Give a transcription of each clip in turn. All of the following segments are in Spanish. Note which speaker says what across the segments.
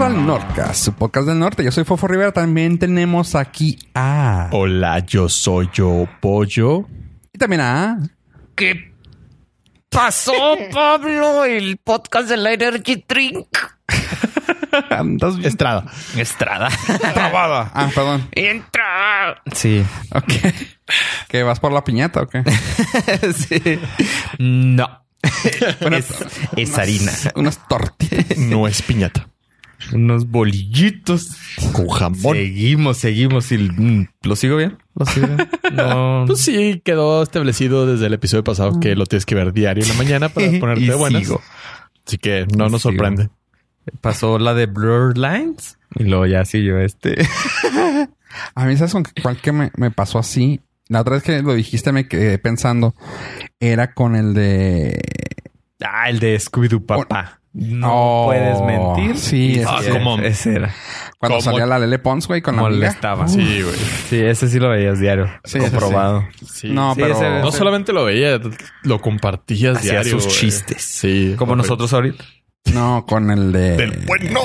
Speaker 1: podcast, su podcast del norte. Yo soy Fofo Rivera. También tenemos aquí a.
Speaker 2: Hola, yo soy yo pollo.
Speaker 1: Y también a.
Speaker 3: ¿Qué pasó, Pablo? El podcast del Energy Drink.
Speaker 1: Andas bien
Speaker 2: Estrada.
Speaker 3: Estrada.
Speaker 1: trabada. Ah, perdón.
Speaker 3: Entra.
Speaker 2: Sí.
Speaker 1: Ok. ¿Que vas por la piñata o qué?
Speaker 3: Sí. No.
Speaker 1: Bueno,
Speaker 3: es, es harina.
Speaker 1: Unas tortitas.
Speaker 2: No es piñata.
Speaker 3: Unos bolillitos.
Speaker 2: Con jamón.
Speaker 3: Seguimos, seguimos. Y, mm, ¿Lo sigo bien? ¿Lo sigo bien? No.
Speaker 2: Pues sí, quedó establecido desde el episodio pasado que lo tienes que ver diario en la mañana para ponerte
Speaker 3: Y
Speaker 2: de buenas.
Speaker 3: sigo.
Speaker 2: Así que no nos
Speaker 3: sigo.
Speaker 2: sorprende.
Speaker 3: Pasó la de Blur Lines. Y luego ya siguió este.
Speaker 1: A mí, ¿sabes con qué- cuál que me, me pasó así? La otra vez que lo dijiste me quedé pensando. Era con el de...
Speaker 3: Ah, el de Scooby-Doo Papá. No
Speaker 1: Oh,
Speaker 3: puedes mentir.
Speaker 1: sí,
Speaker 3: Ah,
Speaker 2: ese era.
Speaker 3: ¿cómo? Ese era.
Speaker 1: Cuando
Speaker 2: ¿Cómo?
Speaker 1: salía la Lele Pons, güey, con la amiga.
Speaker 3: Molestaba. Sí.
Speaker 2: Sí, güey.
Speaker 3: Sí, ese sí lo veías diario.
Speaker 1: Sí, ese
Speaker 3: comprobado.
Speaker 2: Sí.
Speaker 1: No,
Speaker 3: Sí,
Speaker 1: pero...
Speaker 3: ese-
Speaker 2: No solamente lo veía, lo compartías
Speaker 3: Hacía
Speaker 2: diario.
Speaker 3: sus
Speaker 2: güey.
Speaker 3: chistes.
Speaker 2: Sí.
Speaker 3: Como
Speaker 2: Lo-
Speaker 3: nosotros ahorita.
Speaker 1: No, con el de... eh,
Speaker 2: Del bueno.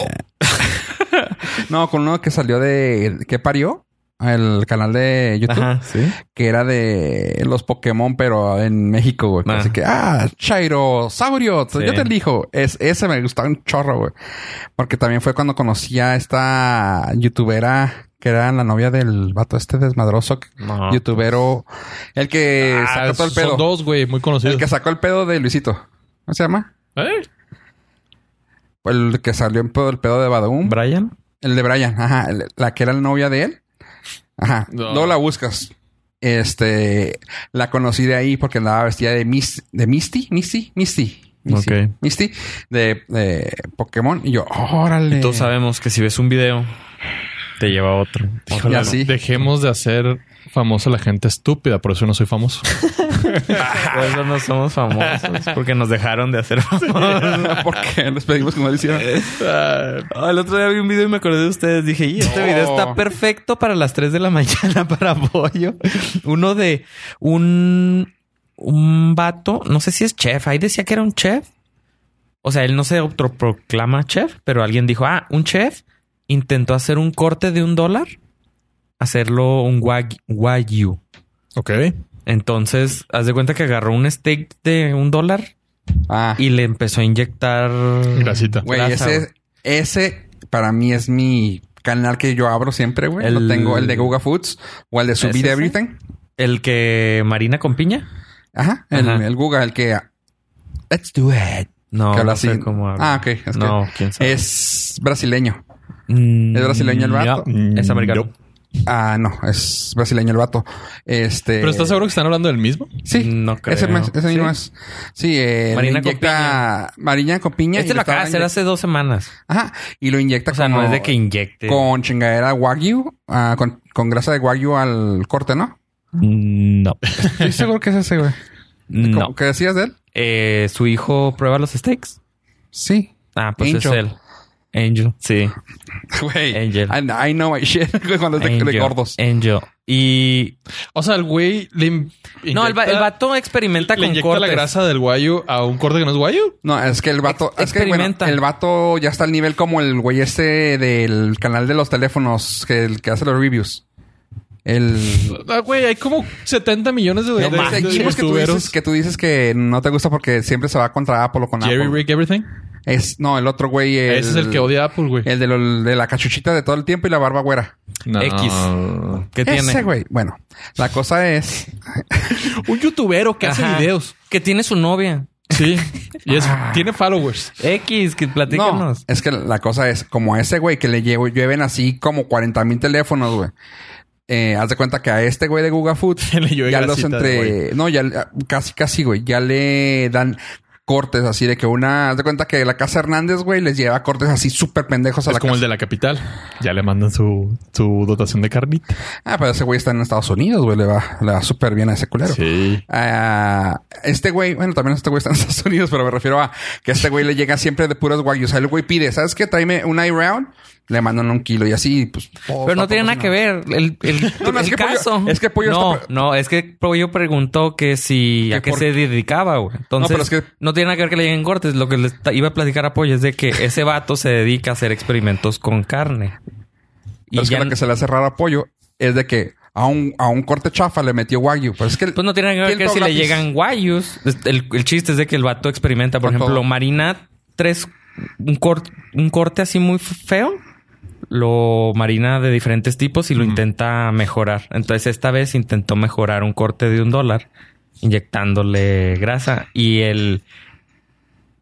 Speaker 1: No, con uno que salió de... ¿Qué parió? El canal de YouTube.
Speaker 3: Ajá, sí.
Speaker 1: Que era de los Pokémon, pero en México, güey.
Speaker 3: Ah.
Speaker 1: Así que... Ah, Chairosaurio.
Speaker 3: Sí.
Speaker 1: Yo te elijo. Es, ese me gustaba un chorro, güey. Porque también fue cuando conocí a esta youtubera... Que era la novia del vato este desmadroso que-
Speaker 3: No.
Speaker 1: youtubero. El que
Speaker 2: Ah,
Speaker 1: sacó eh, todo el
Speaker 2: son
Speaker 1: pedo.
Speaker 2: dos, güey, muy conocidos.
Speaker 1: El que sacó el pedo de Luisito. ¿Cómo se llama?
Speaker 2: ¿Eh?
Speaker 1: El que salió en pedo, el pedo de Badum.
Speaker 3: Brian.
Speaker 1: el de Brian. Ajá. el- la que era la novia de él. Ajá.
Speaker 2: No.
Speaker 1: Luego la buscas. Este. La conocí de ahí porque andaba vestida de, Mis- de Misty. Misty. Misty. Misty.
Speaker 3: Ok.
Speaker 1: Misty. De, de Pokémon. Y yo, órale.
Speaker 3: Y todos sabemos que si ves un video, te lleva a otro.
Speaker 2: Híjole,
Speaker 1: Ya sí.
Speaker 2: Dejemos de hacer famosa a la gente estúpida, por eso no soy famoso.
Speaker 3: Por eso no somos famosos, porque nos dejaron de hacer famosos.
Speaker 1: Porque les pedimos que no lo hicieran.
Speaker 3: Ah, el otro día vi un video y me acordé de ustedes. Dije, y este
Speaker 1: No.
Speaker 3: video está perfecto para las 3 de la mañana para pollo. Uno de un, un vato, no sé si es chef. Ahí decía que era un chef. O sea, él no se autoproclama chef, pero alguien dijo, ah, un chef intentó hacer un corte de un dólar, hacerlo un wag- wagyu.
Speaker 2: ok.
Speaker 3: Entonces, haz de cuenta que agarró un steak de un dólar
Speaker 1: Ah.
Speaker 3: y le empezó a inyectar
Speaker 2: Grasita.
Speaker 1: Güey,
Speaker 3: grasa,
Speaker 1: ese, ese para mí es mi canal que yo abro siempre, güey.
Speaker 3: El-
Speaker 1: Lo tengo el de Guga Foods o el de Subir
Speaker 3: ¿Ese, sí?
Speaker 1: Everything.
Speaker 3: El que marina con piña.
Speaker 1: Ajá, el,
Speaker 3: Ajá.
Speaker 1: el Guga, el que. Let's do it.
Speaker 3: No,
Speaker 1: Que habla
Speaker 3: no sé
Speaker 1: así.
Speaker 3: cómo habla.
Speaker 1: Ah, ok. Es que
Speaker 3: no, quién sabe.
Speaker 1: es brasileño.
Speaker 3: Mm,
Speaker 1: ¿es brasileño el vato?
Speaker 3: no, es americano.
Speaker 2: No.
Speaker 1: Ah, no, es brasileño el vato. Este.
Speaker 2: Pero ¿estás seguro que están hablando del mismo?
Speaker 1: Sí.
Speaker 3: No creo.
Speaker 1: Ese, mes- ese mismo es. Sí, eh,
Speaker 3: Marina
Speaker 1: le inyecta Marina con piña. y
Speaker 3: Este
Speaker 1: le
Speaker 3: lo acaba de
Speaker 1: estaba inye-
Speaker 3: hacer hace dos semanas.
Speaker 1: Ajá. Y lo inyecta
Speaker 3: O sea, no
Speaker 1: como-
Speaker 3: es de que inyecte.
Speaker 1: con chingadera Wagyu, ah, con, con grasa de Wagyu al corte, ¿no?
Speaker 3: Mm, No.
Speaker 1: Estoy seguro que es ese, güey.
Speaker 3: No.
Speaker 1: ¿Cómo- ¿Qué decías de él?
Speaker 3: Eh, Su hijo prueba los steaks.
Speaker 1: Sí.
Speaker 3: Ah, pues
Speaker 1: Angel.
Speaker 3: es él. Angel. Sí.
Speaker 1: Güey.
Speaker 3: Angel.
Speaker 1: I, I know my shit. Cuando es de, de
Speaker 3: Angel.
Speaker 1: gordos.
Speaker 3: Angel. Y.
Speaker 2: O sea, el güey le in-
Speaker 3: no, el, va-
Speaker 2: inyecta-
Speaker 3: el vato experimenta
Speaker 2: le
Speaker 3: con
Speaker 2: inyecta
Speaker 3: cortes.
Speaker 2: la grasa del guayo a un corte que no es guayo.
Speaker 1: No, es que el vato...
Speaker 3: Ex-
Speaker 1: es que, bueno,
Speaker 3: experimenta.
Speaker 1: el vato ya está al nivel como el güey este del canal de los teléfonos que, el que hace los reviews. El...
Speaker 2: Ah, güey, hay como 70 millones de, de,
Speaker 1: el-
Speaker 2: de- de
Speaker 1: equipos que tú, dices,
Speaker 2: youtuberos.
Speaker 1: que tú dices que no te gusta porque siempre se va contra Apple o con
Speaker 2: Jerry
Speaker 1: Apple.
Speaker 2: Rick Everything.
Speaker 1: Es, no, el otro güey... El,
Speaker 2: Ese es el que odia a Apple, güey.
Speaker 1: El de, lo- de la cachuchita de todo el tiempo y la barba güera.
Speaker 2: No.
Speaker 3: X. ¿Qué
Speaker 1: Ese
Speaker 3: tiene?
Speaker 1: güey. Bueno, la cosa es...
Speaker 2: Un youtubero que
Speaker 3: Ajá.
Speaker 2: hace videos.
Speaker 3: Que tiene su novia.
Speaker 2: Sí. Y es,
Speaker 1: Ah.
Speaker 2: tiene followers.
Speaker 3: X, que
Speaker 1: No,
Speaker 3: platícanos.
Speaker 1: es que la cosa es como ese güey que le llevo, lleven así como 40 mil teléfonos, güey. Eh, haz de cuenta que a este güey de Guga Foods
Speaker 2: Le llueve
Speaker 1: ya los
Speaker 2: grasita de
Speaker 1: entre. No, ya le- casi, casi, güey. Ya le dan cortes así de que una. Haz de cuenta que la casa Hernández, güey, les lleva cortes así súper pendejos a
Speaker 2: es
Speaker 1: la
Speaker 2: como el
Speaker 1: casa.
Speaker 2: de la capital. Ya le mandan su, su dotación de carnita.
Speaker 1: Ah, pero ese güey está en Estados Unidos, güey. Le va, le va súper bien a ese culero.
Speaker 2: Sí.
Speaker 1: Ah, este güey, bueno, también este güey está en Estados Unidos, pero me refiero a que este güey le llega siempre de puros guayos. O sea, el güey pide, ¿sabes qué? Tráeme un iRound le mandan un kilo y así, pues. todo
Speaker 3: Pero no
Speaker 1: está
Speaker 3: tiene nada que
Speaker 1: patrocinado.
Speaker 3: ver el, el-
Speaker 1: No, no, es
Speaker 3: el
Speaker 1: que Pollo-
Speaker 3: caso.
Speaker 1: es que Pollo
Speaker 3: No,
Speaker 1: está pre-
Speaker 3: no, es que Pollo preguntó que si
Speaker 1: Que
Speaker 3: a qué
Speaker 1: por-
Speaker 3: se dedicaba, güey. Entonces, no,
Speaker 1: pero es que-
Speaker 3: tiene nada que ver que le lleguen cortes. Lo que le está- iba a platicar a Pollo es de que ese vato se dedica a hacer experimentos con carne. Y
Speaker 1: Pero es
Speaker 3: ya
Speaker 1: que lo que se le hace raro a Pollo es de que a un, a un corte chafa le metió Wagyu. Pues es que.
Speaker 3: Pues no tiene nada que ver que
Speaker 1: ¿Quién
Speaker 3: si le
Speaker 1: Toglatis?
Speaker 3: llegan guayus. El, el chiste es de que el vato experimenta, por
Speaker 1: Con
Speaker 3: ejemplo,
Speaker 1: todo.
Speaker 3: marina tres, un, cor- un corte así muy feo. Lo marina de diferentes tipos y lo intenta mejorar. Entonces, esta vez intentó mejorar un corte de un dólar inyectándole grasa. Y el.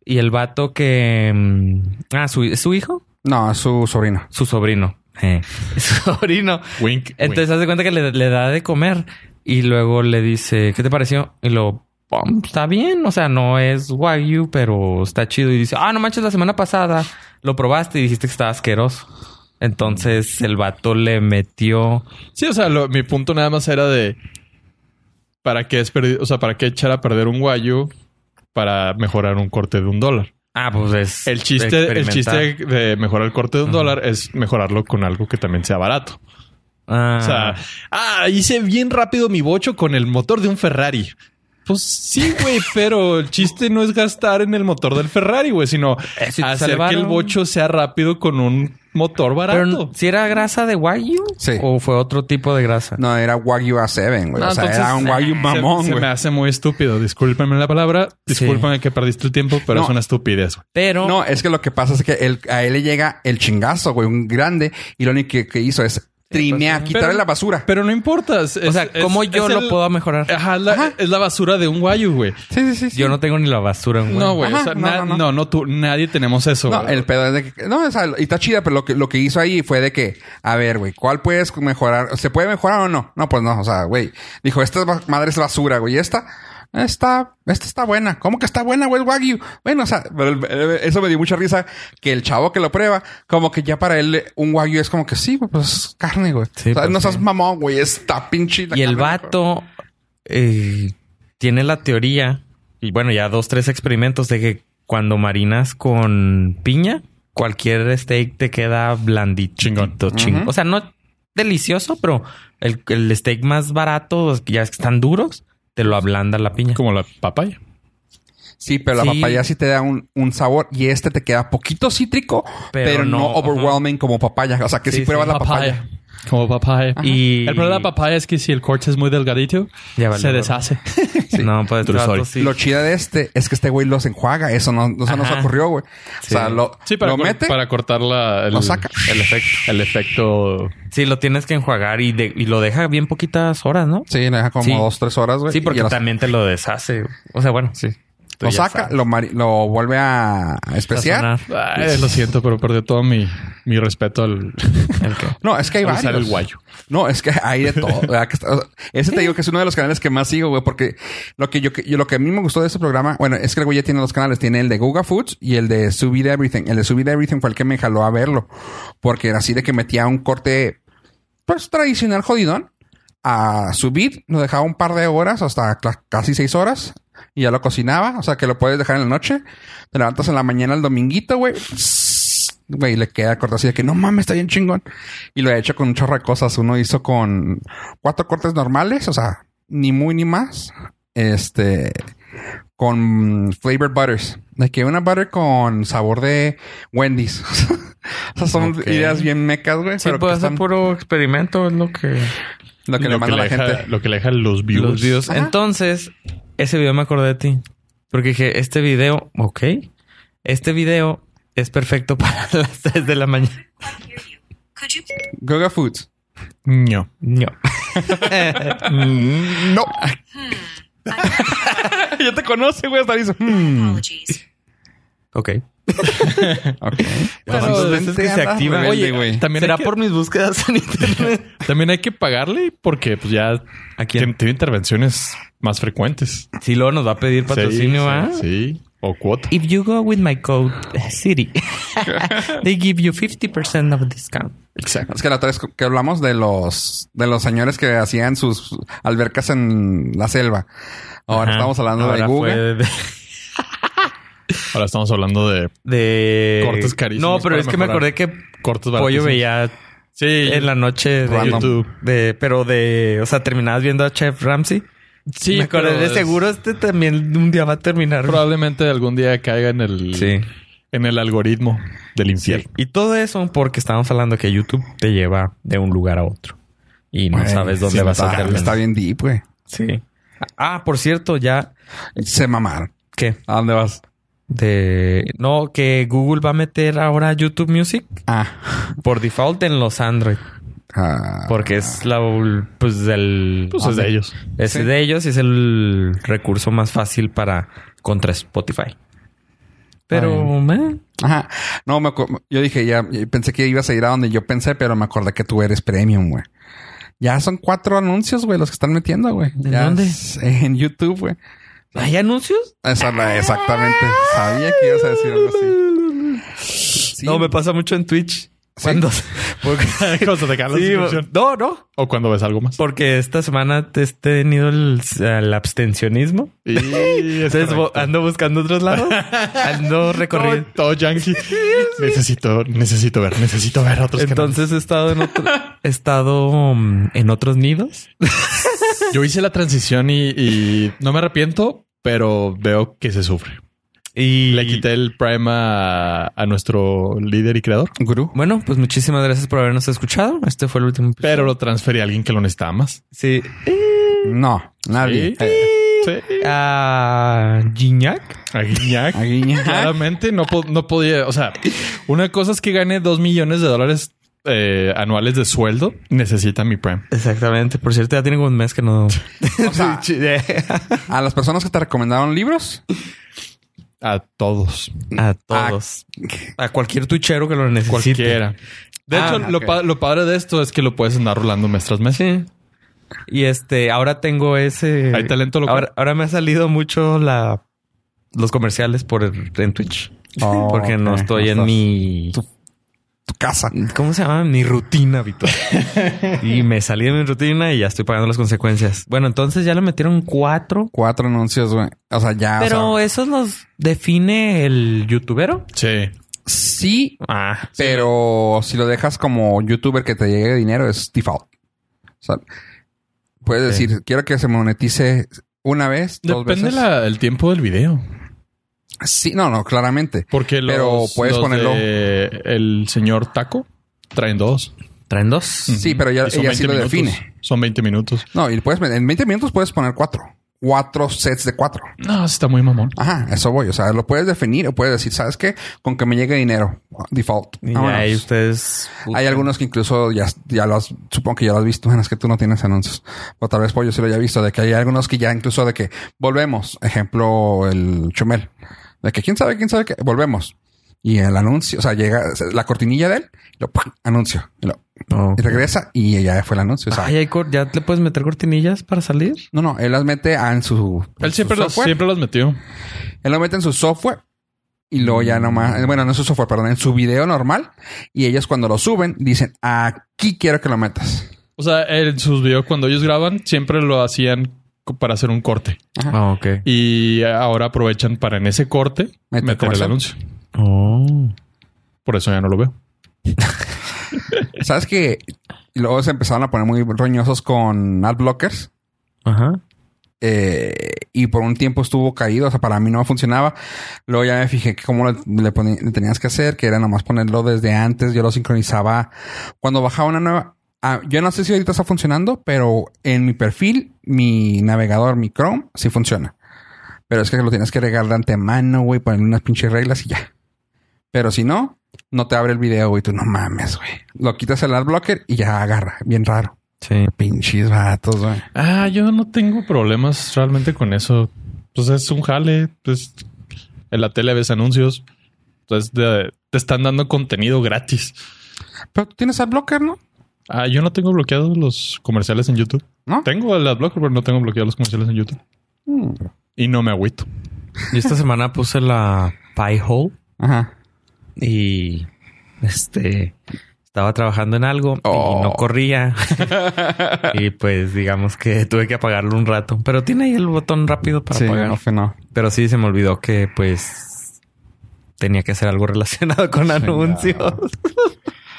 Speaker 3: Y el vato que. mm, Ah, su, ¿es su hijo?
Speaker 1: No, es su sobrino.
Speaker 3: Su sobrino. Eh, Su sobrino.
Speaker 2: Wink.
Speaker 3: Entonces haz de cuenta que le, le da de comer y luego le dice, ¿qué te pareció? Y lo, "Um, está bien, o sea, no es wagyu, pero está chido. Y dice, ah, no manches, la semana pasada lo probaste y dijiste que estaba asqueroso. Entonces el vato le metió...
Speaker 2: wink. Sí, o sea, lo- mi punto nada más era de. ¿Para qué, es o sea, ¿Para qué echar a perder un guayo para mejorar un corte de un dólar?
Speaker 3: Ah, pues es...
Speaker 2: El chiste, el
Speaker 3: experimentar.
Speaker 2: chiste de mejorar el corte de un
Speaker 3: Ujú.
Speaker 2: dólar es mejorarlo con algo que también sea barato.
Speaker 3: Ah,
Speaker 2: O sea, ah, hice bien rápido mi bocho con el motor de un Ferrari. Pues sí, güey, pero el chiste no es gastar en el motor del Ferrari, güey, sino
Speaker 3: Eh, si te
Speaker 2: hacer que
Speaker 3: salvaron.
Speaker 2: el bocho sea rápido con un
Speaker 3: pero
Speaker 2: motor barato.
Speaker 3: si era grasa de wagyu
Speaker 1: Sí.
Speaker 3: o fue otro tipo de grasa.
Speaker 1: No, era Wagyu A7, güey.
Speaker 2: No,
Speaker 1: o sea,
Speaker 2: Ah, entonces,
Speaker 1: era un Wagyu
Speaker 2: se-
Speaker 1: mamón,
Speaker 2: se,
Speaker 1: güey.
Speaker 2: me hace muy estúpido. Discúlpame la palabra.
Speaker 3: Sí.
Speaker 2: Discúlpame que perdiste el tiempo, pero
Speaker 1: No.
Speaker 2: es una estupidez. güey.
Speaker 3: Pero...
Speaker 1: No, es que lo que pasa es que él- a él le llega el chingazo, güey, un grande, y lo único que, que hizo es trinear,
Speaker 3: pues,
Speaker 1: quitarle
Speaker 2: pero-
Speaker 1: la basura.
Speaker 2: Pero no importa. es-
Speaker 3: o sea,
Speaker 2: es-
Speaker 3: ¿cómo
Speaker 2: es-
Speaker 3: yo
Speaker 2: es
Speaker 3: lo
Speaker 2: el- Ah,
Speaker 3: puedo mejorar?
Speaker 2: Ajá, es la- es la basura de un guayu, güey.
Speaker 1: sí, sí, sí, sí.
Speaker 3: Yo no tengo ni la basura, güey.
Speaker 2: No, güey. o
Speaker 1: Ajá,
Speaker 2: sea,
Speaker 1: no,
Speaker 2: na- no,
Speaker 1: no, no.
Speaker 2: no, tú, nadie tenemos eso.
Speaker 1: No,
Speaker 2: güey.
Speaker 1: el pedo es de que... No, o sea, y está chida, pero lo que, lo que hizo ahí fue de que... A ver, güey, ¿cuál puedes mejorar? ¿Se puede mejorar o no? No, pues no, o sea, güey. Dijo, esta es ba- madre es basura, güey. y Esta... Esta, esta está buena. ¿Cómo que está buena, güey? El Wagyu. Bueno, o sea, pero el- eh, eso me dio mucha risa que el chavo que lo prueba, como que ya para él eh, un Wagyu es como que sí, güey, pues es carne, güey.
Speaker 3: Sí,
Speaker 1: o sea,
Speaker 3: pues,
Speaker 1: no
Speaker 3: sí.
Speaker 1: seas mamón, güey. Está pinche. la
Speaker 3: Y el
Speaker 1: carne,
Speaker 3: vato eh, tiene la teoría, y bueno, ya dos, tres experimentos de que cuando marinas con piña, cualquier steak te queda blandito.
Speaker 2: Chingón.
Speaker 3: ching-
Speaker 1: Ujú.
Speaker 3: O sea, no delicioso, pero el, el steak más barato, los que ya están duros, te lo ablanda la piña.
Speaker 2: Como la papaya.
Speaker 1: Sí, pero la
Speaker 3: Sí.
Speaker 1: papaya sí te da un, un sabor y este te queda poquito cítrico, pero,
Speaker 3: Pero
Speaker 1: no,
Speaker 3: no,
Speaker 1: overwhelming como papaya. O sea, que si
Speaker 3: Sí,
Speaker 1: pruebas
Speaker 3: sí,
Speaker 1: la papaya.
Speaker 2: Como papaya.
Speaker 3: Y
Speaker 2: El problema de la papaya es que si el corte es muy delgadito,
Speaker 3: Ya valió,
Speaker 2: se
Speaker 3: bro.
Speaker 2: deshace.
Speaker 3: No, pues
Speaker 2: True
Speaker 3: este vato
Speaker 2: story.
Speaker 3: sí.
Speaker 1: Lo chida de este es que este güey los enjuaga. Eso no, eso nos
Speaker 3: Ajá.
Speaker 1: ocurrió, güey. O
Speaker 3: Sí.
Speaker 1: sea, lo,
Speaker 2: Sí, para,
Speaker 1: lo
Speaker 2: cor-
Speaker 1: mete.
Speaker 2: para cortar la, el,
Speaker 1: Lo saca.
Speaker 2: el efecto. El efecto.
Speaker 3: Sí, lo tienes que enjuagar y, de- y lo deja bien poquitas horas, ¿no?
Speaker 1: Sí, le deja como
Speaker 3: Sí.
Speaker 1: dos, tres horas, güey.
Speaker 3: Sí, porque
Speaker 1: y lo,
Speaker 3: también te lo deshace. O sea, bueno, sí. Tú
Speaker 1: lo
Speaker 3: ya
Speaker 1: saca,
Speaker 3: sabes.
Speaker 1: lo, mari- lo vuelve a a especiar.
Speaker 3: Sazonar.
Speaker 2: Ay, lo siento, pero perdió todo mi, mi respeto al,
Speaker 3: ¿El qué?
Speaker 1: No, es que hay
Speaker 2: al
Speaker 1: varios.
Speaker 2: usar el guayo.
Speaker 1: No, es que hay de todo. ¿verdad? Que está- o sea, Ese te digo que es uno de los canales que más sigo, güey, porque lo que yo, que- yo- lo que a mí me gustó de ese programa, bueno, es que el güey ya tiene dos canales, tiene el de Google Foods y el de Subit Everything. El de Subit Everything fue el que me jaló a verlo, porque era así de que metía un corte, pues tradicional jodidón, a subir, lo dejaba un par de horas, hasta cla- casi seis horas, y ya lo cocinaba, o sea que lo puedes dejar en la noche, te levantas en la mañana el dominguito, güey. Güey, le queda corto así de que no mames, está bien chingón. Y lo he hecho con un chorro de cosas. Uno hizo con cuatro cortes normales, o sea, ni muy ni más. Este, con flavored butters. De que una butter con sabor de Wendy's. o sea, son
Speaker 3: Ok.
Speaker 1: ideas bien mecas, güey.
Speaker 3: Sí,
Speaker 1: pero que
Speaker 3: pues
Speaker 1: están-
Speaker 3: hacer puro experimento, es lo que.
Speaker 1: lo que le manda la
Speaker 2: deja,
Speaker 1: gente.
Speaker 2: lo que le deja los views.
Speaker 3: Los videos.
Speaker 1: Ajá.
Speaker 3: Entonces, ese video me acordé de ti. Porque dije, este video, ok. Este video es perfecto para las 3 de la mañana.
Speaker 4: Could you
Speaker 1: Goga Foods.
Speaker 2: No.
Speaker 3: No.
Speaker 1: No. ya te conoce, güey. Hasta dice. hmm.
Speaker 4: apologies?
Speaker 3: Ok.
Speaker 1: Ok.
Speaker 2: Pero
Speaker 1: Entonces,
Speaker 3: es que
Speaker 1: vente,
Speaker 3: se
Speaker 1: anda,
Speaker 3: activa.
Speaker 1: rebelde,
Speaker 2: Oye,
Speaker 1: güey.
Speaker 2: También
Speaker 3: ¿Será
Speaker 2: hay que-
Speaker 3: por mis búsquedas en internet?
Speaker 2: También hay que pagarle porque pues ya
Speaker 3: ¿A quién?
Speaker 2: tiene, tiene intervenciones más frecuentes.
Speaker 3: Si luego nos va a pedir patrocinio, ¿ah?
Speaker 2: Sí, sí, sí. O cuota.
Speaker 3: If you go with my code eh, City, they give you 50% of discount.
Speaker 2: Exacto.
Speaker 1: Es que la otra vez que hablamos de los de los señores que hacían sus albercas en la selva. Ahora
Speaker 3: Ajá.
Speaker 1: estamos hablando de
Speaker 3: Ahora
Speaker 1: Google.
Speaker 3: fue de-
Speaker 2: Ahora estamos hablando de
Speaker 3: de
Speaker 2: Cortes carísimos
Speaker 3: No, pero
Speaker 2: para
Speaker 3: es que me
Speaker 2: mejorar.
Speaker 3: acordé que
Speaker 2: cortos
Speaker 3: Pollo
Speaker 2: baratísimos.
Speaker 3: veía
Speaker 2: Sí,
Speaker 3: en la noche de,
Speaker 1: Random.
Speaker 2: YouTube.
Speaker 3: de- pero de, o sea, terminabas viendo a Chef Ramsey.
Speaker 2: Sí,
Speaker 3: me acordé
Speaker 2: pero
Speaker 3: de
Speaker 2: es-
Speaker 3: seguro este también un día va a terminar.
Speaker 2: Probablemente algún día caiga en el,
Speaker 3: Sí.
Speaker 2: en el algoritmo del infierno.
Speaker 3: Y todo eso porque estábamos hablando que YouTube te lleva de un lugar a otro y no
Speaker 1: Güey,
Speaker 3: sabes dónde
Speaker 1: sí,
Speaker 3: vas a
Speaker 1: está,
Speaker 3: terminar.
Speaker 1: Está bien deep, güey.
Speaker 3: Sí. Ah, por cierto, ya
Speaker 1: Se mamaron.
Speaker 3: ¿Qué?
Speaker 1: ¿A dónde vas?
Speaker 3: De no, que Google va a meter ahora YouTube Music
Speaker 1: Ah.
Speaker 3: por default en los Android,
Speaker 1: ah,
Speaker 3: porque es la pues del
Speaker 2: Pues es de ellos.
Speaker 3: Es
Speaker 1: Sí.
Speaker 3: de ellos y es el recurso más fácil para contra Spotify. Pero eh,
Speaker 1: Ajá. No, me acu- yo dije, ya pensé que ibas a ir a donde yo pensé, pero me acordé que tú eres premium, güey. Ya son cuatro anuncios, güey, los que están metiendo, güey.
Speaker 3: ¿En
Speaker 1: Ya
Speaker 3: dónde?
Speaker 1: es- en YouTube, güey.
Speaker 3: ¿hay anuncios?
Speaker 1: Esa la- exactamente. Sabía que ibas a decir algo así. Sí.
Speaker 3: No, me pasa mucho en Twitch. Cuando- porque-
Speaker 2: Cuando te cae la
Speaker 3: Sí,
Speaker 2: suscripción.
Speaker 3: no, no,
Speaker 2: O cuando ves algo más.
Speaker 3: porque esta semana te he tenido el, el abstencionismo.
Speaker 2: Y es
Speaker 3: Entonces bo-
Speaker 2: correcto.
Speaker 3: ando buscando otros lados. Ando recorriendo.
Speaker 2: Todo, todo yankee. necesito, necesito ver, necesito ver otros canales.
Speaker 3: Entonces he estado en otro, he estado um, en otros nidos.
Speaker 2: Yo hice la transición y, y no me arrepiento, pero veo que se sufre.
Speaker 3: Y
Speaker 2: Le quité el Prime a, a nuestro líder y creador,
Speaker 1: Gurú.
Speaker 3: Bueno, pues muchísimas gracias por habernos escuchado. Este fue el último. episodio.
Speaker 2: pero lo transferí a alguien que lo necesitaba más.
Speaker 3: sí.
Speaker 1: No, nadie. Eh,
Speaker 2: Sí. Sí.
Speaker 3: A Ah, Gignac.
Speaker 2: A Guiñac.
Speaker 1: A Guiñac.
Speaker 2: Claramente no, po- no podía. O sea, una cosa es que gane dos millones de dólares eh, anuales de sueldo. Necesita mi Prime.
Speaker 3: Exactamente. Por cierto, ya tiene como un mes que no.
Speaker 1: O sea, a las personas que te recomendaron libros,
Speaker 2: A todos.
Speaker 3: a todos. A, cualquier tuchero que lo necesite.
Speaker 2: Cualquiera. De
Speaker 3: Ah,
Speaker 2: hecho, lo,
Speaker 1: ok.
Speaker 2: pa- lo padre de esto es que lo puedes andar rolando mes tras mes.
Speaker 3: Sí. Y este, ahora tengo ese.
Speaker 2: Hay talento local.
Speaker 3: Ahora, ahora me ha salido mucho la los comerciales por en Twitch.
Speaker 1: Oh,
Speaker 3: porque no
Speaker 1: ok.
Speaker 3: estoy
Speaker 1: No
Speaker 3: en
Speaker 1: estás-
Speaker 3: mi.
Speaker 1: tu casa.
Speaker 3: ¿Cómo se llama? Mi rutina habitual. y me salí de mi rutina y ya estoy pagando las consecuencias. Bueno, entonces ya le metieron cuatro.
Speaker 1: Cuatro anuncios, güey. O sea, ya. Ah, o
Speaker 3: Pero
Speaker 1: sea,
Speaker 3: esos los define el youtubero.
Speaker 2: Sí.
Speaker 1: sí,
Speaker 3: Ah,
Speaker 1: pero si lo dejas como youtuber que te llegue dinero, es default. O sea, puedes
Speaker 3: Ok.
Speaker 1: decir, quiero que se monetice una vez, dos
Speaker 2: Depende
Speaker 1: veces.
Speaker 2: la- el tiempo del video.
Speaker 1: Sí, no, no, claramente.
Speaker 2: Porque los,
Speaker 1: Pero puedes
Speaker 2: los
Speaker 1: ponerlo.
Speaker 2: de el señor Taco traen dos.
Speaker 3: traen dos.
Speaker 1: Sí, pero ya,
Speaker 2: Y son
Speaker 1: ella sí
Speaker 2: 20
Speaker 1: lo
Speaker 2: minutos.
Speaker 1: define.
Speaker 2: Son 20 minutos.
Speaker 1: No, y puedes, en 20 minutos puedes poner cuatro. Cuatro sets de cuatro.
Speaker 2: No, está muy mamón.
Speaker 1: Ajá, eso voy. O sea, lo puedes definir o puedes decir, ¿sabes qué? Con que me llegue dinero. Default.
Speaker 3: Y
Speaker 1: Vámonos.
Speaker 3: ahí ustedes.
Speaker 1: Hay algunos que incluso ya, ya lo has, supongo que ya lo has visto, bueno, es que tú no tienes anuncios, o tal vez Pollo sí lo haya visto, de que hay algunos que ya incluso de que volvemos, ejemplo, el Chumel, de que quién sabe, quién sabe que volvemos. Y el anuncio, o sea, llega la cortinilla de él, y lo ¡pum! anuncio, y, lo-
Speaker 3: Oh.
Speaker 1: y regresa y ya fue el anuncio. O sea,
Speaker 3: Ay, hay cor- ya le puedes meter cortinillas para salir.
Speaker 1: no, no, él las mete a- en su,
Speaker 2: Él siempre
Speaker 1: su
Speaker 2: los,
Speaker 1: software.
Speaker 2: siempre los metió.
Speaker 1: Él lo mete en su software y luego ya nomás, bueno, no en su software, perdón, en su video normal. Y ellos cuando lo suben dicen, aquí quiero que lo metas.
Speaker 2: O sea, en sus videos, cuando ellos graban, siempre lo hacían co- para hacer un corte.
Speaker 3: Ah, ok.
Speaker 2: Y ahora aprovechan para en ese corte
Speaker 1: Meter
Speaker 2: meter el
Speaker 1: comercial.
Speaker 2: anuncio.
Speaker 3: Oh.
Speaker 2: Por eso ya no lo veo.
Speaker 1: ¿Sabes que luego se empezaron a poner muy roñosos con ad blockers?
Speaker 3: Ajá.
Speaker 1: Eh, y por un tiempo estuvo caído, o sea, para mí no funcionaba. Luego ya me fijé que cómo le, le poni- le tenías que hacer, que era nomás ponerlo desde antes, yo lo sincronizaba. Cuando bajaba una nueva, ah, yo no sé si ahorita está funcionando, pero en mi perfil, mi navegador, mi Chrome, sí funciona. Pero es que lo tienes que regar de antemano, güey, poner unas pinches reglas y ya. Pero si no, no te abre el video, güey, tú no mames, güey. Lo quitas el ad blocker y ya agarra, bien raro.
Speaker 3: Sí.
Speaker 1: Pinches vatos, güey.
Speaker 2: Ah, yo no tengo problemas realmente con eso. Pues es un jale. Pues en la tele ves anuncios. Entonces de- te están dando contenido gratis.
Speaker 1: Pero tú tienes ad blocker, ¿no?
Speaker 2: Ah, yo no tengo bloqueados los comerciales en YouTube.
Speaker 1: ¿No?
Speaker 2: Tengo el adblocker, pero no tengo bloqueados los comerciales en YouTube.
Speaker 1: Mm.
Speaker 2: Y no me agüito.
Speaker 3: Yo esta semana puse la pie hole
Speaker 1: Ajá.
Speaker 3: y este estaba trabajando en algo
Speaker 1: Oh.
Speaker 3: y no corría. y pues digamos que tuve que apagarlo un rato, pero tiene ahí el botón rápido para
Speaker 1: sí,
Speaker 3: apagar.
Speaker 1: no, fue no.
Speaker 3: Pero sí se me olvidó que pues tenía que hacer algo relacionado con anuncios.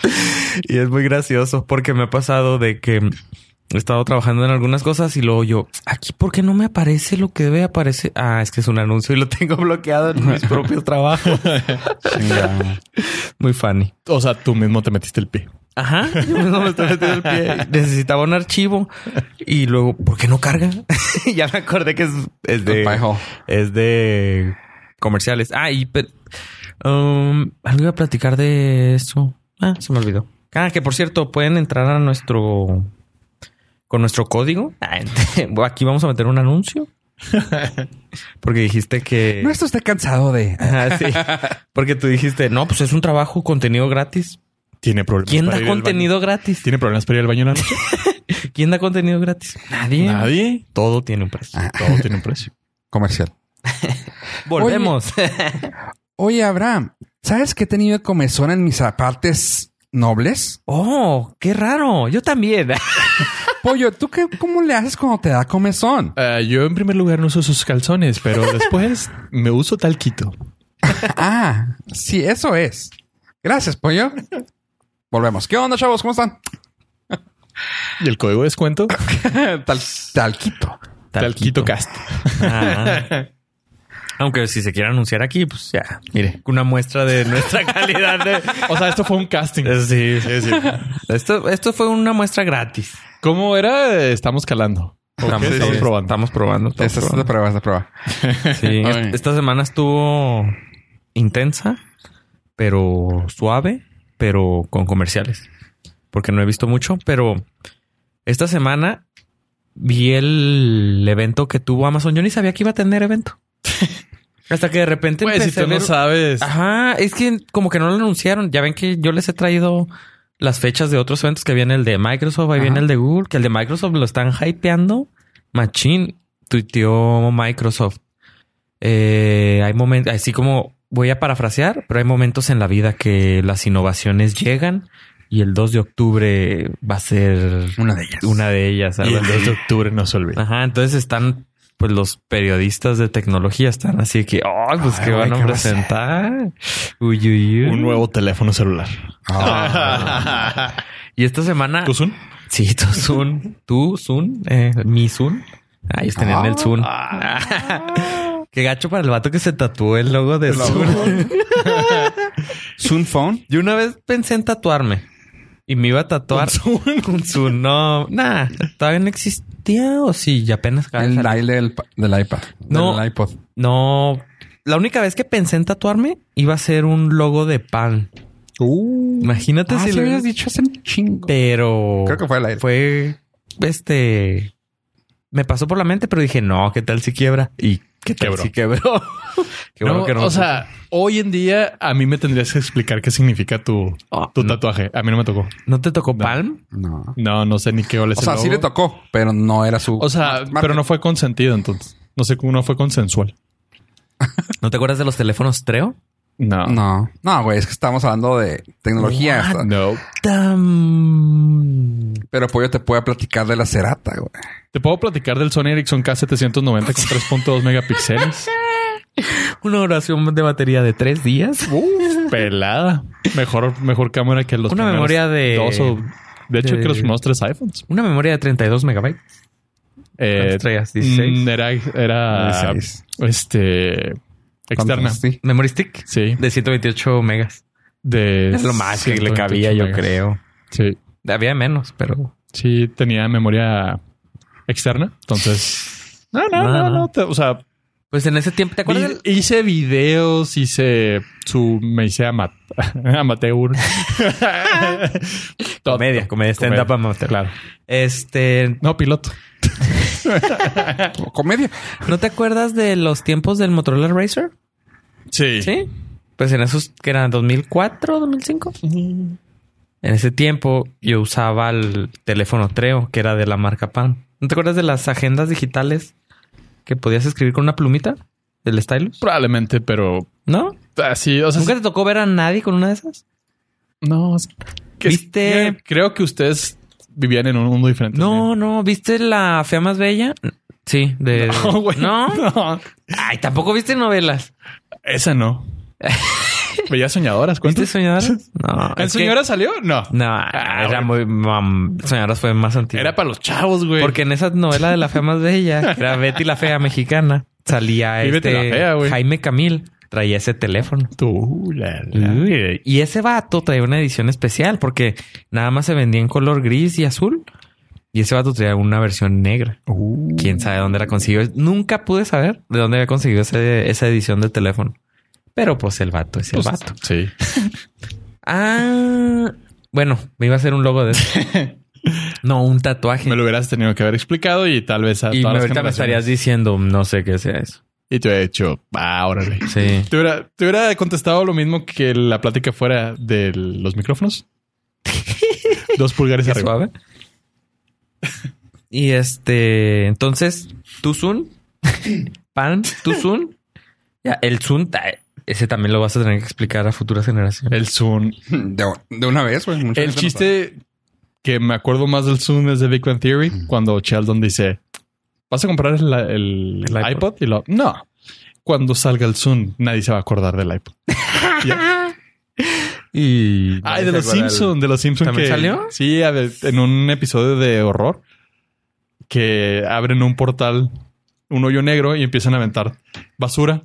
Speaker 3: Y es muy gracioso porque me ha pasado de que he estado trabajando en algunas cosas y luego yo, aquí, ¿por qué no me aparece lo que debe aparecer? Ah, es que es un anuncio y lo tengo bloqueado en mis propios trabajos.
Speaker 1: Chingada.
Speaker 3: Muy funny.
Speaker 2: O sea, tú mismo te metiste el pie.
Speaker 3: Ajá. Yo mismo me estoy metiendo el pie. Necesitaba un archivo y luego, ¿por qué no carga? ya me acordé que es, es de.
Speaker 1: Pajo.
Speaker 3: Es de comerciales. Ah, y pe- um, algo iba a platicar de eso. Ah, se me olvidó. Ah, que por cierto, pueden entrar a nuestro con nuestro código. Ah, ent- Aquí vamos a meter un anuncio. Porque dijiste que.
Speaker 1: No, esto está cansado de.
Speaker 3: Ah, sí. Porque tú dijiste, no, pues es un trabajo, contenido gratis.
Speaker 2: Tiene problemas.
Speaker 3: ¿Quién
Speaker 2: Pues para
Speaker 3: da
Speaker 2: ir al
Speaker 3: contenido
Speaker 2: baño?
Speaker 3: gratis?
Speaker 2: ¿Tiene problemas para ir al baño en la noche?
Speaker 3: ¿Quién da contenido gratis? Nadie.
Speaker 2: Nadie. Ah.
Speaker 3: Todo tiene un precio.
Speaker 2: Todo tiene un precio.
Speaker 1: Comercial.
Speaker 3: Volvemos.
Speaker 1: Oye, Abraham, ¿sabes que he tenido comezón en mis partes nobles?
Speaker 3: oh, qué raro. Yo también.
Speaker 1: Pollo, ¿tú qué, cómo le haces cuando te da comezón?
Speaker 2: Ah, yo en primer lugar no uso sus calzones, pero después me uso talquito.
Speaker 1: Ah, sí, eso es. Gracias, pollo. Volvemos. ¿Qué onda, chavos? ¿Cómo están?
Speaker 2: Y el código de descuento,
Speaker 1: Eh, Tal, talquito.
Speaker 2: talquito cast.
Speaker 3: Ah. Aunque si se quiere anunciar aquí, pues ya, mire, una muestra de nuestra calidad. de-
Speaker 2: O sea, esto fue un casting.
Speaker 3: Sí, sí, sí. Esto, esto fue una muestra gratis.
Speaker 2: ¿Cómo era? Eh, Estamos calando. ¿O qué?
Speaker 1: sí,
Speaker 2: Estamos
Speaker 1: sí.
Speaker 2: probando.
Speaker 3: Estamos probando. estamos
Speaker 1: Esta es la
Speaker 3: probando.
Speaker 1: prueba, es la prueba.
Speaker 3: Sí,
Speaker 1: Ay.
Speaker 3: est- esta semana estuvo intensa, pero suave, pero con comerciales. Porque no he visto mucho, pero esta semana vi el evento que tuvo Amazon. Yo ni sabía que iba a tener evento. Hasta que de repente
Speaker 2: Pues, si
Speaker 3: empecé a
Speaker 2: tú no
Speaker 3: ver-
Speaker 2: sabes.
Speaker 3: Ajá, es que como que no lo anunciaron. Ya ven que yo les he traído las fechas de otros eventos que viene el de Microsoft, ahí
Speaker 1: Ajá.
Speaker 3: viene el de Google, que el de Microsoft lo están hypeando. Machín, tuiteó Microsoft. Eh, hay momentos, así como voy a parafrasear, pero hay momentos en la vida que las innovaciones llegan y el 2 de octubre va a ser
Speaker 1: Una de ellas.
Speaker 3: una de ellas.
Speaker 2: Y
Speaker 3: algo
Speaker 2: el
Speaker 3: así.
Speaker 2: 2 de octubre no se olvida.
Speaker 3: Ajá, entonces están, pues los periodistas de tecnología están así que, oh, pues
Speaker 1: Ay,
Speaker 3: que
Speaker 1: güey,
Speaker 3: van
Speaker 1: ¿qué
Speaker 3: a
Speaker 1: va a ser?
Speaker 3: presentar. Uy, uy, uy.
Speaker 2: Un nuevo teléfono celular.
Speaker 1: Ah,
Speaker 3: Y esta semana.
Speaker 2: ¿Tú, Sun?
Speaker 3: Sí, tu Zoom. tu Zoom. eh, mi Zoom. Ahí están en el Zoom.
Speaker 1: Ah.
Speaker 3: Qué gacho para el vato que se tatuó el logo de Zoom.
Speaker 1: Soon phone.
Speaker 3: Yo una vez pensé en tatuarme y me iba a tatuar un Zoom. No, nada. Todavía no existía o sí, ya apenas. acaba de
Speaker 1: El
Speaker 3: salir.
Speaker 1: baile del, pa- del iPad.
Speaker 3: No.
Speaker 1: Del iPod.
Speaker 3: No, la única vez que pensé en tatuarme iba a ser un logo de pan. Imagínate
Speaker 1: Ah,
Speaker 3: si
Speaker 1: sí
Speaker 3: lo
Speaker 1: lo
Speaker 3: hubiera
Speaker 1: habías
Speaker 3: dicho.
Speaker 1: dicho hace un chingo.
Speaker 3: Pero
Speaker 1: Creo que fue al aire.
Speaker 3: fue este. Me pasó por la mente, pero dije, no, ¿qué tal si quiebra? Y qué tal
Speaker 2: Quebró.
Speaker 3: si quebró. Qué bueno
Speaker 2: No,
Speaker 3: que no me
Speaker 2: o sea, hoy en día a mí me tendrías que explicar qué significa tu,
Speaker 3: Ah,
Speaker 2: tu
Speaker 3: no.
Speaker 2: tatuaje. A mí no me tocó.
Speaker 3: puse- ¿no te tocó palm?
Speaker 1: No.
Speaker 2: No, no sé ni qué ole es
Speaker 1: O
Speaker 2: el
Speaker 1: sea, sí
Speaker 2: logo.
Speaker 1: le tocó, pero no era su.
Speaker 2: O sea,
Speaker 1: Marte.
Speaker 2: pero no fue consentido entonces. No sé cómo no fue consensual.
Speaker 3: ¿No te acuerdas de los teléfonos Treo?
Speaker 2: No.
Speaker 1: No, no, güey, es que estamos hablando de tecnología.
Speaker 3: What?
Speaker 2: No.
Speaker 3: Tam-
Speaker 1: Pero Pollo te puede platicar de la cerata, güey.
Speaker 2: ¿Te puedo platicar del Sony Ericsson K790 con 3.2 megapíxeles?
Speaker 3: Una oración de batería de tres días.
Speaker 2: Uf, pelada. Mejor, mejor cámara que los
Speaker 3: Una
Speaker 2: primeros
Speaker 3: memoria de-
Speaker 2: dos o- de hecho,
Speaker 3: de-
Speaker 2: que los primeros tres iPhones.
Speaker 3: Una memoria de 32 megabytes.
Speaker 2: Eh,
Speaker 3: Estrellas, 16.
Speaker 2: mm, Era, era
Speaker 1: 16.
Speaker 2: este Ah, externa.
Speaker 1: ¿Cuántos? Sí.
Speaker 3: Memory stick
Speaker 2: Sí.
Speaker 3: de 128 megas.
Speaker 2: De
Speaker 3: Es lo más que le
Speaker 2: 128
Speaker 3: cabía, yo
Speaker 2: megas.
Speaker 3: creo.
Speaker 2: Sí.
Speaker 3: Había menos, pero
Speaker 2: Sí, tenía memoria externa. Entonces. No, Ah, no,
Speaker 3: No,
Speaker 2: no,
Speaker 3: no.
Speaker 2: no. te- o sea,
Speaker 3: pues en ese tiempo, ¿te acuerdas?
Speaker 2: vi-
Speaker 3: del-
Speaker 2: hice videos, hice su. Me hice ama- amateur. Todo-
Speaker 3: Comedia, comedia, stand-up
Speaker 2: comedia.
Speaker 3: amateur.
Speaker 2: Claro.
Speaker 3: Este,
Speaker 2: No, piloto.
Speaker 1: Comedia.
Speaker 3: ¿no te acuerdas de los tiempos del Motorola Racer?
Speaker 2: Sí.
Speaker 3: Sí. Pues en esos que eran 2004, 2005. En ese tiempo yo usaba el teléfono Treo, que era de la marca Pan. ¿No te acuerdas de las agendas digitales que podías escribir con una plumita? ¿Del stylus?
Speaker 2: Probablemente, pero
Speaker 3: ¿No?
Speaker 2: así, o sea,
Speaker 3: ¿Nunca te tocó ver a nadie con una de esas?
Speaker 2: no. es que-
Speaker 3: ¿Viste?
Speaker 2: que- creo que ustedes vivían en un mundo diferente.
Speaker 3: No, no. ¿Viste la fea más bella? Sí, de...
Speaker 2: No, Oh, güey.
Speaker 3: ¿No?
Speaker 2: No.
Speaker 3: Ay, tampoco viste novelas.
Speaker 2: Esa no. Bellas soñadoras,
Speaker 3: ¿Viste
Speaker 2: ¿cuántas?
Speaker 3: Soñadoras? No.
Speaker 2: ¿El
Speaker 3: es que-
Speaker 2: señora salió? No.
Speaker 3: No,
Speaker 2: Ah,
Speaker 3: era muy... mam, Soñadoras fue más antiguo.
Speaker 2: Era para los chavos, güey.
Speaker 3: Porque en esa novela de la fea más bella, que era Betty la fea mexicana, salía
Speaker 2: Y Betty
Speaker 3: este
Speaker 2: la Fea, güey.
Speaker 3: Jaime Camil, traía ese teléfono.
Speaker 2: tú, la, la.
Speaker 3: Uy, Y ese vato traía una edición especial porque nada más se vendía en color gris y azul. Y ese vato traía una versión negra.
Speaker 2: Uh.
Speaker 3: Quién sabe dónde la consiguió. Nunca pude saber de dónde había conseguido ese- esa edición del teléfono. Pero pues el vato es el
Speaker 2: Pues,
Speaker 3: vato.
Speaker 2: Sí.
Speaker 3: Ah, bueno, me iba a hacer un logo de eso. No, un tatuaje.
Speaker 2: Me lo hubieras tenido que haber explicado y tal vez a
Speaker 3: y me-
Speaker 2: todas las
Speaker 3: ahorita me estarías
Speaker 2: generaciones.
Speaker 3: diciendo, no sé qué sea eso.
Speaker 2: Y te hubiera dicho, ah, órale.
Speaker 3: Sí.
Speaker 2: ¿Te hubiera, te hubiera contestado lo mismo que la plática fuera de los micrófonos. Dos pulgares
Speaker 3: Qué
Speaker 2: arriba.
Speaker 3: suave. Y este, entonces, tu Zoom, pan, tu Zoom, ya, el Zoom, ta- ese también lo vas a tener que explicar a futuras generaciones.
Speaker 2: El Zoom.
Speaker 1: De, de una vez, güey. Mucha
Speaker 2: El
Speaker 1: gente no
Speaker 2: chiste que me acuerdo más del Zoom es de Big Bang Theory,
Speaker 3: Mm.
Speaker 2: cuando Sheldon dice, ¿vas a comprar el, el
Speaker 3: El iPod.
Speaker 2: iPod? Y lo, no. Cuando salga el Zoom, nadie se va a acordar del iPod. Ya.
Speaker 3: Y
Speaker 2: Ay, de los Simpsons, de los Simpsons.
Speaker 3: ¿También
Speaker 2: que-
Speaker 3: salió?
Speaker 2: Sí, a ver, en un episodio de horror que abren un portal, un hoyo negro y empiezan a aventar basura.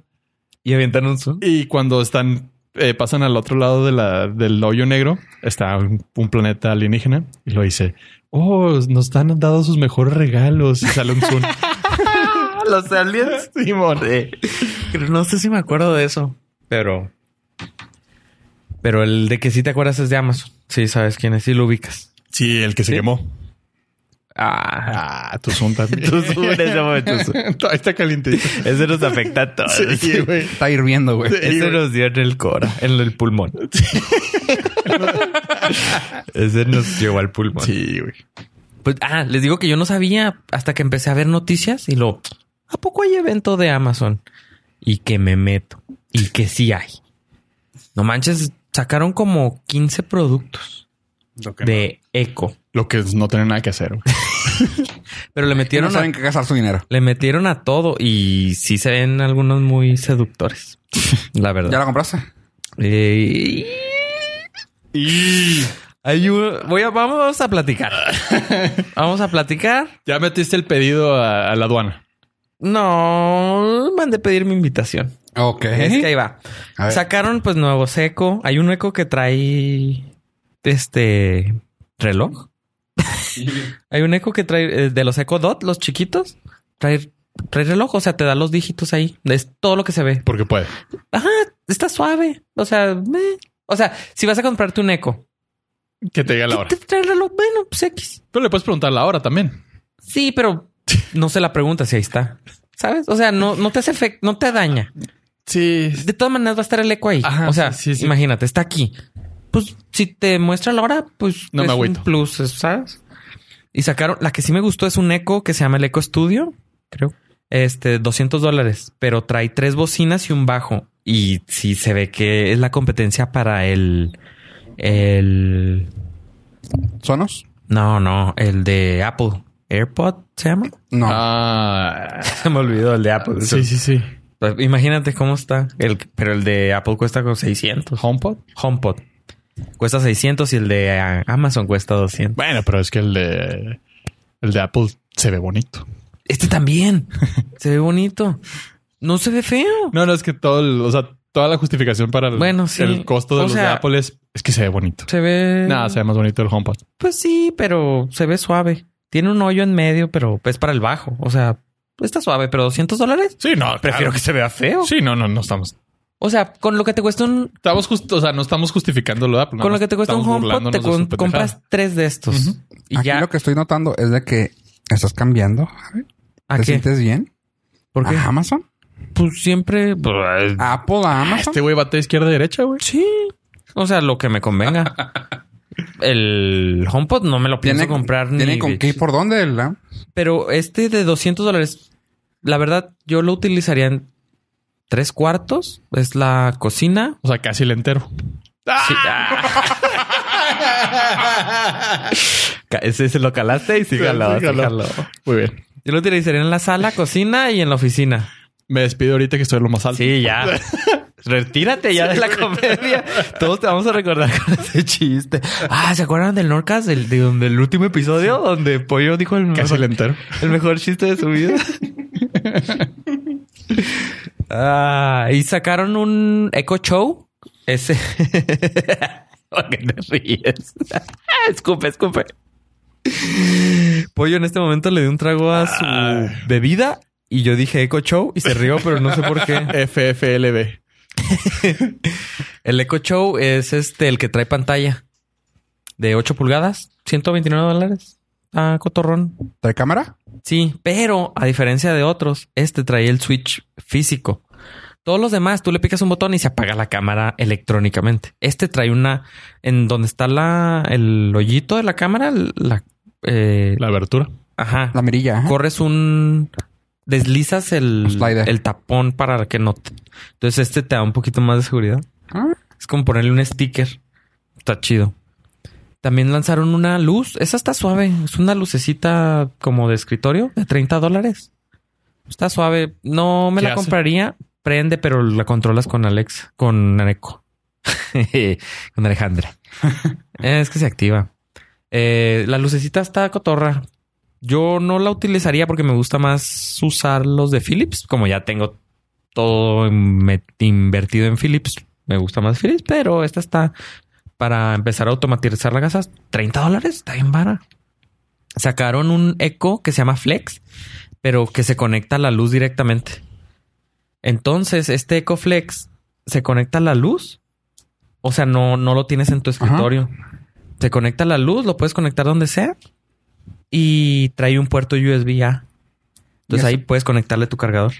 Speaker 3: y avientan un Zoom.
Speaker 2: Y cuando están, eh, pasan al otro lado de la, del hoyo negro, está un, un planeta alienígena y lo dice: Oh, nos han dado sus mejores regalos. Y sale un Zoom.
Speaker 3: Los aliens.
Speaker 2: Simón.
Speaker 3: Pero no sé si me acuerdo de eso, pero. Pero el de que sí te acuerdas es de Amazon. Sí, sabes quién es, sí lo ubicas.
Speaker 2: Sí, el que se
Speaker 3: ¿Sí?
Speaker 2: quemó.
Speaker 3: Ah,
Speaker 2: Ah, tu Zoom también.
Speaker 3: Tu Zoom, ese fue tu
Speaker 2: Ahí está calientito.
Speaker 3: ese nos afecta a todos.
Speaker 2: Sí, güey.
Speaker 1: Está hirviendo, güey.
Speaker 3: Ese nos dio en el cora, en el pulmón. Ese nos llevó al pulmón.
Speaker 2: Sí, güey.
Speaker 3: Pues, ah, les digo que yo no sabía hasta que empecé a ver noticias y lo. ¿A poco hay evento de Amazon? Y que me meto. Y que sí hay. No manches, sacaron como 15 productos
Speaker 1: Lo que no-
Speaker 3: de Eco.
Speaker 2: Lo que es no tener nada que hacer. güey.
Speaker 3: Pero le
Speaker 1: que no
Speaker 3: metieron,
Speaker 1: saben
Speaker 3: a,
Speaker 1: qué gastar su dinero.
Speaker 3: le metieron a todo y sí se ven algunos muy seductores. La verdad.
Speaker 1: ¿Ya la compraste?
Speaker 3: Eh, Hay un- voy a- vamos a platicar. vamos a platicar.
Speaker 2: Ya metiste el pedido a, a la aduana.
Speaker 3: No, mandé pedir mi invitación.
Speaker 1: Ok.
Speaker 3: Es que ahí va.
Speaker 1: ¿Eh? A ver.
Speaker 3: Sacaron pues nuevos eco. Hay un eco que trae este reloj. Hay un eco que trae eh, de los eco dot, los chiquitos. Trae, trae reloj, o sea, te da los dígitos ahí. Es todo lo que se ve.
Speaker 2: Porque puede.
Speaker 3: Ajá, está suave. O sea, meh. o sea, si vas a comprarte un eco,
Speaker 2: Que te diga la hora.
Speaker 3: ¿qué te trae el reloj? Bueno, pues X.
Speaker 2: Pero le puedes preguntar la hora también.
Speaker 3: Sí, pero no se la pregunta si ahí está. ¿Sabes? O sea, no, no te hace efecto, no te daña.
Speaker 2: Sí.
Speaker 3: De todas maneras va a estar el eco ahí.
Speaker 2: Ajá,
Speaker 3: o sea,
Speaker 2: sí, sí, sí.
Speaker 3: imagínate, está aquí. Pues si te muestra la hora, pues
Speaker 2: No me
Speaker 3: es un
Speaker 2: agüito.
Speaker 3: plus, es- ¿sabes? Y sacaron, la que sí me gustó es un eco que se llama el Eco Studio, creo. Este, 200 dólares, pero trae tres bocinas y un bajo. Y sí se ve que es la competencia para el... El...
Speaker 1: ¿Sonos?
Speaker 3: No, no, el de Apple. AirPod se llama.
Speaker 1: No.
Speaker 2: Ah.
Speaker 3: Se me olvidó el de Apple.
Speaker 2: Sí, sí, sí.
Speaker 3: Pues, Imagínate cómo está. El, pero el de Apple cuesta como 600.
Speaker 2: HomePod.
Speaker 3: HomePod cuesta 600 y el de eh, Amazon cuesta 200.
Speaker 2: Bueno, pero es que el de el de Apple se ve bonito.
Speaker 3: Este también. se ve bonito. No se ve feo.
Speaker 2: No, no, es que todo, el- o sea, toda la justificación para el,
Speaker 3: Bueno, sí.
Speaker 2: el costo de
Speaker 3: O
Speaker 2: los de
Speaker 3: sea-
Speaker 2: Apple es, es que se ve bonito.
Speaker 3: Se ve...
Speaker 2: Nada, se ve más bonito el HomePod.
Speaker 3: Pues sí, pero se ve suave. Tiene un hoyo en medio, pero es para el bajo. O sea, está suave, pero 200 dólares.
Speaker 2: Sí, no,
Speaker 3: Prefiero que se vea feo.
Speaker 2: Sí, no, no, no estamos.
Speaker 3: O sea, con lo que te cuesta un...
Speaker 2: Estamos justo, o sea, no estamos justificando lo de Apple.
Speaker 3: Con lo que te cuesta un HomePod,
Speaker 2: HomePod
Speaker 3: te con- compras tres de estos.
Speaker 2: Ujú.
Speaker 3: Y
Speaker 1: Aquí
Speaker 3: ya...
Speaker 1: lo que estoy notando es de que estás cambiando. Javi.
Speaker 3: ¿A
Speaker 1: ¿Te
Speaker 3: qué?
Speaker 1: sientes bien?
Speaker 3: ¿Por qué?
Speaker 1: ¿A Amazon?
Speaker 3: Pues siempre...
Speaker 2: Pues,
Speaker 1: ¿A Apple a Amazon?
Speaker 2: Este güey bate izquierda derecha, güey.
Speaker 3: Sí. O sea, lo que me convenga. El HomePod no me lo pienso
Speaker 1: ¿Tiene,
Speaker 3: comprar
Speaker 1: ¿tiene
Speaker 3: ni...
Speaker 1: con qué y por dónde? ¿verdad?
Speaker 3: Pero este de 200 dólares, la verdad, yo lo utilizaría en tres cuartos. Es la cocina.
Speaker 2: O sea, casi el entero.
Speaker 3: Sí.
Speaker 1: ¡Ah!
Speaker 3: Ca- Ese se lo calaste y sí jaló, sí
Speaker 2: Sí, jaló.
Speaker 3: jaló.
Speaker 2: Muy bien.
Speaker 3: Yo lo utilizaría en la sala, cocina y en la oficina.
Speaker 2: Me despido ahorita que estoy en lo más alto.
Speaker 3: Sí, ya. Retírate ya de la comedia. Todos te vamos a recordar con ese chiste. Ah, ¿se acuerdan del Norcas? Del, de donde- del último episodio donde Pollo dijo el
Speaker 2: Casi
Speaker 3: mejor,
Speaker 2: le entero.
Speaker 3: el mejor chiste de su vida. Ah, y sacaron un Echo Show. Ese. ¿Por qué te ríes? escupe, escupe. Pollo en este momento le dio un trago a su
Speaker 2: Ah.
Speaker 3: bebida y yo dije Echo Show y se rió, pero no sé por qué.
Speaker 2: FFLB.
Speaker 3: El Echo Show es este, el que trae pantalla de 8 pulgadas, 129 dólares. Ah, cotorrón.
Speaker 1: ¿Trae cámara?
Speaker 3: Sí, pero a diferencia de otros, este trae el switch físico. Todos los demás, tú le picas un botón y se apaga la cámara electrónicamente. Este trae una en donde está la el hoyito de la cámara, la, eh,
Speaker 2: La abertura.
Speaker 3: ajá,
Speaker 1: La mirilla. ajá.
Speaker 3: corres un deslizas el,
Speaker 1: Un slider.
Speaker 3: el tapón para que no te- entonces este te da un poquito más de seguridad
Speaker 1: Ah,
Speaker 3: es como ponerle un sticker está chido también lanzaron una luz esa está suave es una lucecita como de escritorio de 30 dólares está suave no me
Speaker 2: ¿Qué
Speaker 3: la
Speaker 2: hace?
Speaker 3: compraría prende pero la controlas con Alex con Aneco con Alejandra es que se activa Eh, la lucecita está cotorra yo no la utilizaría porque me gusta más usar los de Philips, como ya tengo todo met- invertido en Philips. Me gusta más Philips, pero esta está para empezar a automatizar la casa. 30 dólares, está bien vara. Sacaron un eco que se llama Flex, pero que se conecta a la luz directamente. Entonces, este eco Flex se conecta a la luz. O sea, no, no lo tienes en tu escritorio. Se conecta a la luz, lo puedes conectar donde sea y trae un puerto USB A. Entonces
Speaker 1: Ya
Speaker 3: ahí puedes conectarle tu cargador.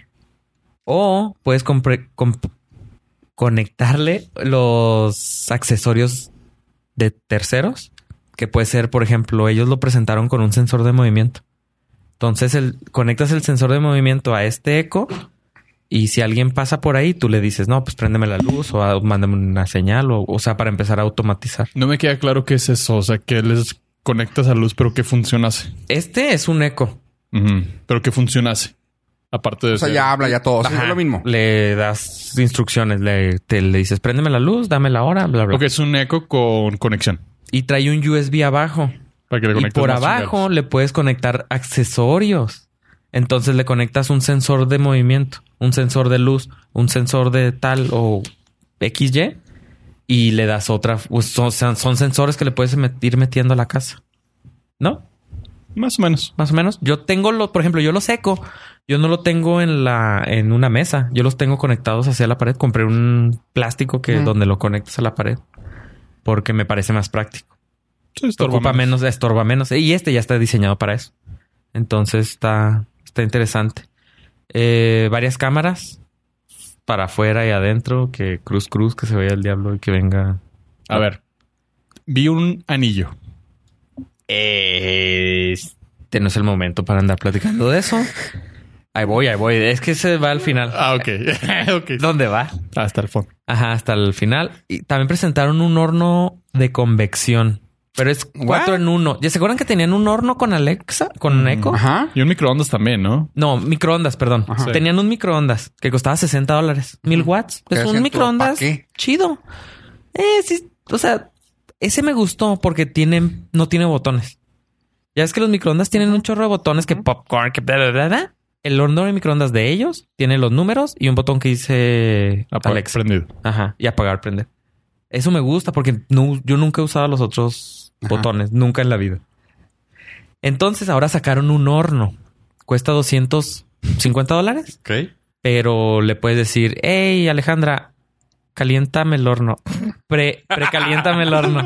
Speaker 3: O puedes compre- comp- conectarle los accesorios de terceros, que puede ser, por ejemplo, ellos lo presentaron con un sensor de movimiento. Entonces el, conectas el sensor de movimiento a este eco y si alguien pasa por ahí, tú le dices, no, pues préndeme la luz o ah, mándame una señal o, o sea, para empezar a automatizar.
Speaker 2: No me queda claro qué es eso. O sea, que les conectas a luz, pero que funcionase.
Speaker 3: Este es un eco.
Speaker 2: Ujú. Pero que funcionase. Aparte de
Speaker 1: O sea,
Speaker 2: ser-
Speaker 1: ya habla, ya todo. Sí,
Speaker 3: Ajá.
Speaker 1: es lo mismo.
Speaker 3: Le das instrucciones, le, te, le dices, préndeme la luz, dame la hora, bla, bla.
Speaker 2: Porque es un eco con conexión.
Speaker 3: Y trae un USB abajo.
Speaker 2: Para que le
Speaker 3: Y
Speaker 2: conectes
Speaker 3: por
Speaker 2: más
Speaker 3: abajo
Speaker 2: chingados.
Speaker 3: le puedes conectar accesorios. Entonces le conectas un sensor de movimiento, un sensor de luz, un sensor de tal o XY y le das otra. pues, Son, son- son sensores que le puedes met- ir metiendo a la casa. ¿No?
Speaker 2: Más o menos.
Speaker 3: Más o menos. Yo tengo los, por ejemplo, yo los seco. Yo no lo tengo en la, en una mesa. Yo los tengo conectados hacia la pared. Compré un plástico que
Speaker 1: Mm.
Speaker 3: donde lo conectas a la pared. Porque me parece más práctico
Speaker 2: Sí, estorba
Speaker 3: estorba menos. estorba menos. Y este ya está diseñado para eso. Entonces está, está interesante. Eh, varias cámaras para afuera y adentro, que cruz cruz, que se vaya el diablo y que venga.
Speaker 2: A ver. Vi un anillo.
Speaker 3: Este no es el momento para andar platicando de eso. Ahí voy, ahí voy. Es que se va al final.
Speaker 2: Ah, ok. ok.
Speaker 3: ¿Dónde va?
Speaker 2: Hasta el fondo.
Speaker 3: Ajá, hasta el final. Y también presentaron un horno de convección. Pero es cuatro
Speaker 1: What?
Speaker 3: en uno. ¿Ya se acuerdan que tenían un horno con Alexa? ¿Con
Speaker 2: Mm.
Speaker 3: Echo?
Speaker 1: Ajá.
Speaker 2: Y un microondas también, ¿no?
Speaker 3: No, microondas, perdón.
Speaker 1: Ajá.
Speaker 3: Sí. Tenían un microondas que costaba 60 dólares, mil watts.
Speaker 1: Pero
Speaker 3: Es un
Speaker 1: siento,
Speaker 3: microondas
Speaker 1: ¿pa' qué?
Speaker 3: chido. Eh, sí, o sea, ese me gustó porque tiene, no tiene botones. Ya es que los microondas tienen un chorro de botones que popcorn, que bla, bla, bla, bla. El horno de microondas de ellos tiene los números y un botón que dice
Speaker 2: Apaga-
Speaker 3: Alexa.
Speaker 2: Prendido.
Speaker 3: Ajá. Y apagar, prender. Eso me gusta porque no, yo nunca he usado los otros
Speaker 1: Ajá.
Speaker 3: botones, nunca en la vida. Entonces ahora sacaron un horno. Cuesta 250 dólares,
Speaker 2: Ok.
Speaker 3: pero le puedes decir, hey Alejandra, caliéntame el horno. Pre, precaliéntame el horno.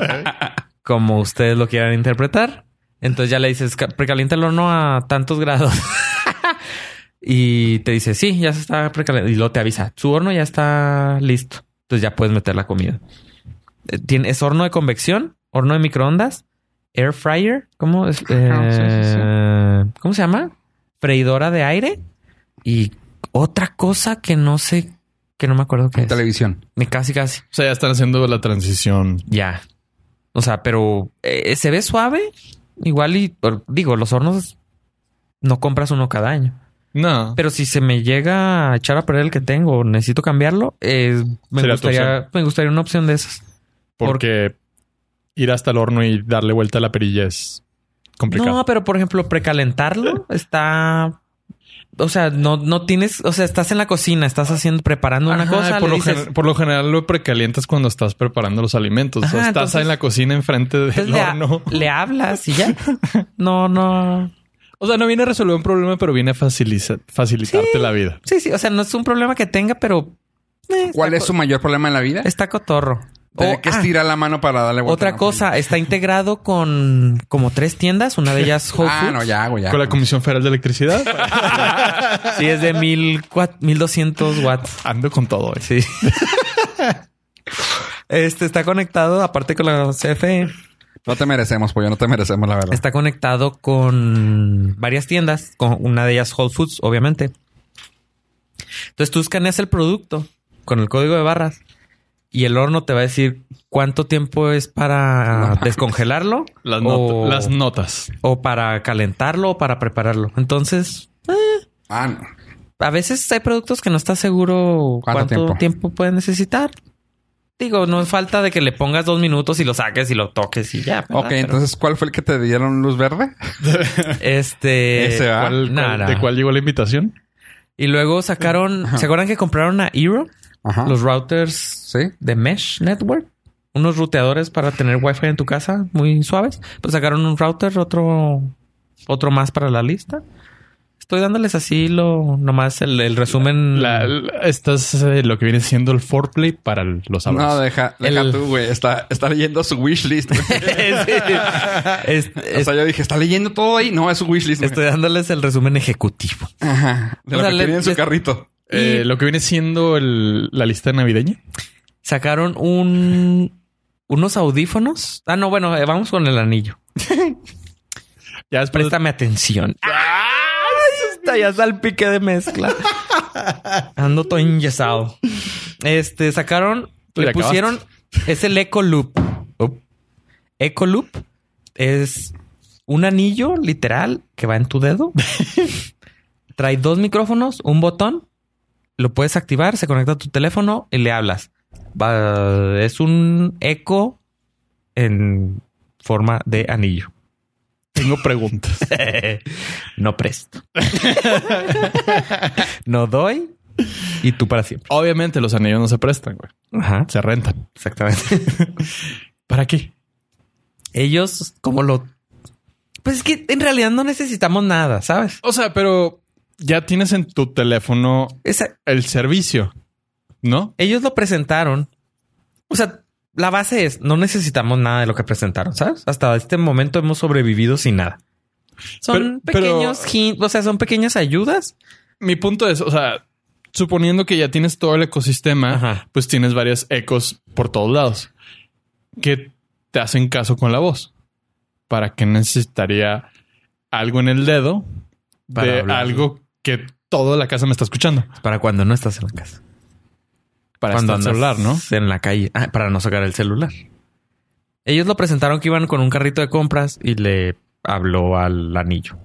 Speaker 3: Como ustedes lo quieran interpretar. Entonces ya le dices, "Ca- precalienta el horno a tantos grados. y te dice, sí, ya se está precalentando. Y luego te avisa, su horno ya está listo. Entonces ya puedes meter la comida. Eh, Tiene, es horno de convección, horno de microondas, air fryer. ¿Cómo es?
Speaker 1: Ajá, sí, sí, sí.
Speaker 3: Eh, ¿Cómo se llama? Freidora de aire. Y otra cosa que no sé, que no me acuerdo qué es.
Speaker 1: Televisión.
Speaker 3: Ni Casi, casi.
Speaker 2: O sea, ya están haciendo la transición.
Speaker 3: Ya. O sea, pero eh, se ve suave. Igual y or- digo, los hornos no compras uno cada año.
Speaker 2: No.
Speaker 3: Pero si se me llega a echar a perder el que tengo, necesito cambiarlo, eh, me,
Speaker 2: Sería tu
Speaker 3: gustaría,
Speaker 2: opción.
Speaker 3: me gustaría una opción de esas.
Speaker 2: Porque ir hasta el horno y darle vuelta a la perilla es complicado.
Speaker 3: No, pero por ejemplo, precalentarlo está. O sea, no, no tienes. O sea, estás en la cocina, estás haciendo, preparando una
Speaker 2: Ajá,
Speaker 3: cosa. le
Speaker 2: por, lo
Speaker 3: dices,
Speaker 2: gener- por lo general lo precalientas cuando estás preparando los alimentos. O sea,
Speaker 3: Ajá,
Speaker 2: estás
Speaker 3: entonces-
Speaker 2: en la cocina enfrente
Speaker 3: entonces
Speaker 2: del
Speaker 3: le, ha-
Speaker 2: horno.
Speaker 3: le hablas y ya. No, no.
Speaker 2: O sea, no viene a resolver un problema, pero viene a faciliza- facilitarte la vida.
Speaker 3: Sí, sí. O sea, no es un problema que tenga, pero. eh, está
Speaker 1: ¿Cuál es
Speaker 3: co-
Speaker 1: su mayor problema en la vida?
Speaker 3: Está cotorro.
Speaker 1: Tener
Speaker 3: O-
Speaker 1: que
Speaker 3: ah,
Speaker 1: estirar la mano para darle vuelta. a
Speaker 3: otra
Speaker 1: la
Speaker 3: cosa, está integrado con como tres tiendas, una de ellas Whole
Speaker 1: Ah, no,
Speaker 3: Foods.
Speaker 1: ya, güey, ya.
Speaker 2: Con la Comisión Federal de Electricidad
Speaker 3: Sí, es de mil, cua- 1200 watts.
Speaker 2: ando con todo. eh.
Speaker 3: Sí. Este está conectado, aparte con la CFE,
Speaker 1: No te merecemos, pollo, no te merecemos, la verdad.
Speaker 3: está conectado con varias tiendas, con una de ellas Whole Foods, obviamente. Entonces tú escaneas el producto con el código de barras y el horno te va a decir cuánto tiempo es
Speaker 1: No
Speaker 3: para
Speaker 1: mames.
Speaker 3: descongelarlo
Speaker 2: Las,
Speaker 3: o,
Speaker 2: not- las notas.
Speaker 3: o para calentarlo o para prepararlo. Entonces,
Speaker 1: Ah, no.
Speaker 3: a veces hay productos que no estás seguro cuánto,
Speaker 1: ¿Cuánto
Speaker 3: tiempo?
Speaker 1: tiempo?
Speaker 3: puede necesitar. Digo, no es falta de que le pongas dos minutos y lo saques y lo toques y ya. ¿verdad?
Speaker 1: Ok,
Speaker 2: Ah,
Speaker 3: Pero,
Speaker 1: entonces, ¿cuál fue el que te dieron luz verde?
Speaker 3: Este.
Speaker 1: Ese, ¿verdad?
Speaker 2: ¿Cuál-
Speaker 3: nah,
Speaker 2: cuál-
Speaker 3: nah.
Speaker 2: ¿De cuál llegó la invitación?
Speaker 3: Y luego sacaron. ¿Se acuerdan que compraron a Eero?
Speaker 1: Ajá.
Speaker 3: Los routers
Speaker 1: Sí.
Speaker 3: de Mesh Network. Unos ruteadores para tener Wi-Fi en tu casa muy suaves. Pues sacaron un router, otro. Otro más para la lista. Estoy dándoles así lo. Nomás el, el resumen.
Speaker 2: La- la- estás eh, lo que viene siendo el foreplay para el- los
Speaker 1: No,
Speaker 2: sabores.
Speaker 1: deja, deja
Speaker 3: El-
Speaker 1: tú, güey. Está, está leyendo su wishlist. güey.
Speaker 3: Sí. Es-
Speaker 1: o sea, yo dije, está leyendo todo ahí. No, es su wishlist. güey.
Speaker 3: Estoy dándoles el resumen ejecutivo.
Speaker 1: Ajá. De
Speaker 3: O
Speaker 1: lo
Speaker 3: sea,
Speaker 1: que
Speaker 3: le-
Speaker 1: tiene en
Speaker 3: le-
Speaker 1: su carrito.
Speaker 2: Eh,
Speaker 3: y-
Speaker 2: lo que viene siendo el- la lista navideña.
Speaker 3: Sacaron un unos audífonos. Ah, no, bueno, eh, vamos con el anillo.
Speaker 2: Ya después
Speaker 3: Préstame atención. Está ya salpique de mezcla. Ando todo enyesado. Este sacaron,
Speaker 2: Tú
Speaker 3: le
Speaker 2: ya acabaste.
Speaker 3: pusieron es el Eco Loop. Eco Loop es un anillo literal que va en tu dedo. Trae dos micrófonos, un botón, lo puedes activar, se conecta a tu teléfono y le hablas. Va- es un eco en forma de anillo.
Speaker 2: tengo preguntas.
Speaker 3: no presto. no doy y tú para siempre.
Speaker 2: Obviamente los anillos no se prestan, güey.
Speaker 3: Ajá,
Speaker 2: Se rentan.
Speaker 3: exactamente.
Speaker 2: ¿Para qué?
Speaker 3: Ellos como lo... Pues es que en realidad no necesitamos nada, ¿sabes?
Speaker 2: O sea, pero ya tienes en tu teléfono
Speaker 3: Esa-
Speaker 2: el servicio, ¿no?
Speaker 3: ellos lo presentaron. O sea, la base es, no necesitamos nada de lo que presentaron, ¿sabes? Hasta este momento hemos sobrevivido sin nada. Son
Speaker 2: Pero- pero-
Speaker 3: pequeños hint- o sea, son pequeñas ayudas.
Speaker 2: Mi punto es, o sea, suponiendo que ya tienes todo el ecosistema,
Speaker 3: Ajá.
Speaker 2: pues tienes varios ecos por todos lados que te hacen caso con la voz. ¿Para qué necesitaría algo en el dedo
Speaker 3: Para
Speaker 2: de
Speaker 3: hablar.
Speaker 2: algo que toda la casa me está escuchando?
Speaker 3: Para cuando no estás en la casa.
Speaker 2: Para
Speaker 3: cuando
Speaker 2: estar
Speaker 3: andas
Speaker 2: celular, ¿no?
Speaker 3: En la calle, Ah, para no sacar el celular. Ellos lo presentaron que iban con un carrito de compras y le habló al anillo.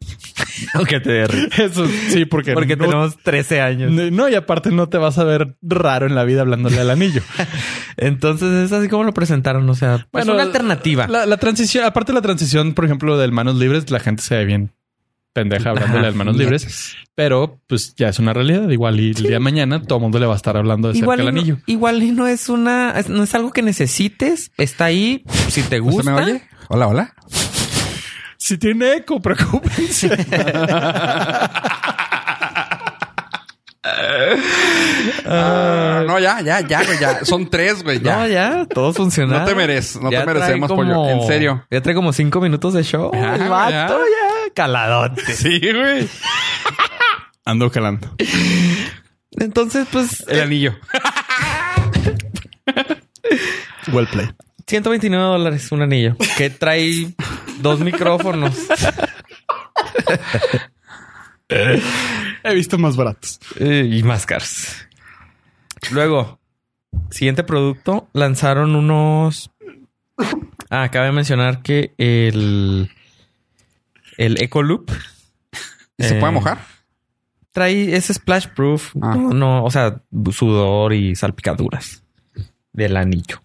Speaker 3: Aunque te dé risa.
Speaker 2: Eso sí, porque,
Speaker 3: Porque
Speaker 2: no-
Speaker 3: tenemos 13 años.
Speaker 2: no, y aparte no te vas a ver raro en la vida hablándole al anillo.
Speaker 3: Entonces es así como lo presentaron. O sea, es una alternativa.
Speaker 2: La, la transición, aparte de la transición, por ejemplo, del manos libres, la gente se ve bien pendeja hablándole
Speaker 3: Ajá,
Speaker 2: del manos libres, pero pues ya es una realidad. Igual y el día de mañana todo el mundo le va a estar hablando de cerca
Speaker 3: Igual
Speaker 2: del
Speaker 3: y,
Speaker 2: anillo.
Speaker 3: no, igual y no es una, es- no es algo que necesites. Está ahí. Si
Speaker 1: ¿Usted
Speaker 3: te gusta.
Speaker 1: me oye? Hola, hola.
Speaker 2: Si tiene eco, preocúpense.
Speaker 1: Ah, no, ya, ya, ya, güey, ya. Son tres, güey, ya.
Speaker 3: No, ya, todo funciona.
Speaker 1: No te mereces, no te merecemos, pollo. En serio. Ah,
Speaker 3: Ya trae como cinco minutos de show.
Speaker 1: Ajá,
Speaker 3: el vato, ya, caladote.
Speaker 1: Sí, güey.
Speaker 2: Ando calando.
Speaker 3: Entonces, pues,
Speaker 1: El anillo.
Speaker 2: Well play.
Speaker 3: 129 dólares un anillo que trae dos micrófonos.
Speaker 2: He visto más baratos.
Speaker 3: Eh, y más caros. Luego, siguiente producto, lanzaron unos. Ah, acaba de mencionar que el. El Eco Loop.
Speaker 1: ¿Y se
Speaker 3: Eh,
Speaker 1: puede mojar?
Speaker 3: trae es splash proof.
Speaker 1: Ah.
Speaker 3: No, no, o sea, sudor y salpicaduras del anillo.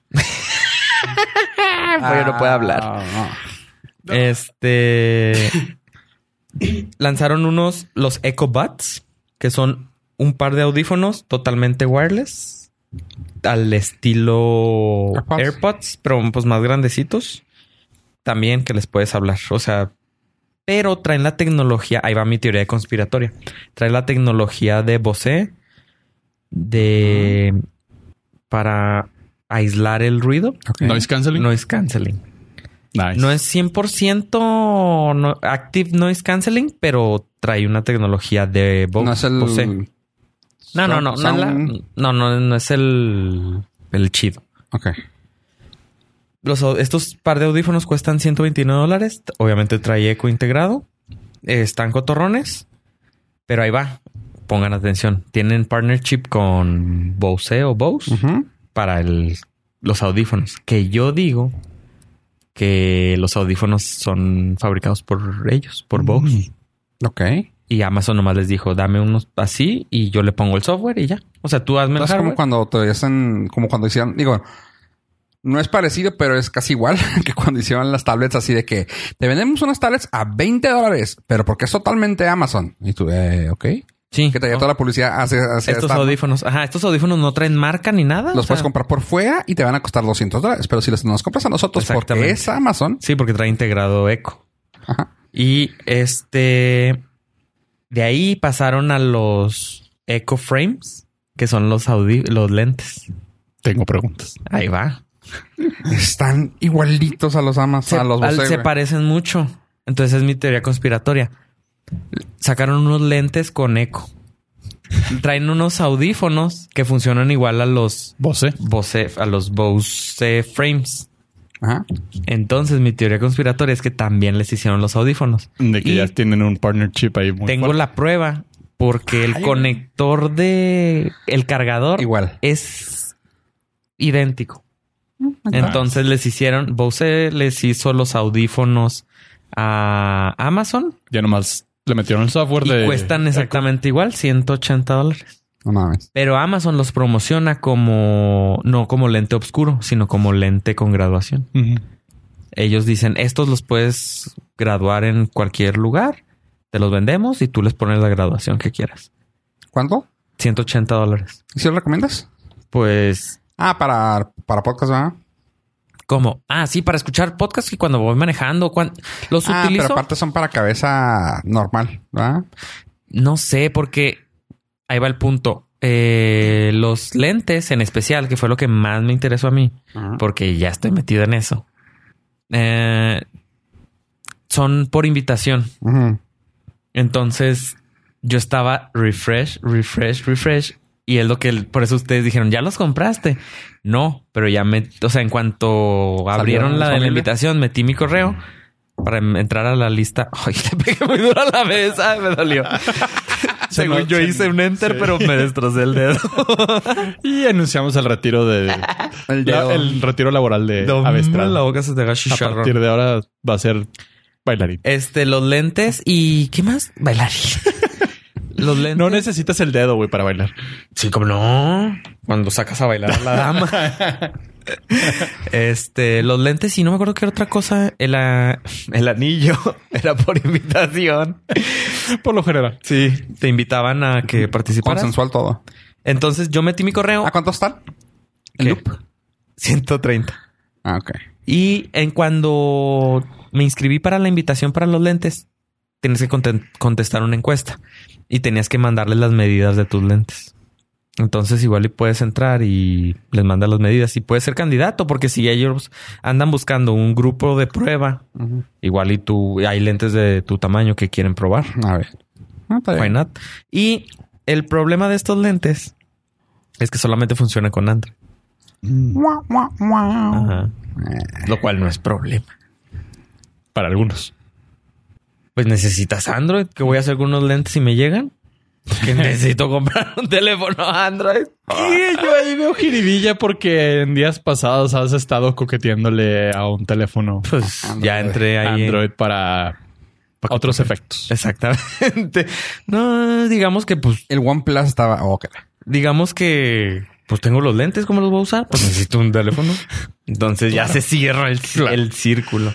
Speaker 3: Pero Ah, no puede hablar. Este lanzaron unos los EcoBuds, que son un par de audífonos totalmente wireless al estilo
Speaker 1: AirPods.
Speaker 3: AirPods, pero pues más grandecitos. También que les puedes hablar, o sea, pero traen la tecnología, ahí va mi teoría conspiratoria. Trae la tecnología de Bose de para aislar el ruido,
Speaker 1: Ok.
Speaker 2: Noise canceling.
Speaker 3: noise canceling.
Speaker 2: Nice.
Speaker 3: No es 100% no- Active Noise Canceling, pero trae una tecnología de Bo-
Speaker 1: No es el...
Speaker 3: Bose. No, no, no. No, es la-
Speaker 1: sound-
Speaker 3: no, no, no es el, el chido.
Speaker 1: Ok.
Speaker 3: Los, au- estos par de audífonos cuestan 129 dólares. Obviamente trae eco integrado. Eh, Están cotorrones. Pero ahí va. Pongan atención. Tienen partnership con Bose ¿eh? o Bose.
Speaker 1: Ujú.
Speaker 3: para el- los audífonos. Que yo digo que los audífonos son fabricados por ellos, por
Speaker 1: Mm.
Speaker 3: Bose.
Speaker 1: Ok.
Speaker 3: Y Amazon nomás les dijo, dame unos así y yo le pongo el software y ya. O sea, tú hazme el
Speaker 1: Es como
Speaker 3: hardware.
Speaker 1: cuando te hacen... Como cuando hicieron... Digo... No es parecido, pero es casi igual que cuando hicieron las tablets así de que te vendemos unas tablets a 20 dólares, pero porque es totalmente Amazon. Y tú, eh, ok.
Speaker 3: Sí. Ah,
Speaker 1: Que traía toda la publicidad hacia, hacia
Speaker 3: estos
Speaker 1: esta-
Speaker 3: audífonos. Ajá, estos audífonos no traen marca ni nada.
Speaker 1: Los
Speaker 3: o
Speaker 1: puedes
Speaker 3: sea,
Speaker 1: comprar por fuera y te van a costar 200 dólares. Pero si los nos compras a nosotros porque
Speaker 3: Exactamente.
Speaker 1: es Amazon,
Speaker 3: Sí, porque trae integrado eco.
Speaker 1: ajá,
Speaker 3: Y este. De ahí pasaron a los Eco Frames, que son los, audi- los lentes.
Speaker 2: Tengo preguntas.
Speaker 3: Ahí va.
Speaker 1: están igualitos a los Amazon,
Speaker 3: se,
Speaker 1: a los
Speaker 3: al-
Speaker 1: Bose,
Speaker 3: se
Speaker 1: güey.
Speaker 3: parecen mucho. Entonces es mi teoría conspiratoria. Sacaron unos lentes con eco. Traen unos audífonos que funcionan igual a los
Speaker 2: Bose.
Speaker 3: Bose, a los Bose frames.
Speaker 1: Ajá.
Speaker 3: Entonces mi teoría conspiratoria es que también les hicieron los audífonos.
Speaker 2: De que
Speaker 3: Y
Speaker 2: ya tienen un partnership ahí muy
Speaker 3: tengo
Speaker 2: fuerte.
Speaker 3: la prueba porque el
Speaker 1: Ay, güey.
Speaker 3: conector de el cargador
Speaker 1: Igual.
Speaker 3: es idéntico.
Speaker 2: ok.
Speaker 3: Entonces les hicieron, Bose les hizo los audífonos a Amazon
Speaker 2: Ya nomás le metieron el software
Speaker 3: y
Speaker 2: de...
Speaker 3: cuestan exactamente igual, 180 dólares.
Speaker 1: No mames.
Speaker 3: Pero Amazon los promociona como, no como lente oscuro, sino como lente con graduación.
Speaker 2: Ujú.
Speaker 3: Ellos dicen, estos los puedes graduar en cualquier lugar, te los vendemos y tú les pones la graduación que quieras.
Speaker 1: ¿Cuánto?
Speaker 3: 180 dólares.
Speaker 1: ¿Y si lo recomiendas?
Speaker 3: Pues,
Speaker 1: Ah, para, para podcast, ¿verdad?
Speaker 3: ¿cómo? Ah, sí, para escuchar podcast y cuando voy manejando, cuan- los
Speaker 1: Ah,
Speaker 3: utilizo.
Speaker 1: pero aparte son para cabeza normal, ¿verdad?
Speaker 3: No sé, porque ahí va el punto. Eh, los lentes en especial, que fue lo que más me interesó a mí,
Speaker 1: Ajá.
Speaker 3: porque ya estoy metido en eso, eh, son por invitación.
Speaker 1: Ujú.
Speaker 3: Entonces yo estaba refresh, refresh, refresh. Y es lo que por eso ustedes dijeron, ya los compraste. No, pero ya me, o sea, en cuanto abrieron
Speaker 1: la
Speaker 3: la, de la
Speaker 1: familia?
Speaker 3: invitación, metí mi correo para em- entrar a la lista. Ay, le pegué muy duro a la mesa, me dolió. Según
Speaker 2: no-
Speaker 3: yo
Speaker 2: se-
Speaker 3: hice un enter,
Speaker 2: sí.
Speaker 3: pero me destrocé el dedo.
Speaker 2: Y anunciamos el retiro de...
Speaker 1: El
Speaker 2: la-
Speaker 1: dedo.
Speaker 2: el retiro laboral de
Speaker 3: No,
Speaker 2: Avestrada.
Speaker 3: la boca se te haga
Speaker 2: A
Speaker 3: chicharrón.
Speaker 2: partir de ahora va a ser bailarín.
Speaker 3: Este, los lentes y ¿qué más? Bailar. los lentes.
Speaker 2: No necesitas el dedo, güey, para bailar.
Speaker 3: Sí, como no. Cuando sacas a bailar a la dama. este, los lentes y no me acuerdo qué era otra cosa. El, a- el anillo era por invitación.
Speaker 2: Por lo general.
Speaker 3: Sí, te invitaban a que participaras.
Speaker 1: Consensual todo.
Speaker 3: Entonces yo metí mi correo.
Speaker 1: ¿A cuánto están?
Speaker 3: ¿Qué?
Speaker 1: El loop.
Speaker 3: 130.
Speaker 1: Ah, ok.
Speaker 3: Y en cuando me inscribí para la invitación para los lentes, tienes que conten- contestar una encuesta y tenías que mandarles las medidas de tus lentes. Entonces igual y puedes entrar y les mandas las medidas y puedes ser candidato porque si ellos andan buscando un grupo de prueba,
Speaker 1: Ujú.
Speaker 3: igual y tú hay lentes de tu tamaño que quieren probar.
Speaker 1: A ver. Ah, está bien.
Speaker 3: Why not? Y el problema de estos lentes es que solamente funciona con Android.
Speaker 1: Mua, mua, mua.
Speaker 3: Ajá.
Speaker 1: Eh,
Speaker 3: Lo cual no es problema.
Speaker 2: Para algunos.
Speaker 3: Pues necesitas Android. ¿Qué voy a hacer con unos lentes si me llegan? Que necesito comprar un teléfono Android.
Speaker 1: Ah.
Speaker 2: Y yo ahí veo jiribilla porque en días pasados has estado coqueteándole a un teléfono
Speaker 3: Pues
Speaker 1: Android.
Speaker 3: ya entré ahí. en-
Speaker 2: Android para
Speaker 5: pa' que-
Speaker 2: Otros efectos.
Speaker 3: Exactamente. No, digamos que, pues,
Speaker 1: El OnePlus estaba... Oh, ok.
Speaker 3: digamos que, pues tengo los lentes, ¿cómo los voy a usar? Pues necesito un teléfono. Entonces ya se cierra el, el círculo.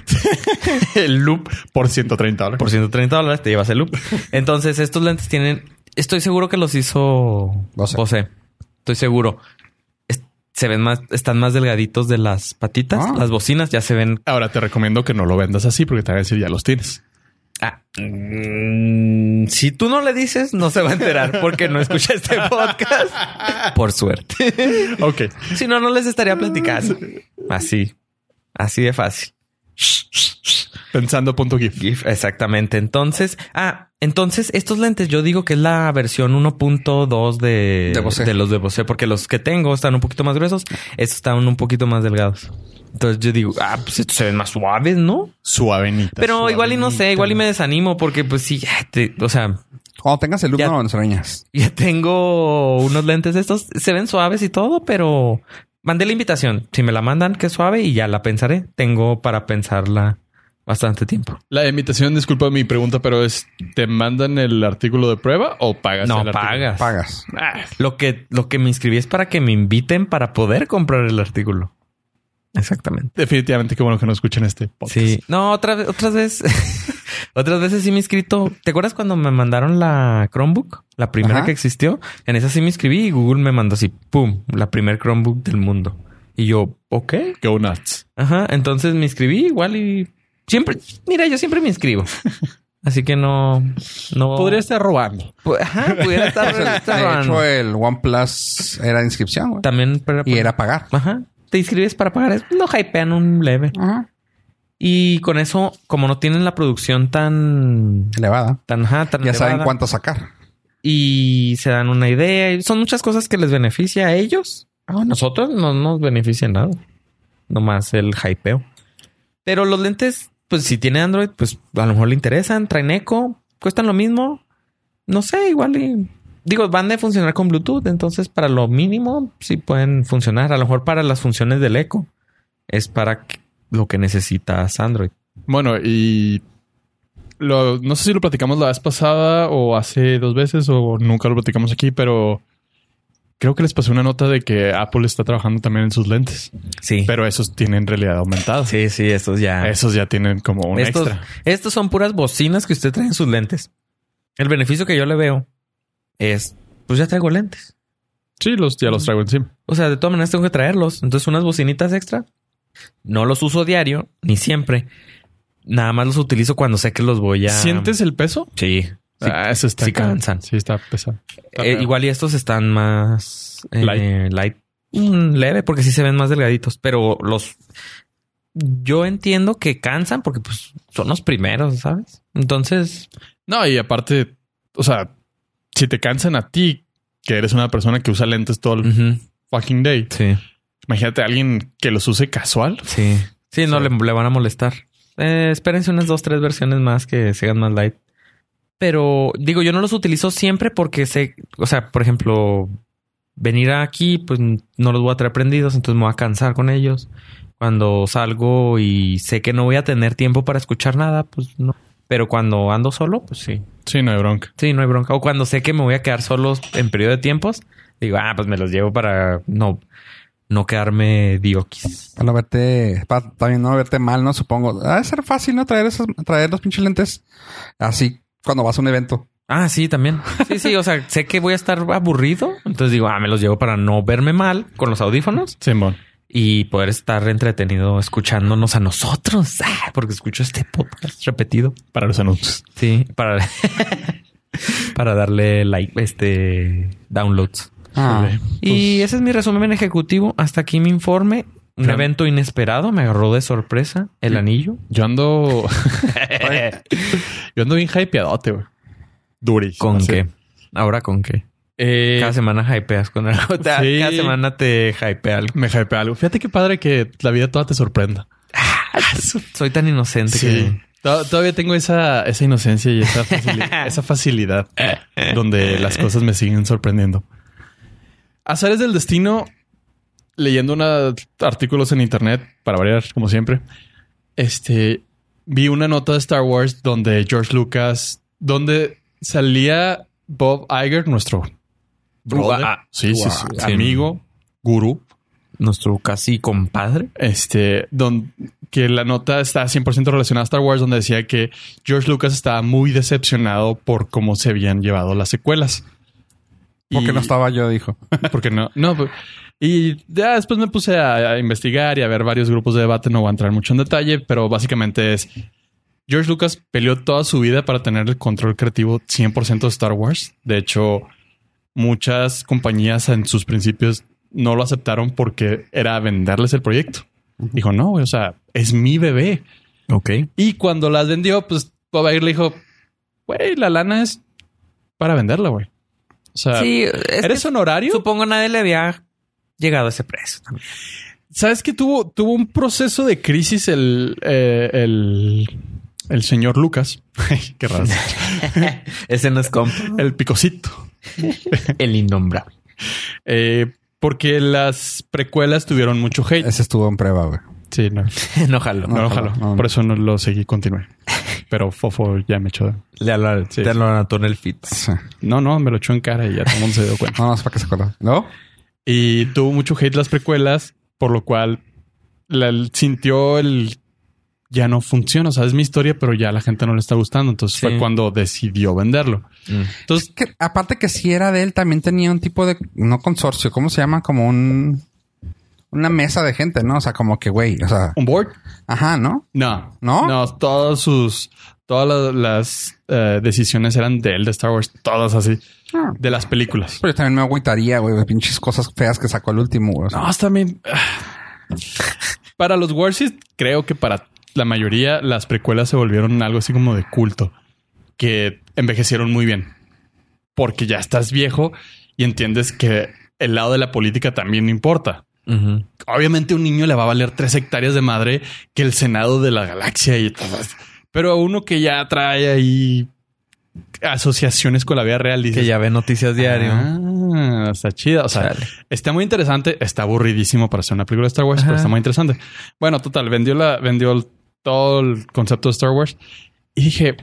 Speaker 2: El loop por 130 dólares.
Speaker 3: Por 130 dólares te llevas el loop. Entonces, estos lentes tienen. Estoy seguro que los hizo
Speaker 1: Bose.
Speaker 3: José. Estoy seguro. Es- se ven más, están más delgaditos de las patitas.
Speaker 1: Ah.
Speaker 3: Las bocinas ya se ven.
Speaker 2: Ahora te recomiendo que no lo vendas así porque te van a decir ya los tienes.
Speaker 3: Ah, mm, si tú no le dices, no se va a enterar porque no escucha este podcast. Por suerte.
Speaker 2: Ok.
Speaker 3: Si no, no les estaría platicando. Así. Así de fácil.
Speaker 2: Pensando punto GIF.
Speaker 3: GIF, exactamente. Entonces, ah, entonces estos lentes yo digo que es la versión 1.2 de,
Speaker 1: De Bose.
Speaker 3: de los de Bose, porque los que tengo están un poquito más gruesos, estos están un poquito más delgados. Entonces yo digo, ah, pues estos se ven más suaves, ¿no?
Speaker 2: Suavenita.
Speaker 3: Pero igual y no sé, igual y me desanimo porque pues sí, ya te- o sea,
Speaker 1: Cuando tengas el loop,
Speaker 3: Ya.
Speaker 1: no, no se arañas.
Speaker 3: ya tengo unos lentes de estos, se ven suaves y todo, pero mandé la invitación. Si me la mandan, que suave y ya la pensaré. Tengo para pensarla bastante tiempo.
Speaker 2: La invitación, disculpa mi pregunta, pero es: ¿te mandan el artículo de prueba o pagas?
Speaker 3: No,
Speaker 2: el artículo?
Speaker 3: pagas.
Speaker 1: Pagas.
Speaker 3: Oh. Lo que, lo que me inscribí es para que me inviten para poder comprar el artículo. Exactamente.
Speaker 2: Definitivamente, qué bueno que no escuchen este podcast.
Speaker 3: Sí. No, otra, ve- otras veces. otras veces sí me he inscrito. ¿Te acuerdas cuando me mandaron la Chromebook? La primera
Speaker 1: Ajá.
Speaker 3: que existió. En esa sí me inscribí y Google me mandó así, pum, la primer Chromebook del mundo. Y yo, ok.
Speaker 2: Go nuts.
Speaker 3: Ajá. Entonces me inscribí igual y siempre, mira, yo siempre me inscribo. Así que no, no
Speaker 2: estar robando.
Speaker 3: Pu- Ajá, pudiera estar.
Speaker 1: De hecho, el OnePlus era inscripción, güey.
Speaker 3: también pero-
Speaker 1: Y era pagar.
Speaker 3: Ajá. Te inscribes para pagar. No hypean un leve.
Speaker 1: Ajá.
Speaker 3: Y con eso, como no tienen la producción tan.
Speaker 1: Elevada.
Speaker 3: tan, ajá, tan
Speaker 1: Ya saben
Speaker 3: elevada,
Speaker 1: cuánto sacar.
Speaker 3: Y se dan una idea. Y Son muchas cosas que les beneficia a ellos. A nosotros no nos beneficia en nada. Nomás el hypeo. Pero los lentes, pues si tiene Android, pues a lo mejor le interesan. Traen eco. Cuestan lo mismo. No sé, igual y- Digo, van de funcionar con Bluetooth, entonces para lo mínimo sí pueden funcionar. A lo mejor para las funciones del eco es para que- lo que necesitas Android.
Speaker 2: Bueno, y lo- no sé si lo platicamos la vez pasada o hace dos veces o nunca lo platicamos aquí, pero creo que les pasé una nota de que Apple está trabajando también en sus lentes,
Speaker 3: Sí.
Speaker 2: pero esos tienen realidad aumentada.
Speaker 3: Sí, sí, estos ya.
Speaker 2: Esos ya tienen como un
Speaker 3: Ah. estos,
Speaker 2: extra.
Speaker 3: estos son puras bocinas que usted trae en sus lentes. El beneficio que yo le veo es, pues ya traigo lentes.
Speaker 2: Sí, los, ya los traigo encima.
Speaker 3: O sea, de todas maneras tengo que traerlos. Entonces, unas bocinitas extra. No los uso diario, ni siempre. Nada más los utilizo cuando sé que los voy a...
Speaker 2: ¿Sientes el peso?
Speaker 3: Sí. Sí.
Speaker 2: ah, eso está
Speaker 3: sí
Speaker 2: acá.
Speaker 3: cansan.
Speaker 2: Sí, está pesado. Está
Speaker 3: Eh,
Speaker 2: feo.
Speaker 3: igual y estos están más eh,
Speaker 2: Light.
Speaker 3: light. Mm, leve, porque sí se ven más delgaditos, pero los yo entiendo que cansan porque pues son los primeros, ¿sabes? Entonces,
Speaker 2: No, y aparte, o sea, si te cansan a ti, que eres una persona que usa lentes todo el
Speaker 3: ujú,
Speaker 2: fucking day,
Speaker 3: sí,
Speaker 2: imagínate a alguien que los use casual.
Speaker 3: sí. Sí, no
Speaker 2: Sí.
Speaker 3: Le, le van a molestar. Eh, espérense unas dos, tres versiones más que sean más light. Pero digo, yo no los utilizo siempre porque sé, o sea, por ejemplo, venir aquí, pues no los voy a traer prendidos, entonces me voy a cansar con ellos. Cuando salgo y sé que no voy a tener tiempo para escuchar nada, pues no. Pero cuando ando solo, pues sí.
Speaker 2: Sí, no hay bronca.
Speaker 3: Sí, no hay bronca. O cuando sé que me voy a quedar solo en periodo de tiempos, digo, ah, pues me los llevo para no, no quedarme dioquis.
Speaker 1: Para no verte, para también no verte mal, ¿no? Supongo. Ha de ser fácil, ¿no? Traer esos, traer los pinches lentes así cuando vas a un evento.
Speaker 3: Ah, sí, también. Sí, sí, o sea, sé que voy a estar aburrido, entonces digo, ah, me los llevo para no verme mal con los audífonos.
Speaker 2: Simón.
Speaker 3: y poder estar entretenido escuchándonos a nosotros, Ah, porque escucho este podcast repetido.
Speaker 2: Para los anuncios.
Speaker 3: Sí, para, para darle like, este downloads.
Speaker 1: Ah,
Speaker 2: Ok.
Speaker 3: Y ese es mi resumen ejecutivo. Hasta aquí mi informe. Un
Speaker 2: Fran-
Speaker 3: evento inesperado me agarró de sorpresa el anillo.
Speaker 2: Yo ando. yo ando bien hypeadote, güey. Duri.
Speaker 3: ¿Con
Speaker 2: Así.
Speaker 3: qué? Ahora con qué.
Speaker 2: Eh,
Speaker 3: Cada semana hypeas con algo. Cada-
Speaker 2: sí.
Speaker 3: Cada semana te hypea algo.
Speaker 2: me hypea algo. Fíjate qué padre que la vida toda te sorprenda.
Speaker 3: Soy tan inocente que
Speaker 2: To- Todavía tengo esa, esa inocencia y esa facilidad, esa facilidad donde las cosas me siguen sorprendiendo. Azares del destino, leyendo una, artículos en internet, para variar, como siempre, este, vi una nota de Star Wars donde George Lucas, donde salía Bob Iger, nuestro brother,
Speaker 3: Gua-
Speaker 2: sí, sí, sí,
Speaker 3: gua-
Speaker 2: amigo, gurú,
Speaker 3: Nuestro casi compadre.
Speaker 2: este, don, que la nota está 100% relacionada a Star Wars, donde decía que George Lucas estaba muy decepcionado por cómo se habían llevado las secuelas.
Speaker 1: Porque
Speaker 2: Y-
Speaker 1: no estaba yo, dijo.
Speaker 2: porque no, no. pues, Y ya después me puse a, a investigar y a ver varios grupos de debate. No voy a entrar mucho en detalle, pero básicamente es George Lucas peleó toda su vida para tener el control creativo 100% de Star Wars. De hecho, muchas compañías en sus principios no lo aceptaron porque era venderles el proyecto. Dijo, no, güey, o sea, es mi bebé.
Speaker 3: Ok.
Speaker 2: Y cuando las vendió, pues Bob Iger le dijo, güey, la lana es para venderla, güey. O sea,
Speaker 3: Sí, es
Speaker 2: ¿eres
Speaker 3: que
Speaker 2: honorario?
Speaker 3: supongo nadie le había llegado a ese precio. también.
Speaker 2: ¿Sabes que tuvo, tuvo un proceso de crisis el, eh, el, el señor Lucas? Qué raro.
Speaker 3: ese no es compa.
Speaker 2: el picocito.
Speaker 3: El innombrable.
Speaker 2: Eh, porque las precuelas tuvieron mucho hate.
Speaker 1: Ese estuvo en prueba, güey.
Speaker 2: Sí, no.
Speaker 3: no jalo.
Speaker 2: No,
Speaker 1: No,
Speaker 2: ojalá.
Speaker 1: no, no.
Speaker 2: Por eso no lo seguí, continué. Pero Fofo ya me echó.
Speaker 3: Le lo,
Speaker 2: Sí.
Speaker 3: anotó en el fit.
Speaker 1: Sí.
Speaker 2: No, no, me lo echó en cara y ya todo el mundo se dio cuenta.
Speaker 1: No, no, es para que se acuerda. ¿No?
Speaker 2: Y tuvo mucho hate las precuelas, por lo cual la- sintió el ya no funciona. O sea, es mi historia, pero ya a la gente no le está gustando. Entonces
Speaker 3: Sí.
Speaker 2: fue cuando decidió venderlo.
Speaker 3: Mm.
Speaker 2: Entonces,
Speaker 1: Que, aparte que si era de él, también tenía un tipo de... No consorcio, ¿cómo se llama? Como un... Una mesa de gente, ¿no? O sea, como que, güey, o sea...
Speaker 2: ¿un board?
Speaker 1: Ajá, ¿no?
Speaker 2: No.
Speaker 1: ¿No?
Speaker 2: No, todos sus. Todas la- las, eh, decisiones eran de él, de Star Wars, todas así,
Speaker 1: Ah.
Speaker 2: de las películas.
Speaker 1: Pero yo también me agüitaría, güey, de pinches cosas feas que sacó el último, güey. O sea,
Speaker 2: No, hasta también. Para los Warsis, creo que para la mayoría, las precuelas se volvieron algo así como de culto, que envejecieron muy bien. Porque ya estás viejo y entiendes que el lado de la política también importa. obviamente un niño le va a valer tres hectáreas de madre que el Senado de la Galaxia y todo eso. Pero a uno que ya trae ahí asociaciones con la vida real, dice
Speaker 3: Que ya ve noticias diario.
Speaker 2: Ah, está chida. O sea,
Speaker 3: Chale.
Speaker 2: está muy interesante. Está aburridísimo para hacer una película de Star Wars, pero
Speaker 3: Ajá.
Speaker 2: está muy interesante. Bueno, total, vendió la, vendió el- todo el concepto de Star Wars y dije,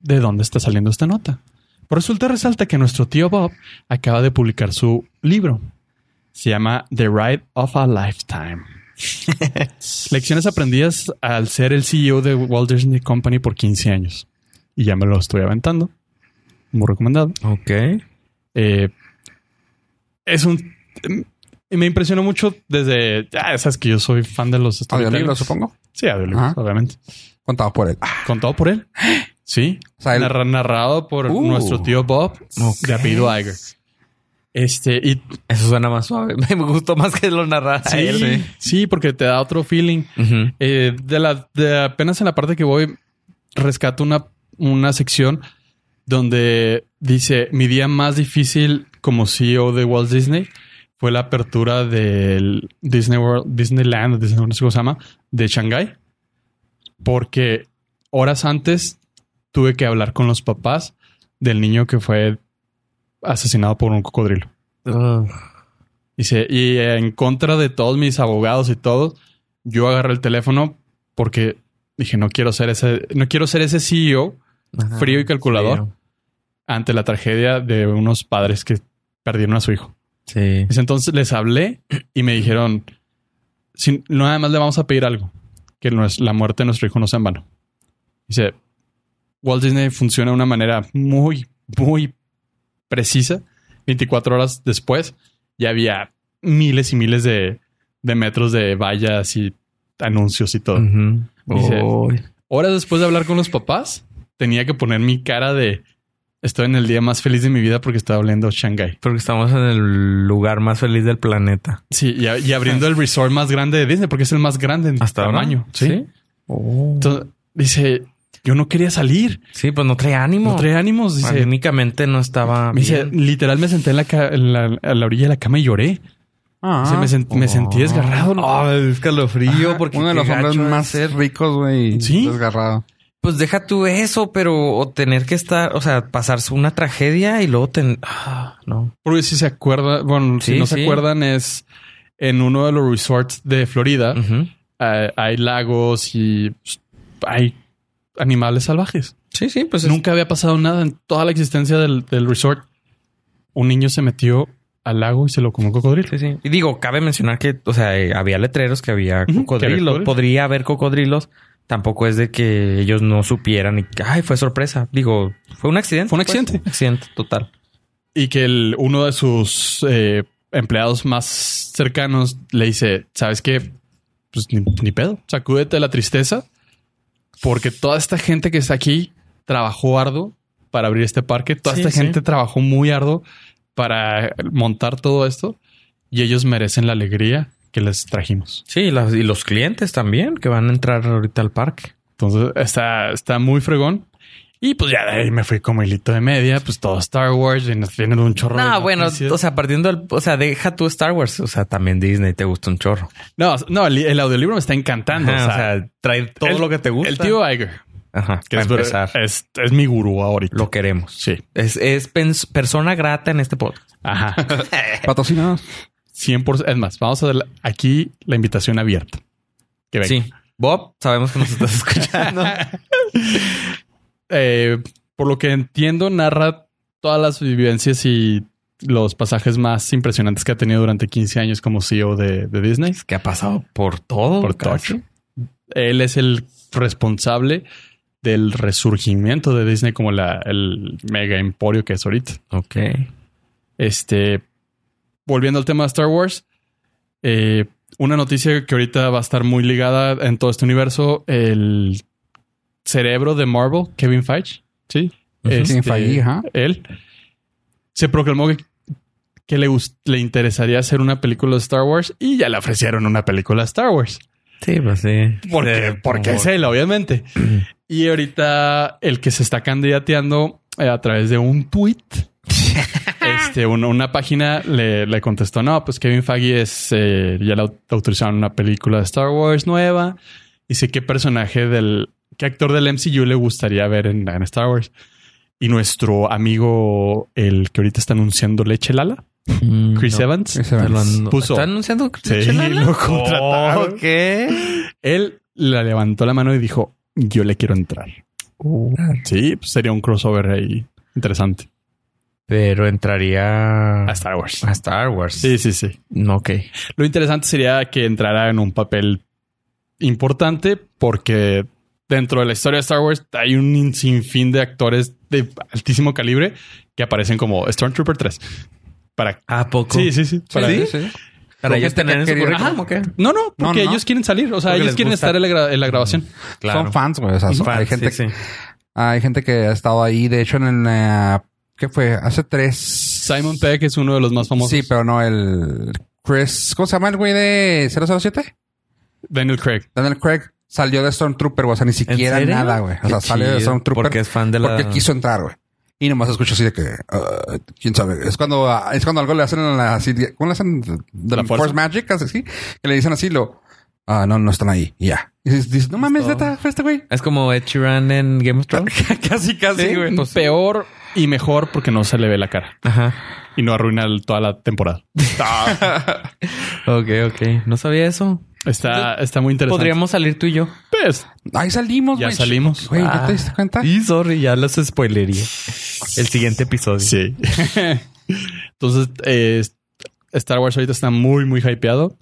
Speaker 2: ¿de dónde está saliendo esta nota? Pues Resulta resalta que nuestro tío Bob acaba de publicar su libro. Se llama The Ride of a Lifetime. Lecciones aprendidas al ser el CEO de Walt Disney Company por 15 años. Y ya me lo estoy aventando. Muy recomendado.
Speaker 3: Ok.
Speaker 2: Eh, es un. y Me impresionó mucho desde. Ya sabes que yo soy fan de los
Speaker 1: Audiolibro,
Speaker 2: storytellers.
Speaker 1: supongo.
Speaker 2: Sí, audiolibros,
Speaker 1: Ajá.
Speaker 2: obviamente.
Speaker 1: Contado por él.
Speaker 2: Contado por él. Sí.
Speaker 1: O sea, él-
Speaker 2: Narra- narrado por
Speaker 1: Uh.
Speaker 2: nuestro tío Bob
Speaker 3: Ok.
Speaker 2: de apellido Iger. Este, y
Speaker 3: Eso suena más suave. Me gustó más que lo narrara
Speaker 2: sí,
Speaker 3: él.
Speaker 2: sí. porque te da otro feeling.
Speaker 3: Ujú.
Speaker 2: Eh, de la, de apenas en la parte que voy, rescato una, una sección donde dice: Mi día más difícil como CEO de Walt Disney fue la apertura del Disney World, Disneyland, o Disney, no sé cómo se llama, de Shanghai. Porque horas antes tuve que hablar con los papás del niño que fue asesinado por un cocodrilo.
Speaker 3: Ugh.
Speaker 2: Dice, y en contra de todos mis abogados y todo, yo agarré el teléfono porque dije, no quiero ser ese, no quiero ser ese CEO
Speaker 3: Ajá.
Speaker 2: Frío y calculador.
Speaker 3: Frío.
Speaker 2: ante la tragedia de unos padres que perdieron a su hijo.
Speaker 3: Sí.
Speaker 2: Dice, entonces les hablé y me dijeron, si, nada más le vamos a pedir algo, que nues- la muerte de nuestro hijo no sea en vano. Dice, Walt Disney funciona de una manera muy, muy precisa. 24 horas después ya había miles y miles de, de metros de vallas y anuncios y
Speaker 3: Mm.
Speaker 2: todo.
Speaker 3: Ujú.
Speaker 2: Dice-
Speaker 3: Uy.
Speaker 2: Horas después de hablar con los papás, tenía que poner mi cara de... Estoy en el día más feliz de mi vida porque estaba hablando Shanghái.
Speaker 3: Porque estamos en el lugar más feliz del planeta.
Speaker 2: Sí, y, a- y abriendo el resort más grande de Disney, porque es el más grande en
Speaker 3: Hasta ahora.
Speaker 2: tamaño. ¿sí?
Speaker 3: Sí.
Speaker 2: Entonces, dice, yo no quería salir.
Speaker 3: Sí, pues no trae ánimo.
Speaker 2: No traía ánimos. Dice,
Speaker 3: Anímicamente no estaba.
Speaker 2: me dice,
Speaker 3: bien.
Speaker 2: literal me senté en la, ca- en la- a la orilla de la cama y lloré. Dice, me, sent- me sentí desgarrado.
Speaker 3: Ah, escalofrío,
Speaker 1: Ajá,
Speaker 3: porque
Speaker 1: uno de
Speaker 3: qué
Speaker 1: los hombres
Speaker 3: gacho ha de
Speaker 1: más
Speaker 3: ser.
Speaker 1: ricos, güey. y
Speaker 2: Sí.
Speaker 1: Desgarrado.
Speaker 3: Pues deja tú eso, pero o tener que estar, o sea, pasarse una tragedia y luego ten... Ah, no.
Speaker 2: Porque si se acuerda, bueno, si
Speaker 3: Sí,
Speaker 2: no se
Speaker 3: sí.
Speaker 2: acuerdan, es en uno de los resorts de Florida.
Speaker 3: Ujú.
Speaker 2: eh, hay lagos y pues, hay animales salvajes.
Speaker 3: Sí, sí, pues es-
Speaker 2: Nunca había pasado nada en toda la existencia del, del resort. Un niño se metió al lago y se lo comió un cocodrilo.
Speaker 3: Sí, sí. Y digo, cabe mencionar que, o sea, eh, había letreros que había
Speaker 2: Ujú, que había
Speaker 3: cocodrilos.
Speaker 2: cocodrilos.
Speaker 3: Podría haber cocodrilos. Tampoco es de que ellos no supieran y que, ay, fue sorpresa. Digo, fue un accidente.
Speaker 2: Fue un
Speaker 3: pues.
Speaker 2: accidente.
Speaker 3: accidente total.
Speaker 2: Y que el- uno de sus eh, empleados más cercanos le dice, ¿sabes qué? Pues ni, ni pedo, sacúdete de la tristeza, porque toda esta gente que está aquí trabajó arduo para abrir este parque, toda
Speaker 3: Sí,
Speaker 2: esta
Speaker 3: sí.
Speaker 2: gente trabajó muy arduo para montar todo esto, y ellos merecen la alegría que les trajimos.
Speaker 3: Sí, y las- y los clientes también que van a entrar ahorita al parque.
Speaker 2: Entonces está, está muy fregón. Y pues ya de ahí me fui como hilito de media, pues todo Star Wars y nos vienen un chorro. de
Speaker 3: No, bueno,
Speaker 2: noticias.
Speaker 3: o sea, partiendo del, o sea, deja tú Star Wars, o sea, también Disney te gusta un chorro.
Speaker 2: No, no, el, el audiolibro me está encantando.
Speaker 3: Ajá,
Speaker 2: o sea,
Speaker 3: trae todo
Speaker 2: el-
Speaker 3: lo que te gusta.
Speaker 2: el tío Iger,
Speaker 3: Ajá,
Speaker 2: que
Speaker 3: para
Speaker 2: es,
Speaker 3: empezar,
Speaker 2: es, es mi gurú ahorita.
Speaker 3: lo queremos.
Speaker 2: Sí.
Speaker 3: Es, es pens- persona grata en este podcast.
Speaker 2: Ajá.
Speaker 3: Eh,
Speaker 1: Patrocinados.
Speaker 2: 100%. Es más, vamos a dar aquí la invitación abierta. Que venga.
Speaker 3: Sí. Bob, sabemos que nos estás escuchando.
Speaker 2: Eh, por lo que entiendo, narra todas las vivencias y los pasajes más impresionantes que ha tenido durante 15 años como CEO de, de Disney.
Speaker 3: que ha pasado por todo.
Speaker 2: Por
Speaker 3: casi.
Speaker 2: Touch. Él es el responsable del resurgimiento de Disney como la, el mega emporio que es ahorita.
Speaker 3: Ok.
Speaker 2: Este, volviendo al tema de Star Wars, eh, una noticia que ahorita va a estar muy ligada en todo este universo, el cerebro de Marvel, Kevin Feige, ¿sí? Este,
Speaker 3: Ujú.
Speaker 1: Kevin Feige, ajá.
Speaker 2: Él se proclamó que, que le, gust- le interesaría hacer una película de Star Wars y ya le ofrecieron una película de Star Wars.
Speaker 3: Sí, pues sí.
Speaker 2: Porque,
Speaker 3: Sí,
Speaker 2: porque
Speaker 3: por-
Speaker 2: es él, obviamente. y ahorita el que se está candidateando eh, a través de un tweet, este, un- una página le, le contestó: No, pues Kevin Feige es eh, ya le au- autorizaron una película de Star Wars nueva. Dice qué personaje del qué actor del MCU le gustaría ver en, en Star Wars. Y nuestro amigo, el que ahorita está anunciando Leche Lala,
Speaker 3: Mm,
Speaker 2: Chris
Speaker 3: no.
Speaker 2: Evans,
Speaker 1: Ese va.
Speaker 3: Te lo ando-
Speaker 2: Puso.
Speaker 3: ¿Está anunciando
Speaker 2: Sí,
Speaker 3: Chalala?
Speaker 2: lo
Speaker 3: Oh,
Speaker 2: contrataron.
Speaker 3: Ok.
Speaker 2: él le levantó la mano y dijo: Yo le quiero entrar. Sí, pues sería un crossover ahí interesante.
Speaker 3: Pero entraría
Speaker 2: A Star Wars.
Speaker 3: a Star Wars.
Speaker 2: Sí, sí, sí.
Speaker 3: No, ok.
Speaker 2: Lo interesante sería que entrara en un papel importante porque dentro de la historia de Star Wars hay un sinfín de actores de altísimo calibre que aparecen como Stormtrooper 3. Para...
Speaker 3: ¿A poco?
Speaker 2: Sí, sí, sí. Para-
Speaker 1: Sí, sí.
Speaker 3: Para
Speaker 1: Porque
Speaker 3: ellos
Speaker 1: te
Speaker 3: tener en su
Speaker 1: quería-
Speaker 3: currículum, ¿o qué?
Speaker 2: No, no, porque
Speaker 1: No, no.
Speaker 2: ellos quieren salir. O sea,
Speaker 3: Porque
Speaker 2: ellos
Speaker 3: les
Speaker 2: quieren
Speaker 3: gusta.
Speaker 2: estar en la, gra- en la grabación.
Speaker 1: Son fans, güey. O sea, son- hay,
Speaker 3: Fans,
Speaker 1: gente,
Speaker 3: sí, sí.
Speaker 1: hay gente que ha estado ahí. De hecho, en la... ¿Qué fue? Hace tres...
Speaker 2: Simon Pegg es uno de los más famosos.
Speaker 1: Sí, pero no el... Chris... ¿Cómo se llama el güey de 007?
Speaker 2: Daniel Craig.
Speaker 1: Daniel Craig salió de Stormtrooper, güey. O sea, ni
Speaker 3: ¿En
Speaker 1: siquiera
Speaker 3: serio?
Speaker 1: nada, güey. O sea,
Speaker 3: Qué
Speaker 1: salió de
Speaker 3: chido,
Speaker 1: Stormtrooper
Speaker 3: Porque
Speaker 1: porque,
Speaker 3: es fan de la...
Speaker 1: quiso entrar, güey. Y nomás escucho así de que... ah, ¿Quién sabe? Es cuando, ah, es cuando algo le hacen a la... así de- ¿Cómo le hacen? De
Speaker 2: ¿La
Speaker 1: la
Speaker 2: fuerza?
Speaker 1: Force Magic, así. Que le dicen así lo... Ah, no, no están ahí. Y ya. Y dices, dices, no mames,
Speaker 3: todo.
Speaker 1: neta, fue este güey.
Speaker 3: Es como Ed Sheeran en Game of Thrones.
Speaker 1: casi,
Speaker 3: casi, güey. Pues sí.
Speaker 2: Peor y mejor porque no se le ve la cara
Speaker 3: Ajá.
Speaker 2: y no arruina el- toda la temporada.
Speaker 3: Ok, ok. No sabía eso.
Speaker 2: Está, está muy interesante.
Speaker 3: Podríamos salir tú y yo.
Speaker 2: Pues,
Speaker 1: Ahí salimos,
Speaker 2: Ya
Speaker 1: güey.
Speaker 2: salimos.
Speaker 1: Güey, ¿ya
Speaker 3: Ah.
Speaker 1: te diste cuenta?
Speaker 3: Y sorry, ya los spoilería. El siguiente episodio.
Speaker 2: sí. Entonces, eh, Star Wars ahorita está muy, muy hypeado.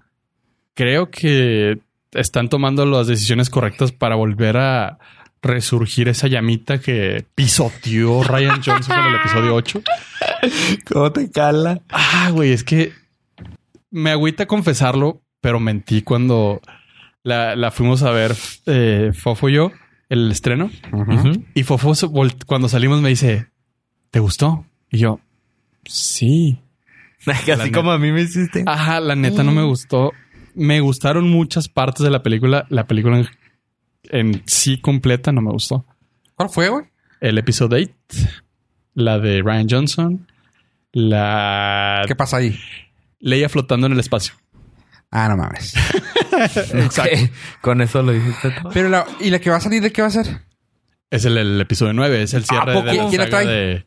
Speaker 2: Creo que están tomando las decisiones correctas para volver a resurgir esa llamita que pisoteó Ryan Johnson en el episodio 8.
Speaker 3: ¿Cómo te cala?
Speaker 2: Ah, güey, es que me agüita confesarlo, pero mentí cuando la, la fuimos a ver eh, Fofo y yo, el estreno.
Speaker 1: Ujú.
Speaker 2: Y Fofo se vol- cuando salimos me dice, ¿te gustó? Y yo, sí. La
Speaker 3: Así
Speaker 2: neta.
Speaker 3: como a mí me hiciste.
Speaker 2: Ajá, la neta no me gustó. Me gustaron muchas partes de la película. La película en, en sí completa no me gustó.
Speaker 1: ¿Cuál fue, güey?
Speaker 2: El episodio 8, la de Ryan Johnson, la
Speaker 1: ¿Qué pasa ahí?
Speaker 2: Leia flotando en el espacio.
Speaker 1: Ah, no mames.
Speaker 2: Exacto.
Speaker 3: Ok, Con eso lo dijiste todo.
Speaker 1: Pero la... ¿Y la que va a salir de qué va a ser?
Speaker 2: Es el, el episodio 9, es el cierre
Speaker 1: ¿A poco?
Speaker 2: de la
Speaker 1: ¿Quién la
Speaker 2: saga
Speaker 1: trae?
Speaker 2: de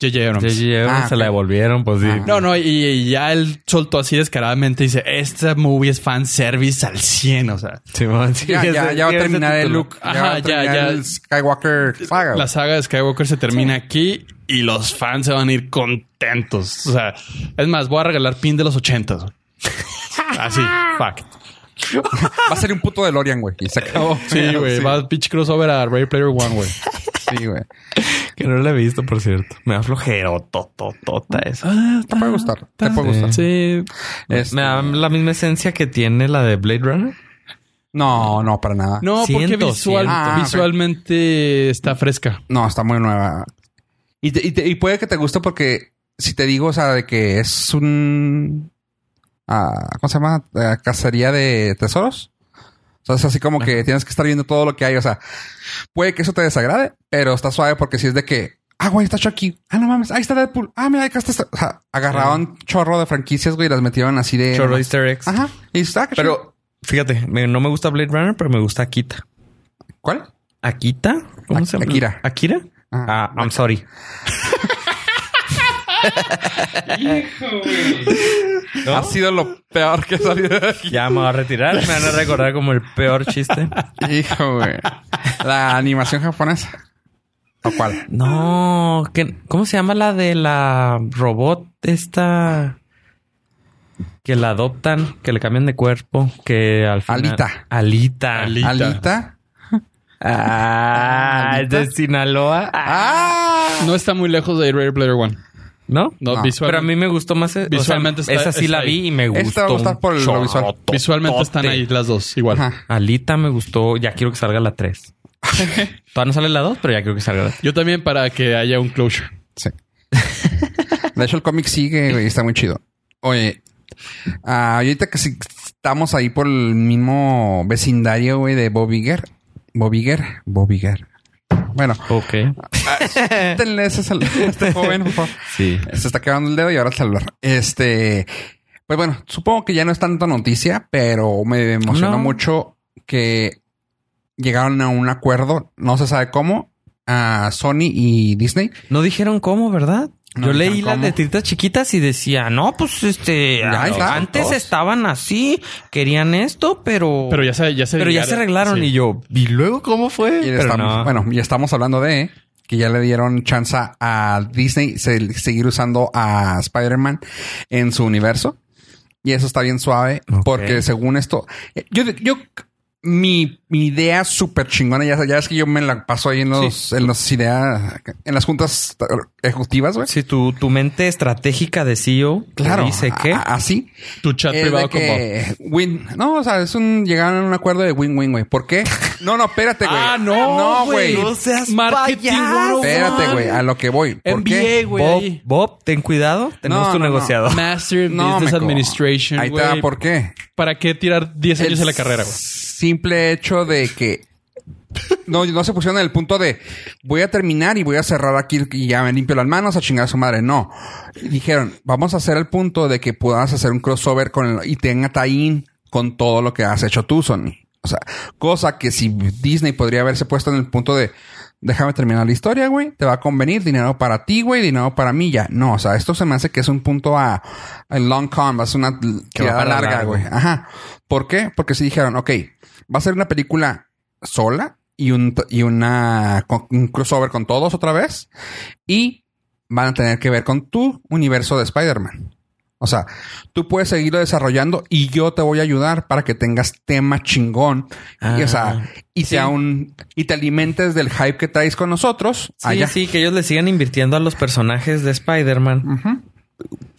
Speaker 2: J.J. Abrams.
Speaker 3: J.J. Abrams
Speaker 1: Ah,
Speaker 3: se
Speaker 1: ok. Ah,
Speaker 3: la devolvieron, pues sí.
Speaker 1: Ajá.
Speaker 2: No, no, y, y ya él soltó así descaradamente y dice, esta movie es fan service al 100, o sea,
Speaker 3: Simón, sí,
Speaker 1: Ya, ya,
Speaker 3: ese-
Speaker 1: ya va a
Speaker 3: ese
Speaker 1: terminar el
Speaker 3: título.
Speaker 1: look.
Speaker 2: Ajá, ya, ya.
Speaker 1: El Skywalker saga.
Speaker 2: la saga de Skywalker se termina aquí y los fans se van a ir contentos. O sea, es más, voy a regalar pin de los 80. güey. Así, fuck.
Speaker 1: Va a ser un puto de Lorian, güey. Y se acabó.
Speaker 2: Sí, güey, va a pitch crossover a Ray Player One, güey.
Speaker 1: Sí, güey.
Speaker 3: Que no la he visto, por cierto. Me da flojero, tototota eso.
Speaker 1: Te puede gustar. Ah, Te puede gustar.
Speaker 2: Sí.
Speaker 1: Este,
Speaker 3: Me da la misma esencia que tiene la de Blade Runner.
Speaker 1: No, no, para nada.
Speaker 2: No, porque
Speaker 3: Siento,
Speaker 2: visual,
Speaker 1: siento. Ah, ok.
Speaker 2: visualmente está fresca.
Speaker 1: No, está muy nueva. Y, te- y te- y puede que te guste porque si te digo, o sea, de que es un. ah, ¿Cómo se llama? Ah, cacería de tesoros. O sea, es así como que tienes que estar viendo todo lo que hay. O sea, puede que eso te desagrade, pero está suave porque si es de que. Ah, güey, está Chucky. Ah, no mames. Ahí está Deadpool. Ah, mira, acá está. esta-". O sea, agarraron chorro de franquicias, güey, y las metieron así de.
Speaker 3: Chorro Easter eggs.
Speaker 1: Ajá. Y está. qué chido.
Speaker 3: Pero fíjate, me- no me gusta Blade Runner, pero me gusta Akita.
Speaker 1: ¿Cuál?
Speaker 3: ¿Akita?
Speaker 1: Ak- Akira.
Speaker 3: ¿Akira?
Speaker 1: Ah.
Speaker 3: Ah, I'm sorry.
Speaker 1: Ha sido lo peor que salió de aquí.
Speaker 3: Ya me voy a retirar. Me van a recordar como el peor chiste.
Speaker 1: Hijo, güey. La animación japonesa. ¿O cuál?
Speaker 3: No, que- ¿cómo se llama la de la robot esta? Que la adoptan, que le cambian de cuerpo, que al final...
Speaker 1: Alita.
Speaker 3: Alita.
Speaker 2: Ali- Alita.
Speaker 1: ¿Alita?
Speaker 3: Ah, es de
Speaker 1: Alita.
Speaker 3: Sinaloa. Ah.
Speaker 1: ¡Ah!
Speaker 2: No está muy lejos de Ray Player One.
Speaker 3: ¿No?
Speaker 2: No,
Speaker 1: No.
Speaker 2: visualmente.
Speaker 3: Pero a mí me gustó más. eh, o sea,
Speaker 2: Visualmente está-
Speaker 3: esa sí
Speaker 2: está
Speaker 3: la
Speaker 2: ahí.
Speaker 3: vi y me gustó.
Speaker 1: Ah, Esta va a gustar
Speaker 3: un
Speaker 1: por lo
Speaker 3: chorro.
Speaker 1: visual.
Speaker 2: Visualmente están ahí las dos, igual.
Speaker 1: Ajá.
Speaker 3: Alita me gustó. Ya quiero que salga la 3. Todavía no sale la 2, pero ya quiero que salga la 3.
Speaker 2: Yo también para que haya un closure.
Speaker 1: Sí. De hecho, el cómic sigue, güey. Está muy chido. Oye, ah, ahorita que sí estamos ahí por el mismo vecindario, güey, de Bobiger. Bobiger. Bobiger. Bueno,
Speaker 3: Ok. Eh.
Speaker 1: denle ese saludo a este joven, por favor.
Speaker 3: Sí.
Speaker 1: Se está quedando el dedo y ahora el celular. Este, pues bueno, supongo que ya no es tanta noticia, pero me emocionó
Speaker 3: No.
Speaker 1: mucho que llegaron a un acuerdo, no se sabe cómo, a Sony y Disney.
Speaker 3: No dijeron cómo, ¿verdad?
Speaker 1: No
Speaker 3: Yo
Speaker 1: dijeron
Speaker 3: leí las
Speaker 1: cómo.
Speaker 3: letritas chiquitas y decía, no, pues este,
Speaker 1: Ya
Speaker 3: a-
Speaker 1: está.
Speaker 3: antes
Speaker 1: Todos.
Speaker 3: estaban así, querían esto, pero,
Speaker 2: Pero ya se, ya se,
Speaker 3: pero ya se arreglaron
Speaker 2: sí.
Speaker 3: y yo, ¿y luego cómo fue?
Speaker 1: Y
Speaker 3: Pero
Speaker 1: estamos-
Speaker 3: no.
Speaker 1: Bueno, ya estamos hablando de que ya le dieron chance a Disney se- seguir usando a Spider-Man en su universo. Y eso está bien suave
Speaker 3: Ok.
Speaker 1: porque según esto, eh, yo, yo mi, mi idea súper chingona, ya, ya es que yo me la paso ahí en los, en las ideas, en las juntas ejecutivas, güey.
Speaker 3: Si tu, tu mente estratégica de CEO te
Speaker 1: Claro. Ah,
Speaker 3: dice que
Speaker 1: a- así.
Speaker 2: Tu chat
Speaker 1: Es
Speaker 2: privado
Speaker 1: de que win. No, o sea, es un llegaron a un acuerdo de win-win, güey. ¿Por qué? No, no, espérate, güey.
Speaker 2: Ah, no,
Speaker 1: no,
Speaker 2: güey.
Speaker 1: güey.
Speaker 2: No
Speaker 3: seas
Speaker 2: Marketing
Speaker 3: payaso.
Speaker 1: Espérate, güey, Ah, a lo que voy.
Speaker 2: con Bob.
Speaker 1: ¿Por qué?
Speaker 2: NBA, güey.
Speaker 3: Bob,
Speaker 2: ahí.
Speaker 3: Bob, ten cuidado, tenemos
Speaker 1: No,
Speaker 3: tu
Speaker 1: no, no.
Speaker 3: negociador.
Speaker 2: Master of Business
Speaker 1: meco.
Speaker 2: Administration,
Speaker 1: Ahí está,
Speaker 2: güey.
Speaker 1: ¿por qué?
Speaker 2: ¿Para qué tirar 10 años de la carrera, güey?
Speaker 1: Simple hecho de que no, no se pusieron en el punto de voy a terminar y voy a cerrar aquí y ya me limpio las manos a chingar a su madre. No. Dijeron, vamos a hacer el punto de que puedas hacer un crossover con el, y tenga tie-in con todo lo que has hecho tú, Sony. O sea, cosa que si Disney podría haberse puesto en el punto de déjame terminar la historia, güey, te va a convenir dinero para ti, güey, dinero para mí ya. No, o sea, esto se me hace que es un punto a, a long con, va a ser una tirada
Speaker 3: para
Speaker 1: larga,
Speaker 3: largo.
Speaker 1: güey. Ajá. ¿Por qué? Porque si dijeron, ok, va a ser una película sola y un, y una, con- un crossover con todos otra vez. Y van a tener que ver con tu universo de Spider-Man. O sea, tú puedes seguirlo desarrollando y yo te voy a ayudar para que tengas tema chingón. y, o
Speaker 3: Ah,
Speaker 1: sea, y sea un, y te alimentes del hype que traes con nosotros.
Speaker 3: Sí,
Speaker 1: allá.
Speaker 3: sí, que ellos le sigan invirtiendo a los personajes de Spider-Man.
Speaker 1: Ujú.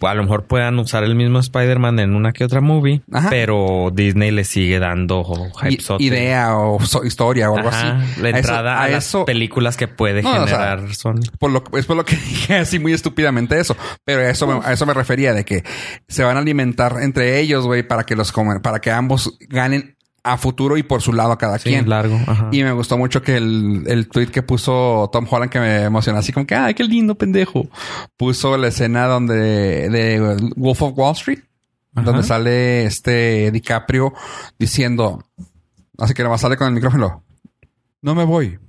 Speaker 3: a lo mejor puedan usar el mismo Spider-Man en una que otra movie,
Speaker 1: Ajá.
Speaker 3: pero Disney le sigue dando hype
Speaker 1: I- idea o so- historia o algo así.
Speaker 3: La
Speaker 1: A eso-
Speaker 3: entrada a,
Speaker 1: a
Speaker 3: las
Speaker 1: eso-
Speaker 3: películas que puede
Speaker 1: No, o sea,
Speaker 3: generar Sony.
Speaker 1: por lo, es por lo que dije así muy estúpidamente eso. Pero a eso, me, a eso me refería, de que se van a alimentar entre ellos, güey, para que los comen, para que ambos ganen a futuro y por su lado cada
Speaker 3: Sí,
Speaker 1: quien.
Speaker 3: largo. ajá.
Speaker 1: Y me gustó mucho que el, el tweet que puso Tom Holland que me emocionó así como que, ay, qué lindo pendejo. Puso la escena donde de Wolf of Wall Street,
Speaker 3: Ajá.
Speaker 1: donde sale este DiCaprio diciendo, así que nomás sale con el micrófono, no me voy.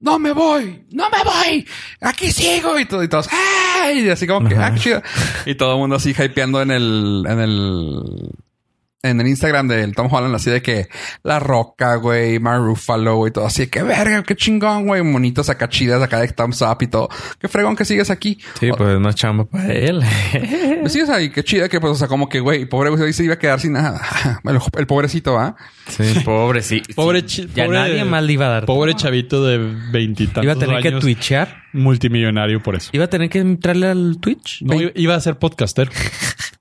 Speaker 1: no me voy, no me voy, aquí sigo y, todo, y todos, ¡ay! Y así como que,
Speaker 3: Ajá.
Speaker 1: ¡ah, qué chido! Y todo el mundo así hypeando en el, en el, en el Instagram del Tom Holland, así de que La Roca, güey, Mark Ruffalo, güey, todo así de que, verga, qué chingón, güey, monitos acá chidas, acá de thumbs up y todo. Qué fregón que sigues aquí.
Speaker 3: Sí, pues es más chamba para él.
Speaker 1: Pues sí, o sea, y qué chida que, pues, o sea, como que, güey, pobre güey, se iba a quedar sin nada. El, el pobrecito, ¿ah?
Speaker 3: sí, pobre, sí.
Speaker 2: Pobre
Speaker 3: sí.
Speaker 2: chi-
Speaker 3: Ya
Speaker 2: pobre-
Speaker 3: nadie más le iba a dar.
Speaker 2: Pobre chavito de veintitantos
Speaker 3: iba a tener que
Speaker 2: años,
Speaker 3: twitchear.
Speaker 2: multimillonario por eso.
Speaker 3: Iba a tener que entrarle al Twitch.
Speaker 2: No, iba- iba a ser podcaster.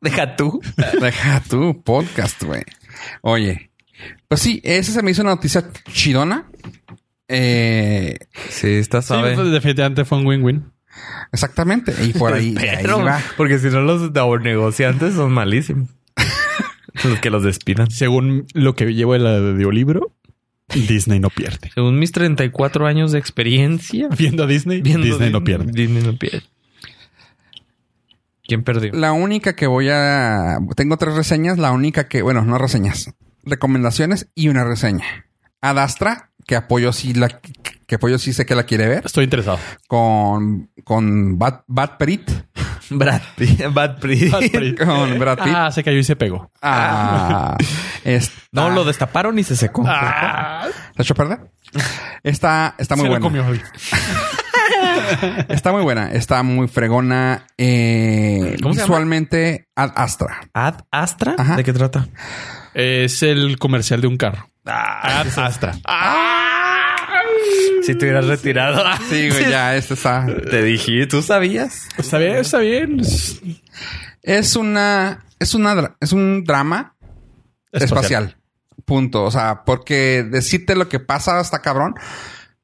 Speaker 3: Deja tú.
Speaker 1: Deja tu podcast, güey. Oye, pues sí, esa se me hizo una noticia chidona. Eh,
Speaker 3: Sí, está
Speaker 2: Sí,
Speaker 3: suave.
Speaker 2: pues, definitivamente fue un win-win.
Speaker 1: exactamente. Y por ahí,
Speaker 3: Espero,
Speaker 1: ahí va.
Speaker 3: Porque si no, los negociantes son malísimos. los que los despidan.
Speaker 2: Según lo que llevo el audiolibro, Disney no pierde.
Speaker 3: Según mis 34 años de experiencia,
Speaker 2: Viendo a Disney,
Speaker 3: viendo
Speaker 2: Disney no
Speaker 3: Disney-
Speaker 2: pierde.
Speaker 3: Disney no pierde. ¿Quién perdió?
Speaker 1: La única que voy a... Tengo tres reseñas. La única que... Bueno, no reseñas. Recomendaciones y una reseña. Adastra, que apoyo sí la... Que apoyo sí sé que la quiere ver.
Speaker 2: Estoy interesado.
Speaker 1: Con... Con Bat, Bat Perit.
Speaker 3: Brad Pitt. Brad Pitt.
Speaker 1: Con Brad Pitt.
Speaker 2: ah, se cayó y se pegó.
Speaker 1: Ah, es-
Speaker 3: No, lo destaparon y se secó. Ah.
Speaker 1: ¿Se echó a perder? Está, está muy
Speaker 2: se
Speaker 1: buena.
Speaker 2: lo comió hoy.
Speaker 1: Está muy buena. Está muy fregona. eh,
Speaker 3: ¿Cómo se llama?
Speaker 1: visualmente ad astra.
Speaker 3: ¿Ad Astra?
Speaker 1: Ajá.
Speaker 3: ¿De qué trata?
Speaker 2: Es el comercial de un carro.
Speaker 1: Ah,
Speaker 2: Ah, Ad Astra.
Speaker 3: Si te hubieras retirado.
Speaker 1: Sí, güey, ya, este está.
Speaker 3: Te dije, ¿tú sabías?
Speaker 2: Está bien, está bien. Es-
Speaker 1: Es una, es una, dra- es un drama espacial. Punto. O sea, porque decirte lo que pasa está cabrón.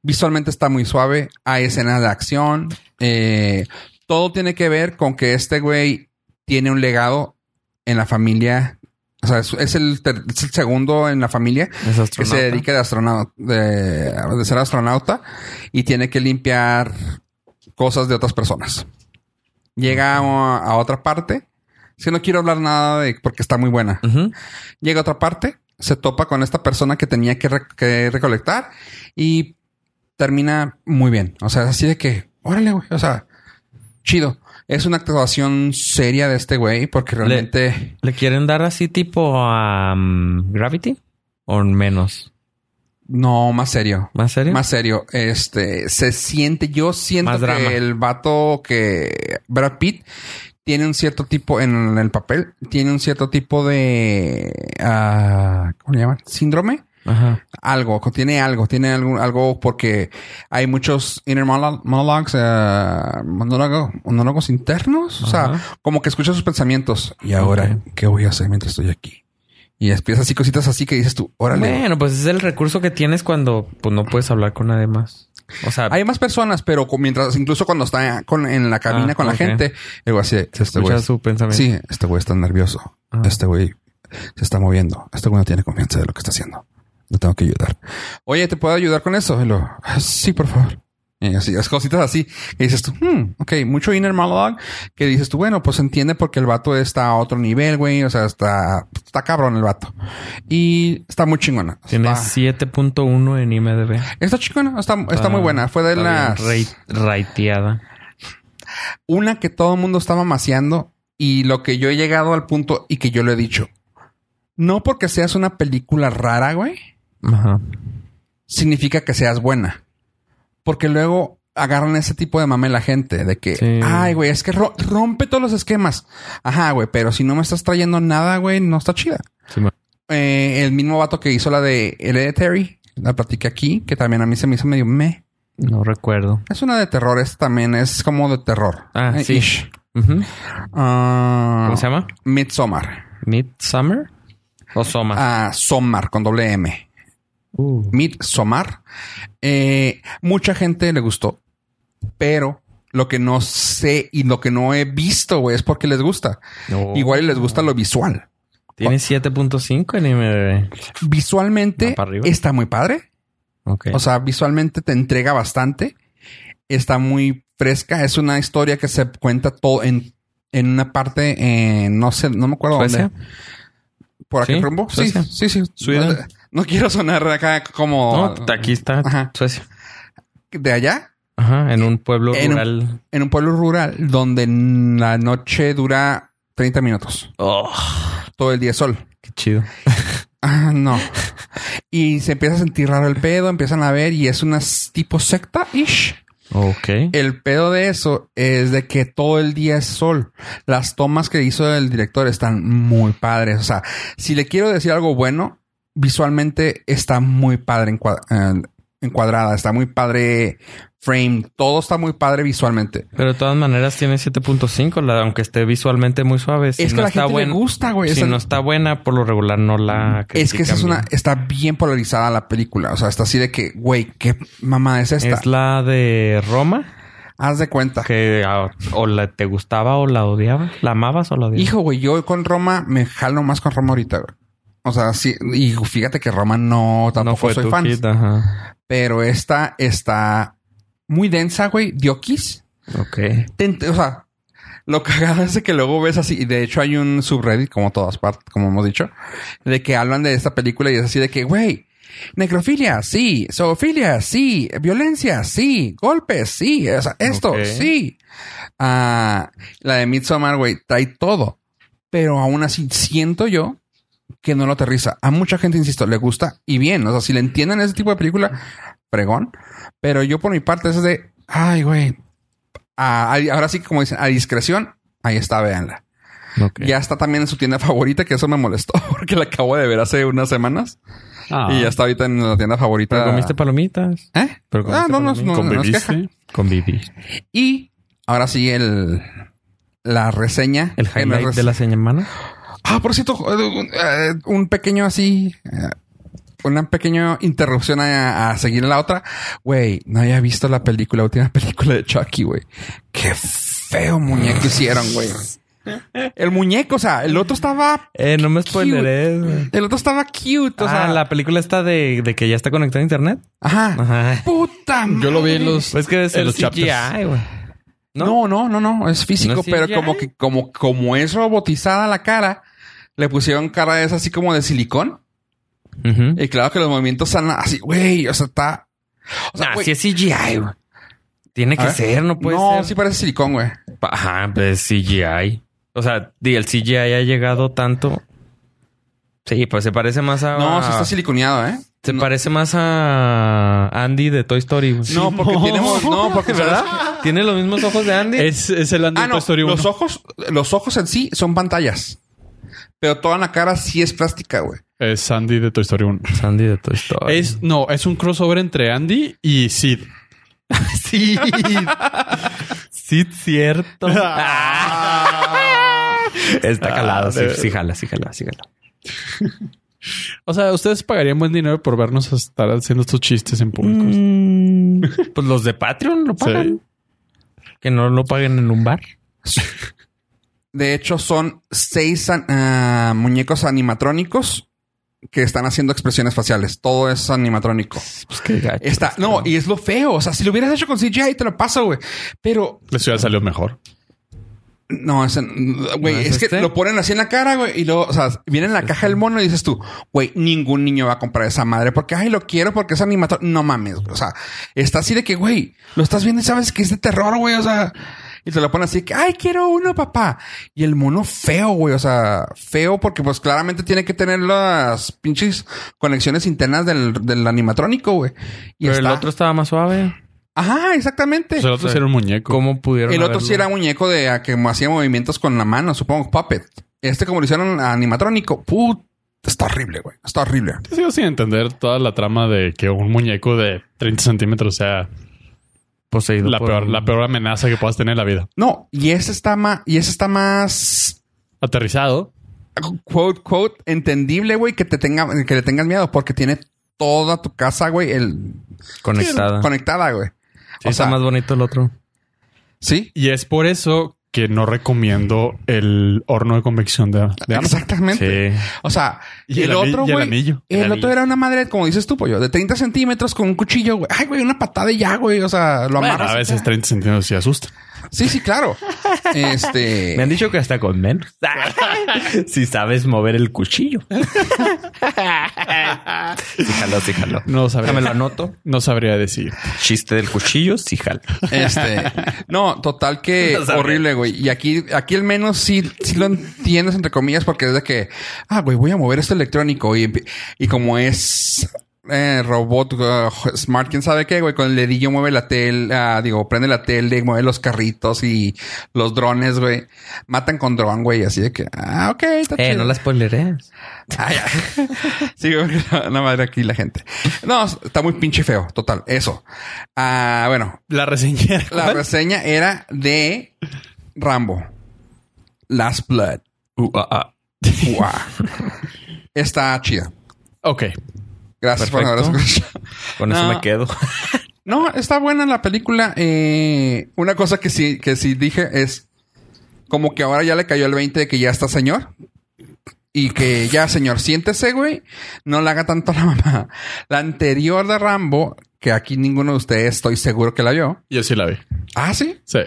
Speaker 1: Visualmente está muy suave. Hay escenas de acción. Eh, todo tiene que ver con que este güey tiene un legado en la familia. O sea, es, es el, ter- es el segundo en la familia
Speaker 3: Es
Speaker 1: que se dedica de astronauta, de, de ser astronauta y tiene que limpiar cosas de otras personas. Llega a, a otra parte. Si no quiero hablar nada de porque está muy buena.
Speaker 3: Ujú.
Speaker 1: Llega a otra parte, se topa con esta persona que tenía que, re- que recolectar y termina muy bien. O sea, así de que, órale, güey. O sea, chido. Es una actuación seria de este güey porque realmente.
Speaker 3: ¿Le quieren dar así tipo a um, Gravity? ¿O menos?
Speaker 1: No, más serio.
Speaker 3: ¿Más serio?
Speaker 1: Más serio. Este se siente, yo siento
Speaker 3: Más
Speaker 1: que
Speaker 3: drama.
Speaker 1: el vato que Brad Pitt tiene un cierto tipo en el papel, tiene un cierto tipo de ah, ¿cómo le llaman? síndrome.
Speaker 3: Ajá.
Speaker 1: Algo, tiene algo, tiene algo, algo porque hay muchos inner monolo- monologues, ah, monólogo- monólogos internos. O sea,
Speaker 3: Ajá.
Speaker 1: como que escucha sus pensamientos. Y ahora, ¿qué voy a hacer mientras estoy aquí? Y empiezas así cositas así que dices tú, órale.
Speaker 3: Bueno, pues es el recurso que tienes cuando pues, no puedes hablar con nadie más. O sea,
Speaker 1: Hay más personas, pero con- mientras, incluso cuando está con- en la cabina
Speaker 3: Ah,
Speaker 1: con la
Speaker 3: ok.
Speaker 1: gente, digo así, este güey.
Speaker 3: escucha su pensamiento.
Speaker 1: Sí, este güey está nervioso.
Speaker 3: Ah.
Speaker 1: Este güey se está moviendo. Este güey no tiene confianza de lo que está haciendo. Le tengo que ayudar. Oye, ¿te puedo ayudar con eso? Y lo, "Ah, sí, por favor. Y así, las cositas así. Y dices tú, hmm, ok, mucho inner monologue. Que dices tú, bueno, pues entiende porque el vato está a otro nivel, güey. O sea, está, está cabrón el vato. Y está muy chingona.
Speaker 3: Tiene
Speaker 1: Está-
Speaker 3: 7.1 en IMDb.
Speaker 1: Está chingona. Está, está
Speaker 3: Ah,
Speaker 1: muy buena. Fue de
Speaker 3: está
Speaker 1: las...
Speaker 3: bien ra- raiteada.
Speaker 1: una que todo el mundo estaba maciando y lo que yo he llegado al punto y que yo lo he dicho. No porque seas una película rara, güey,
Speaker 3: Ajá.
Speaker 1: significa que seas buena. Porque luego agarran ese tipo de mame la gente de que,
Speaker 3: Sí.
Speaker 1: ay, güey, es que ro- rompe todos los esquemas. Ajá, güey, pero si no me estás trayendo nada, güey, no está chida.
Speaker 3: Sí, ma-
Speaker 1: Eh, el mismo vato que hizo la de Hereditary, la platiqué aquí, que también a mí se me hizo medio me.
Speaker 3: no recuerdo.
Speaker 1: Es una de terror, esta también es como de terror.
Speaker 3: Ah,
Speaker 1: Eh,
Speaker 3: sí.
Speaker 1: ish.
Speaker 3: Ujú.
Speaker 1: Ah,
Speaker 3: ¿Cómo se llama?
Speaker 1: Midsommar.
Speaker 3: Midsummer o Soma.
Speaker 1: a Sommar con doble M.
Speaker 3: Uh.
Speaker 1: Midsommar. Eh, mucha gente le gustó, pero lo que no sé y lo que no he visto, güey, es porque les gusta.
Speaker 3: No.
Speaker 1: Igual y les gusta lo visual.
Speaker 3: Tiene 7.5 en IMDb.
Speaker 1: Visualmente
Speaker 3: Va para arriba.
Speaker 1: está muy padre.
Speaker 3: Ok.
Speaker 1: O sea, visualmente te entrega bastante. Está muy fresca. Es una historia que se cuenta todo en, en una parte, en, no sé, no me acuerdo
Speaker 3: Suecia.
Speaker 1: dónde. ¿Por aquí
Speaker 3: Sí,
Speaker 1: rumbo? Sí,
Speaker 3: Suecia.
Speaker 1: sí, sí.
Speaker 2: Sweden.
Speaker 1: No, no quiero sonar acá como...
Speaker 3: No, aquí está
Speaker 1: Ajá.
Speaker 3: Suecia.
Speaker 1: de allá
Speaker 3: Ajá, en un pueblo
Speaker 1: En un-
Speaker 3: rural.
Speaker 1: en un pueblo rural donde n- la noche dura 30 minutos.
Speaker 3: Oh,
Speaker 1: Todo el día es sol.
Speaker 3: qué chido.
Speaker 1: Ah, no. Y se empieza a sentir raro el pedo, empiezan a ver y es una s- tipo secta-ish.
Speaker 3: Ok.
Speaker 1: El pedo de eso es de que todo el día es sol. Las tomas que hizo el director están muy padres. O sea, si le quiero decir algo bueno, visualmente está muy padre encua- eh, encuadrada, está muy padre frame, todo está muy padre visualmente.
Speaker 3: Pero de todas maneras tiene 7.5, la- aunque esté visualmente muy suave. Si
Speaker 1: es que a
Speaker 3: no
Speaker 1: la
Speaker 3: está
Speaker 1: gente
Speaker 3: buen-
Speaker 1: le gusta, güey.
Speaker 3: Si
Speaker 1: Esa-
Speaker 3: no está buena, por lo regular no la
Speaker 1: es que esa es
Speaker 3: critican
Speaker 1: una, está bien polarizada la película. O sea, está así de que, güey, qué mamá es
Speaker 3: bien.
Speaker 1: esta.
Speaker 3: Es la de Roma,
Speaker 1: Haz de cuenta.
Speaker 3: que ah, o la te gustaba o la odiabas, la amabas o la odiabas.
Speaker 1: Hijo, güey, yo con Roma me jalo más con Roma ahorita, güey. O sea, sí, y fíjate que Roma no tampoco
Speaker 3: no fue
Speaker 1: soy
Speaker 3: tu
Speaker 1: fan.
Speaker 3: hit, ajá.
Speaker 1: Pero esta está muy densa, güey. Diokis.
Speaker 3: Ok.
Speaker 1: Te ent- O sea, lo cagado es de que luego ves así. Y de hecho, hay un subreddit, como todas partes, como hemos dicho, de que hablan de esta película y es así de que, güey, necrofilia, sí, zoofilia, sí, violencia, sí, golpes, sí, o sea, esto,
Speaker 2: Ok.
Speaker 1: sí. Ah, la de Midsommar, güey, trae todo. Pero aún así, siento yo que no lo aterriza. A mucha gente, insisto, le gusta y bien. O sea, si le entienden ese tipo de película, fregón. Pero yo por mi parte es de, ay, güey. Ah, ahí- ahora sí, como dicen, a discreción, ahí está, véanla.
Speaker 3: Ok.
Speaker 1: Ya está también en su tienda favorita, que eso me molestó porque la acabo de ver hace unas semanas. Y ya está ahorita en la tienda favorita.
Speaker 3: Ah, Pero comiste palomitas.
Speaker 1: ¿Eh?
Speaker 3: pero
Speaker 1: ah,
Speaker 3: comiste
Speaker 1: no, no, no, no, no es queja.
Speaker 2: ¿Conviviste?
Speaker 3: Conviví.
Speaker 1: Y ahora sí, el... La reseña.
Speaker 3: El
Speaker 1: que nos
Speaker 3: highlight
Speaker 1: rese-
Speaker 3: de la semana.
Speaker 1: Ah, por cierto, eh, un, eh, un pequeño así, eh, una pequeña interrupción a, a seguir la otra. Güey, no había visto la película, la última película de Chucky, güey. Qué feo muñeco hicieron, güey. El muñeco, o sea, el otro estaba,
Speaker 3: Eh, no me spoileres. güey.
Speaker 1: el otro estaba cute, o sea,
Speaker 3: ah, la película está de, de que ya está conectada a internet.
Speaker 1: ajá.
Speaker 3: Ajá.
Speaker 1: Puta.
Speaker 2: Yo lo vi en
Speaker 1: madre.
Speaker 2: los.
Speaker 3: Pues que es
Speaker 2: en
Speaker 3: el
Speaker 2: los chapters.
Speaker 3: CGI, güey.
Speaker 1: No, no, no, no, es físico,
Speaker 3: ¿No es
Speaker 1: pero
Speaker 3: CGI?
Speaker 1: como que como como es robotizada la cara, le pusieron cara esa así como de silicón.
Speaker 3: Ujú.
Speaker 1: Y claro que los movimientos son así, güey, o sea, está. O sea,
Speaker 3: Nah,
Speaker 1: güey,
Speaker 3: sí es CGI, güey. Tiene
Speaker 1: A
Speaker 3: que
Speaker 1: ver.
Speaker 3: ser, no puede
Speaker 1: no,
Speaker 3: ser.
Speaker 1: sí parece silicón, güey.
Speaker 3: Pa- Ajá, pues CGI. O sea, di, el CGI ha llegado tanto. Sí, pues se parece más a.
Speaker 1: No, sí está siliconeado, ¿eh?
Speaker 3: Se parece más a Andy de Toy Story. güey.
Speaker 1: No, porque tenemos. No, porque ¿verdad?
Speaker 3: Tiene los mismos ojos de Andy.
Speaker 2: Es, es el Andy
Speaker 1: Ah,
Speaker 2: de
Speaker 1: no.
Speaker 2: Toy Story 1.
Speaker 1: Los ojos, los ojos en sí son pantallas. Pero toda la cara sí es plástica, güey.
Speaker 2: Es Andy de Toy Story 1.
Speaker 3: Es Andy de Toy Story.
Speaker 2: Es, no, es un crossover entre Andy y Sid.
Speaker 3: sí. sí, cierto. Ah. Está calado, sí, sí, jala, sí, jala, sí, jala.
Speaker 2: O sea, ustedes pagarían buen dinero por vernos estar haciendo estos chistes en público.
Speaker 1: Mm.
Speaker 3: Pues los de Patreon lo pagan.
Speaker 2: pagan.
Speaker 3: Que no lo paguen en un bar.
Speaker 1: De hecho, son seis an- ah, muñecos animatrónicos que están haciendo expresiones faciales. Todo es animatrónico.
Speaker 3: Pues qué gacho.
Speaker 1: Está, no, y es lo feo. O sea, si lo hubieras hecho con CGI, te lo paso, güey. Pero
Speaker 2: La ciudad salió mejor.
Speaker 1: No, ese- güey,
Speaker 3: ¿No es
Speaker 1: es, que
Speaker 3: este?
Speaker 1: lo ponen así en la cara, güey, y luego, o sea, viene en la caja del mono y dices tú, güey, ningún niño va a comprar esa madre porque, ay, lo quiero porque es animator. No mames, güey. o sea, está así de que, güey, lo estás viendo y sabes que es de terror, güey, o sea, y te lo ponen así que, ay, quiero uno, papá. Y el mono feo, güey, o sea, feo porque, pues, claramente tiene que tener las pinches conexiones internas del, del animatrónico, güey. Y
Speaker 3: Pero el
Speaker 1: está-
Speaker 3: otro estaba más suave.
Speaker 1: Ajá, exactamente.
Speaker 2: O sea, el otro sí era un muñeco.
Speaker 3: ¿Cómo pudieron?
Speaker 1: El otro sí era
Speaker 3: haberlo?
Speaker 1: muñeco de a que hacía movimientos con la mano, supongo, puppet. Este como lo hicieron a animatrónico, put, está horrible, güey. Está horrible.
Speaker 2: Sigo sin entender toda la trama de que un muñeco de 30 centímetros sea
Speaker 3: poseído.
Speaker 2: la
Speaker 3: por
Speaker 2: peor,
Speaker 3: un-
Speaker 2: la peor amenaza que puedas tener en la vida.
Speaker 1: No, y ese está más, y ese está más
Speaker 2: Aterrizado.
Speaker 1: quote, quote, entendible, güey, que te tenga, que le tengas miedo, porque tiene toda tu casa, güey, el
Speaker 3: Conectada.
Speaker 1: conectada, güey. o
Speaker 3: Sí, está
Speaker 1: sea,
Speaker 3: más bonito el otro.
Speaker 1: sí.
Speaker 2: Y es por eso que no recomiendo el horno de convección de, de Amazon.
Speaker 1: Exactamente. O sea,
Speaker 2: Y
Speaker 1: el,
Speaker 2: el ami-
Speaker 1: otro,
Speaker 2: y el
Speaker 1: güey,
Speaker 2: anillo.
Speaker 1: El,
Speaker 2: El
Speaker 1: otro
Speaker 2: anillo.
Speaker 1: era una madre, como dices tú, pollo, de 30 centímetros con un cuchillo, güey. Ay, güey, una patada y ya, güey. O sea, lo
Speaker 2: Bueno,
Speaker 1: amarras.
Speaker 2: a
Speaker 1: y
Speaker 2: veces
Speaker 1: ya.
Speaker 2: 30 centímetros sí asusta.
Speaker 1: Sí, sí, claro. Este.
Speaker 3: Me han dicho que hasta con menos.
Speaker 1: Ah,
Speaker 3: si sabes mover el cuchillo. sí, jaló, sí, jaló.
Speaker 2: No
Speaker 3: Déjame lo
Speaker 2: sabría,
Speaker 3: anoto.
Speaker 2: no sabría decir.
Speaker 3: Chiste del cuchillo, sí, jalo.
Speaker 1: Este, no, total que
Speaker 3: No sabía.
Speaker 1: horrible, güey. Y aquí, aquí al menos sí, sí lo entiendes entre comillas, porque es de que, ah, güey, voy a mover esto electrónico y, empie- y como es eh, robot uh, smart, quién sabe qué, güey, con el dedillo mueve la tele, ah, digo, prende la tele, mueve los carritos y los drones, güey. Matan con dron, güey, así de que, ah, ok, está
Speaker 3: Eh,
Speaker 1: chido.
Speaker 3: no las spoilereas.
Speaker 1: Ay, ay. Ah, sí, güey, la, la madre aquí la gente. No, está muy pinche feo, total, eso. Ah, bueno,
Speaker 2: La reseñé.
Speaker 1: la reseña era de Rambo. Last Blood. Guau. Está chida.
Speaker 2: Ok.
Speaker 1: Gracias por haber
Speaker 3: Perfecto.
Speaker 1: escuchado.
Speaker 3: Con eso
Speaker 1: No.
Speaker 3: me quedo.
Speaker 1: No, está buena la película. Eh, una cosa que sí, que sí dije es como que ahora ya le cayó el 20 de que ya está señor. Y que ya, señor, siéntese, güey. No le haga tanto a la mamá. La anterior de Rambo, que aquí ninguno de ustedes estoy seguro que la vio.
Speaker 2: Yo sí la vi.
Speaker 1: Ah, sí.
Speaker 2: Sí.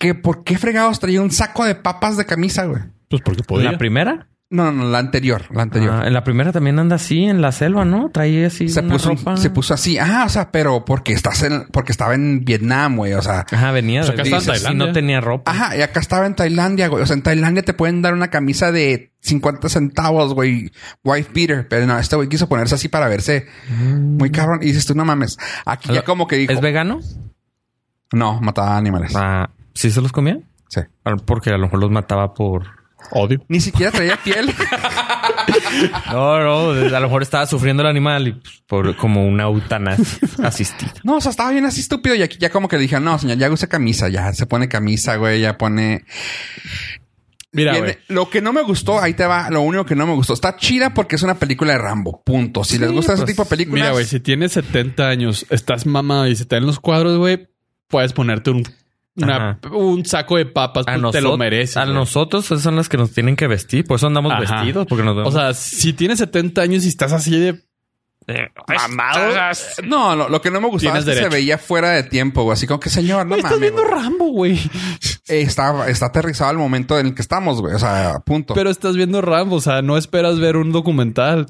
Speaker 1: Que por qué fregados traía un saco de papas de camisa, güey.
Speaker 2: Pues porque
Speaker 3: ¿En
Speaker 2: podía.
Speaker 3: la primera?
Speaker 1: No, no, la anterior, la anterior.
Speaker 3: Ah, en la primera también anda así, en la selva, ¿no? Traía así
Speaker 1: se
Speaker 3: una
Speaker 1: puso,
Speaker 3: ropa.
Speaker 1: se puso así. Ah, o sea, pero porque estás en, porque estaba en Vietnam, güey. O sea,
Speaker 3: Ajá, venía.
Speaker 2: Pues acá
Speaker 3: de-
Speaker 2: está en
Speaker 3: dices, sí,
Speaker 2: Tailandia.
Speaker 3: no tenía ropa.
Speaker 1: ajá, y acá estaba en Tailandia, güey. O sea, en Tailandia te pueden dar una camisa de 50 centavos, güey. Wife Peter. Pero no, este güey quiso ponerse así para verse muy cabrón. Y dices tú, no mames. Aquí ya como que dijo,
Speaker 3: ¿Es vegano?
Speaker 1: no, mataba animales.
Speaker 3: Ah, ¿Sí se los comía?
Speaker 1: Sí.
Speaker 3: Ah, Porque a lo mejor los mataba por...
Speaker 2: Odio.
Speaker 1: Ni siquiera traía piel.
Speaker 3: No, no, a lo mejor estaba sufriendo el animal y pues, por, como una eutanasia asistida.
Speaker 1: No, o sea, estaba bien así estúpido y aquí ya como que le dije, no, señor, ya usa camisa, ya se pone camisa, güey, ya pone...
Speaker 2: Mira,
Speaker 1: Tiene-
Speaker 2: güey.
Speaker 1: lo que no me gustó, ahí te va, lo único que no me gustó. Está chida porque es una película de Rambo, punto. Si les
Speaker 3: Sí,
Speaker 1: gusta ese
Speaker 3: pues,
Speaker 1: tipo de películas...
Speaker 2: Mira, güey, si tienes 70 años, estás mamado y se te dan los cuadros, güey, puedes ponerte un, una- un saco de papas,
Speaker 3: A
Speaker 2: pues, te
Speaker 3: nosotros,
Speaker 2: lo mereces.
Speaker 3: a
Speaker 2: güey.
Speaker 3: nosotros esas son las que nos tienen que vestir. Por eso andamos
Speaker 2: Ajá.
Speaker 3: vestidos, porque nos
Speaker 2: O
Speaker 3: vemos...
Speaker 2: sea, si tienes 70 años y estás así de
Speaker 3: eh,
Speaker 2: mamado,
Speaker 1: Eh, No, lo, lo que no me gustaba es
Speaker 2: Tienes
Speaker 1: que se
Speaker 2: derecho.
Speaker 1: veía fuera de tiempo, güey. Así como que, señor, no
Speaker 2: "Güey, estás
Speaker 1: mames.
Speaker 2: viendo
Speaker 1: güey".
Speaker 2: Rambo, güey.
Speaker 1: Eh, Está, está aterrizado el momento en el que estamos, güey. O sea, punto.
Speaker 2: Pero estás viendo Rambo, o sea, no esperas ver un documental.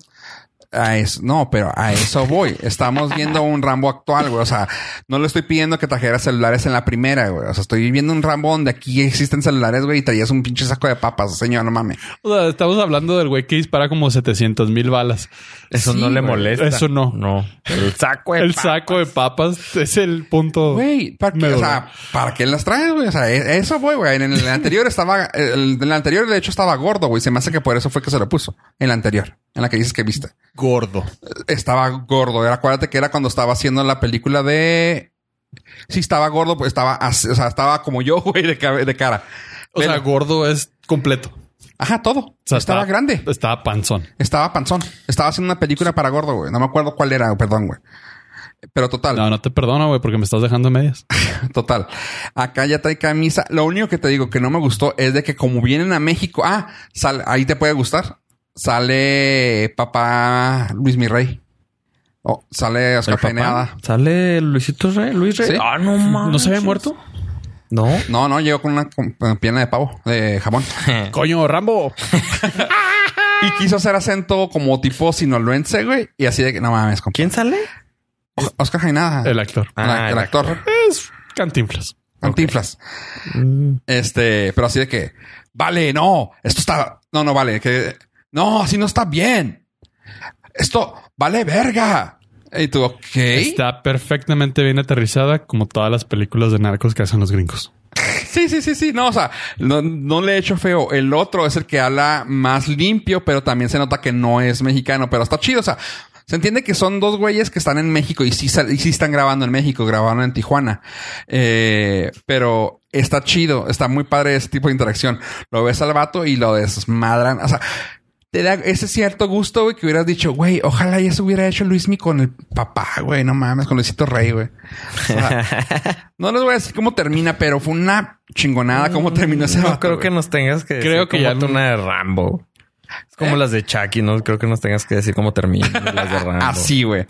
Speaker 1: A eso- no, pero a eso voy. Estamos viendo un Rambo actual, güey. O sea, no le estoy pidiendo que trajera celulares en la primera, güey. O sea, estoy viendo un Rambo donde aquí existen celulares, güey, y traías un pinche saco de papas, señor, no mames.
Speaker 2: O sea, estamos hablando del güey que dispara como 700 mil balas.
Speaker 3: Eso
Speaker 1: Sí,
Speaker 3: no le
Speaker 1: güey.
Speaker 3: molesta.
Speaker 2: Eso no.
Speaker 3: No. El saco.
Speaker 2: El saco de papas es el punto.
Speaker 1: Güey, ¿para qué,
Speaker 2: Me
Speaker 1: o
Speaker 2: dolió.
Speaker 1: sea, ¿para qué las traes, güey? O sea, e- eso, güey, güey. En el anterior estaba, el, en el anterior, de hecho, estaba gordo, güey. Se me hace que por eso fue que se lo puso. En la anterior, en la que dices que viste.
Speaker 2: gordo.
Speaker 1: Estaba gordo. Era- Acuérdate que era cuando estaba haciendo la película de. Sí, estaba gordo, pues estaba así, o sea, estaba como yo, güey, de, cabe- de cara.
Speaker 2: O sea,
Speaker 1: Velo.
Speaker 2: gordo es completo.
Speaker 1: Ajá, todo.
Speaker 2: O sea,
Speaker 1: estaba grande.
Speaker 2: Estaba panzón.
Speaker 1: Estaba panzón. Estaba haciendo una película para gordo, güey. No me acuerdo cuál era, perdón, güey. Pero total.
Speaker 2: No, no te perdono, güey, porque me estás dejando a medias.
Speaker 1: Total. Acá ya trae camisa. Lo único que te digo que no me gustó es de que como vienen a México, ah, sal- ahí te puede gustar. Sale papá Luis Mirrey. Oh, sale Oscar Peneada.
Speaker 3: Ah, Sale Luisito Rey, Luis Rey.
Speaker 1: Sí.
Speaker 3: Ah, no
Speaker 2: ¿No se había
Speaker 3: manches.
Speaker 2: muerto?
Speaker 3: No.
Speaker 1: No, no, llegó con una con- con pierna de pavo, de jamón.
Speaker 3: Ah.
Speaker 2: Coño, Rambo.
Speaker 1: Y quiso hacer acento como tipo sinaloense, güey. Y así de que no mames, compa.
Speaker 3: ¿Quién sale?
Speaker 1: O- Oscar Jainada.
Speaker 2: El actor.
Speaker 3: Ah,
Speaker 1: el
Speaker 3: el
Speaker 1: actor.
Speaker 2: Es cantinflas.
Speaker 1: Antiflas.
Speaker 3: Mm.
Speaker 1: Este, pero así de que, vale, no, esto está, no, no vale, que, no, así no está bien. Esto vale verga. Y tú, ok.
Speaker 2: Está perfectamente bien aterrizada, como todas las películas de narcos que hacen los gringos.
Speaker 1: Sí, sí, sí, sí. No, o sea, no, no le he hecho feo. El otro es el que habla más limpio, pero también se nota que no es mexicano, pero está chido. O sea, se entiende que son dos güeyes que están en México y sí, sal- y sí están grabando en México, grabaron en Tijuana. Eh, pero está chido, está muy padre ese tipo de interacción. Lo ves al vato y lo desmadran. O sea, te da ese cierto gusto, güey, que hubieras dicho, güey, ojalá ya se hubiera hecho Luismi con el papá, güey, no mames, con Luisito Rey, güey. O sea, no les voy a decir cómo termina, pero fue una chingonada cómo terminó ese
Speaker 3: No
Speaker 1: vato,
Speaker 3: creo que
Speaker 1: güey.
Speaker 3: nos tengas que
Speaker 2: Creo
Speaker 3: decir
Speaker 2: que
Speaker 3: cómo
Speaker 2: ya no-
Speaker 3: tú una de Rambo. Es como
Speaker 1: ¿Eh?
Speaker 3: las de Chucky, no creo que nos tengas que decir cómo terminan las de Rambo.
Speaker 1: Así, güey.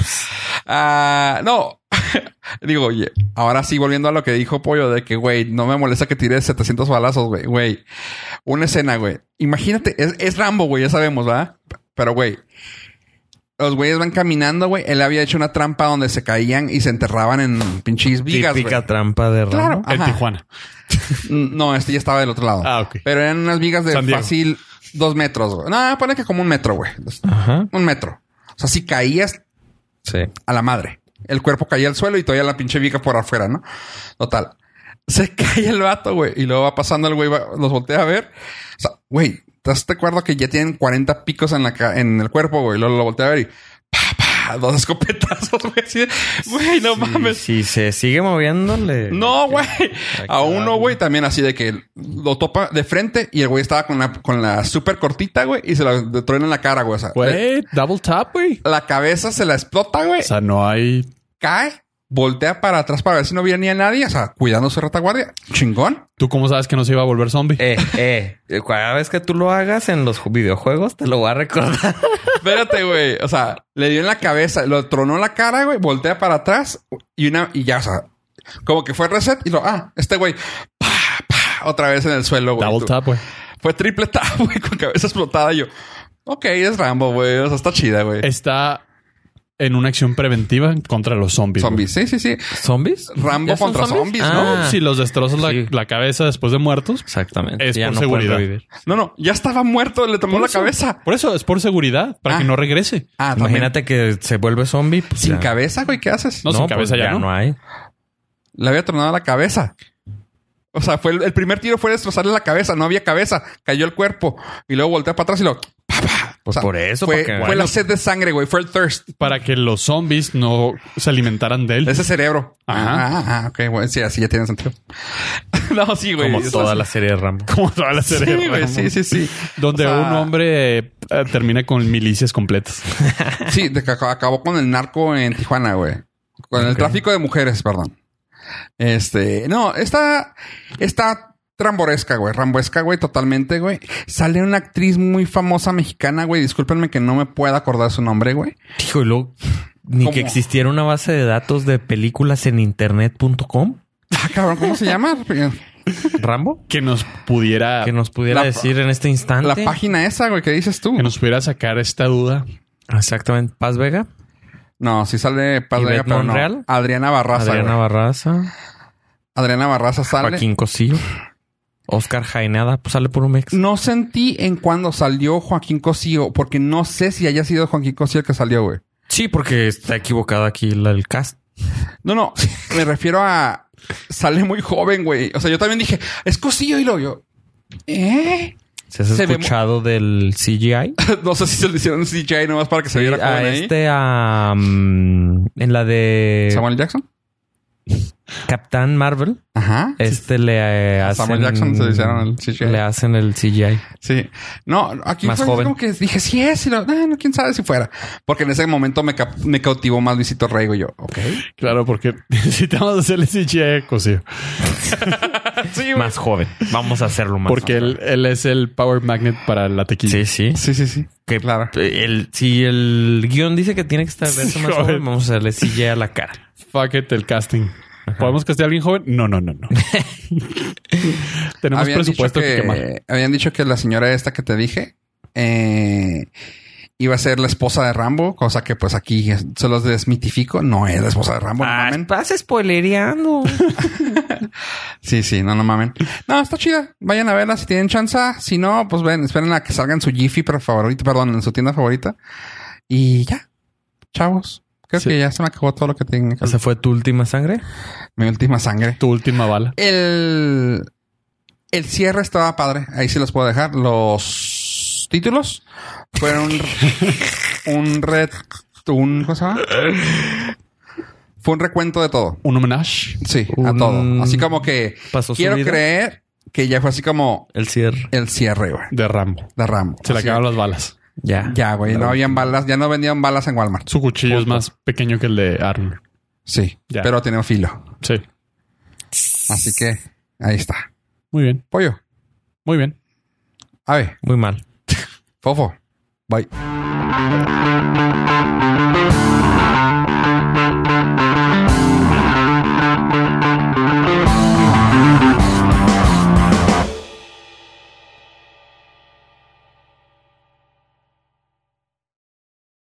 Speaker 1: Ah, no. Digo, oye, ahora sí, volviendo a lo que dijo Pollo, de que, güey, no me molesta que tires 700 balazos, güey. Güey, una escena, güey. Imagínate, es, es Rambo, güey, ya sabemos, ¿verdad? Pero, güey, los güeyes van caminando, güey. Él había hecho una trampa donde se caían y se enterraban en pinches vigas, güey.
Speaker 3: Típica trampa de raro.
Speaker 1: Claro,
Speaker 2: En
Speaker 1: ajá.
Speaker 2: Tijuana.
Speaker 1: No, este ya estaba del otro lado.
Speaker 2: Ah, ok.
Speaker 1: Pero eran unas vigas de
Speaker 2: San Diego.
Speaker 1: fácil dos metros, güey. No, pone que como un metro, güey.
Speaker 3: Ajá.
Speaker 1: Un metro. O sea, si caías,
Speaker 3: Sí.
Speaker 1: a la madre. El cuerpo caía al suelo y todavía la pinche viga por afuera, ¿no? Total. Se cae el vato, güey. Y luego va pasando el güey, va- los voltea a ver. O sea, güey, ¿estás de acuerdo que ya tienen 40 picos en, la ca- en el cuerpo, güey? Y Luego lo voltea a ver y... Pa, pa, dos escopetazos, güey. así de, Güey, no mames.
Speaker 3: Si se sigue moviéndole.
Speaker 1: No, güey. A
Speaker 3: claro.
Speaker 1: uno, güey, también así de que lo topa de frente y el güey estaba con la, con la súper cortita, güey, y se la truena en la cara, güey. O sea,
Speaker 2: Güey, double tap, güey.
Speaker 1: la cabeza se la explota, güey
Speaker 2: O sea, no hay.
Speaker 1: cae, voltea para atrás para ver si no viene ni a nadie, o sea, cuidando su retaguardia. Chingón.
Speaker 2: ¿Tú cómo sabes que no se iba a volver zombie?
Speaker 3: Eh, eh. Cada vez que tú lo hagas en los videojuegos, te lo voy a recordar.
Speaker 1: Espérate, güey. O sea, le dio en la cabeza, lo tronó en la cara, güey, voltea para atrás y una, y ya, o sea, como que fue reset y lo, ah, este güey, pa, pa, otra vez en el suelo, güey.
Speaker 2: double
Speaker 1: Pues Tú-
Speaker 2: tap, güey.
Speaker 1: Fue triple tap, güey, con cabeza explotada. Y yo, ok, es Rambo, güey, o sea, está chida, güey.
Speaker 2: Está en una acción preventiva contra los zombies. güey.
Speaker 1: Zombies, sí, sí, sí.
Speaker 3: ¿Zombies?
Speaker 1: Rambo
Speaker 3: ¿Ya son
Speaker 1: contra zombies,
Speaker 3: Ah,
Speaker 1: ¿no?
Speaker 2: Si los destrozas la,
Speaker 3: Sí.
Speaker 2: la cabeza después de muertos,
Speaker 3: Exactamente.
Speaker 2: Es
Speaker 3: Ya
Speaker 2: por
Speaker 3: no pueden
Speaker 2: seguridad.
Speaker 3: revivir.
Speaker 1: No, no, ya estaba muerto, le tomó
Speaker 2: Por
Speaker 1: la
Speaker 2: eso.
Speaker 1: cabeza.
Speaker 2: Por eso es por seguridad, para
Speaker 1: Ah.
Speaker 2: que no regrese.
Speaker 1: Ah, también.
Speaker 3: Imagínate que se vuelve zombie. pues,
Speaker 1: Sin
Speaker 3: ya.
Speaker 1: cabeza, güey, ¿qué haces?
Speaker 2: No, sin
Speaker 3: pues,
Speaker 2: cabeza ya no.
Speaker 3: hay.
Speaker 1: Le había tronado la cabeza. O sea, fue el, el primer tiro fue destrozarle la cabeza, no había cabeza, cayó el cuerpo y luego voltea para atrás y lo. pa, pa.
Speaker 3: Pues por eso,
Speaker 1: Fue,
Speaker 3: porque-
Speaker 1: fue
Speaker 3: bueno.
Speaker 1: la sed de sangre, güey. Fue el thirst.
Speaker 2: Para que los zombies no se alimentaran de él.
Speaker 1: Ese cerebro.
Speaker 2: Ajá.
Speaker 1: Ah, ah, ok, güey. Sí, así ya tiene sentido. no, sí, güey.
Speaker 3: Como
Speaker 1: Eso
Speaker 3: toda
Speaker 1: es-
Speaker 3: la serie de Rambo.
Speaker 2: Como toda la serie.
Speaker 1: Sí, güey.
Speaker 2: Rambo.
Speaker 1: Sí, sí, sí.
Speaker 2: Donde
Speaker 1: O sea,
Speaker 2: un hombre eh, eh, termina con milicias completas.
Speaker 1: Sí, de que ac- acabó con el narco en Tijuana, güey. Con el tráfico de mujeres, perdón. Este, no, está, está tramboresca, güey, ramboesca, güey, totalmente, güey. Sale una actriz muy famosa mexicana, güey. Discúlpenme que no me pueda acordar su nombre, güey.
Speaker 3: Hijo, y luego, ni
Speaker 1: ¿Cómo?
Speaker 3: que existiera una base de datos de películas en internet.com.
Speaker 1: Ah, cabrón, ¿cómo se llama?
Speaker 3: Rambo.
Speaker 2: Que nos pudiera.
Speaker 3: Que nos pudiera
Speaker 1: La-
Speaker 3: decir en este instante.
Speaker 1: La página esa, güey, ¿qué dices tú?
Speaker 2: que nos pudiera sacar esta duda.
Speaker 3: Exactamente. Paz Vega.
Speaker 1: No, sí sale Paz
Speaker 3: ¿Y
Speaker 1: Vega,
Speaker 3: Beth
Speaker 1: pero no.
Speaker 3: Monreal?
Speaker 1: Adriana Barraza,
Speaker 3: Adriana
Speaker 1: güey.
Speaker 3: Barraza.
Speaker 1: Adriana Barraza sale.
Speaker 3: Joaquín Cosillo. Oscar Jaenada. Pues sale por un ex.
Speaker 1: No sentí en cuando salió Joaquín Cosío, porque no sé si haya sido Joaquín Cosío el que salió, güey.
Speaker 3: Sí, porque está equivocado aquí la- el cast.
Speaker 1: No, no, me refiero a. Sale muy joven, güey. O sea, yo también dije, es cosillo y lo yo. ¿Eh?
Speaker 3: ¿Se has
Speaker 1: Se ve
Speaker 3: escuchado del CGI?
Speaker 1: No sé si se le hicieron CGI nomás para que se viera joven
Speaker 3: a
Speaker 1: ahí.
Speaker 3: este, a. mm, en la de.
Speaker 1: Samuel Jackson.
Speaker 3: Capitán Marvel.
Speaker 1: Ajá.
Speaker 3: Este le eh,
Speaker 1: A
Speaker 3: hacen...
Speaker 1: Samuel Jackson se le hicieron el CGI.
Speaker 3: Le hacen el CGI.
Speaker 1: Sí. No, aquí
Speaker 3: Más
Speaker 1: fue
Speaker 3: joven.
Speaker 1: como que dije, sí es. Y lo, "Ah, no, quién sabe si fuera. Porque en ese momento me, cap- me cautivó más Luisito Rey, güey. Yo, ok.
Speaker 2: Claro, porque necesitamos hacerle CGI cosío.
Speaker 3: Más joven. Vamos a hacerlo más
Speaker 2: Porque
Speaker 3: joven.
Speaker 2: él, él es el power magnet para la tequila.
Speaker 3: Sí, sí.
Speaker 1: Sí, sí, sí.
Speaker 3: Que
Speaker 1: Claro.
Speaker 3: el- si el guión dice que tiene que estar verse más
Speaker 2: Joven.
Speaker 3: joven, vamos a hacerle CGI a la cara.
Speaker 2: Fuck it, el casting. ¿Podemos castear a alguien joven? No, no, no, no. Tenemos
Speaker 1: Habían dicho
Speaker 2: presupuesto que quemar.
Speaker 1: Habían dicho que la señora esta que te dije eh, iba a ser la esposa de Rambo, cosa que pues aquí se los desmitifico. No es la esposa de Rambo, no
Speaker 2: Ah,
Speaker 1: mamen.
Speaker 3: Ah, Estás spoilereando.
Speaker 1: Sí, sí, no, no mamen. No, está chida. Vayan a verla si tienen chance. Si no, pues ven, esperen a que salga en su Jiffy pero favorito, perdón, en su tienda favorita. Y ya, chavos. Creo
Speaker 2: Sí.
Speaker 1: que ya se me acabó todo lo que tenía. que hacer.
Speaker 3: ¿Esa fue tu última sangre?
Speaker 1: Mi última sangre.
Speaker 2: Tu última bala.
Speaker 1: El, el cierre estaba padre. Ahí sí los puedo dejar. Los títulos fueron un red. Un, ¿Cómo se llama? Fue un recuento de todo.
Speaker 2: Un homenaje.
Speaker 1: Sí, a
Speaker 3: Un-
Speaker 1: todo. Así como que
Speaker 3: Pasó su
Speaker 1: quiero
Speaker 3: vida.
Speaker 1: creer que ya fue así como
Speaker 3: El cierre.
Speaker 1: el cierre, güey,
Speaker 2: de Rambo.
Speaker 1: de Rambo.
Speaker 2: Se le
Speaker 1: Así-
Speaker 2: acabaron las balas.
Speaker 3: Ya.
Speaker 1: Ya, güey. No habían balas, ya no vendían balas en Walmart.
Speaker 2: Su cuchillo es más pequeño que el de Arnold.
Speaker 1: Sí,
Speaker 2: Ya.
Speaker 1: pero tenía filo.
Speaker 2: Sí.
Speaker 1: Así que ahí está.
Speaker 2: Muy bien.
Speaker 1: Pollo,
Speaker 2: Muy bien.
Speaker 1: ave,
Speaker 3: Muy mal.
Speaker 1: fofo. Bye.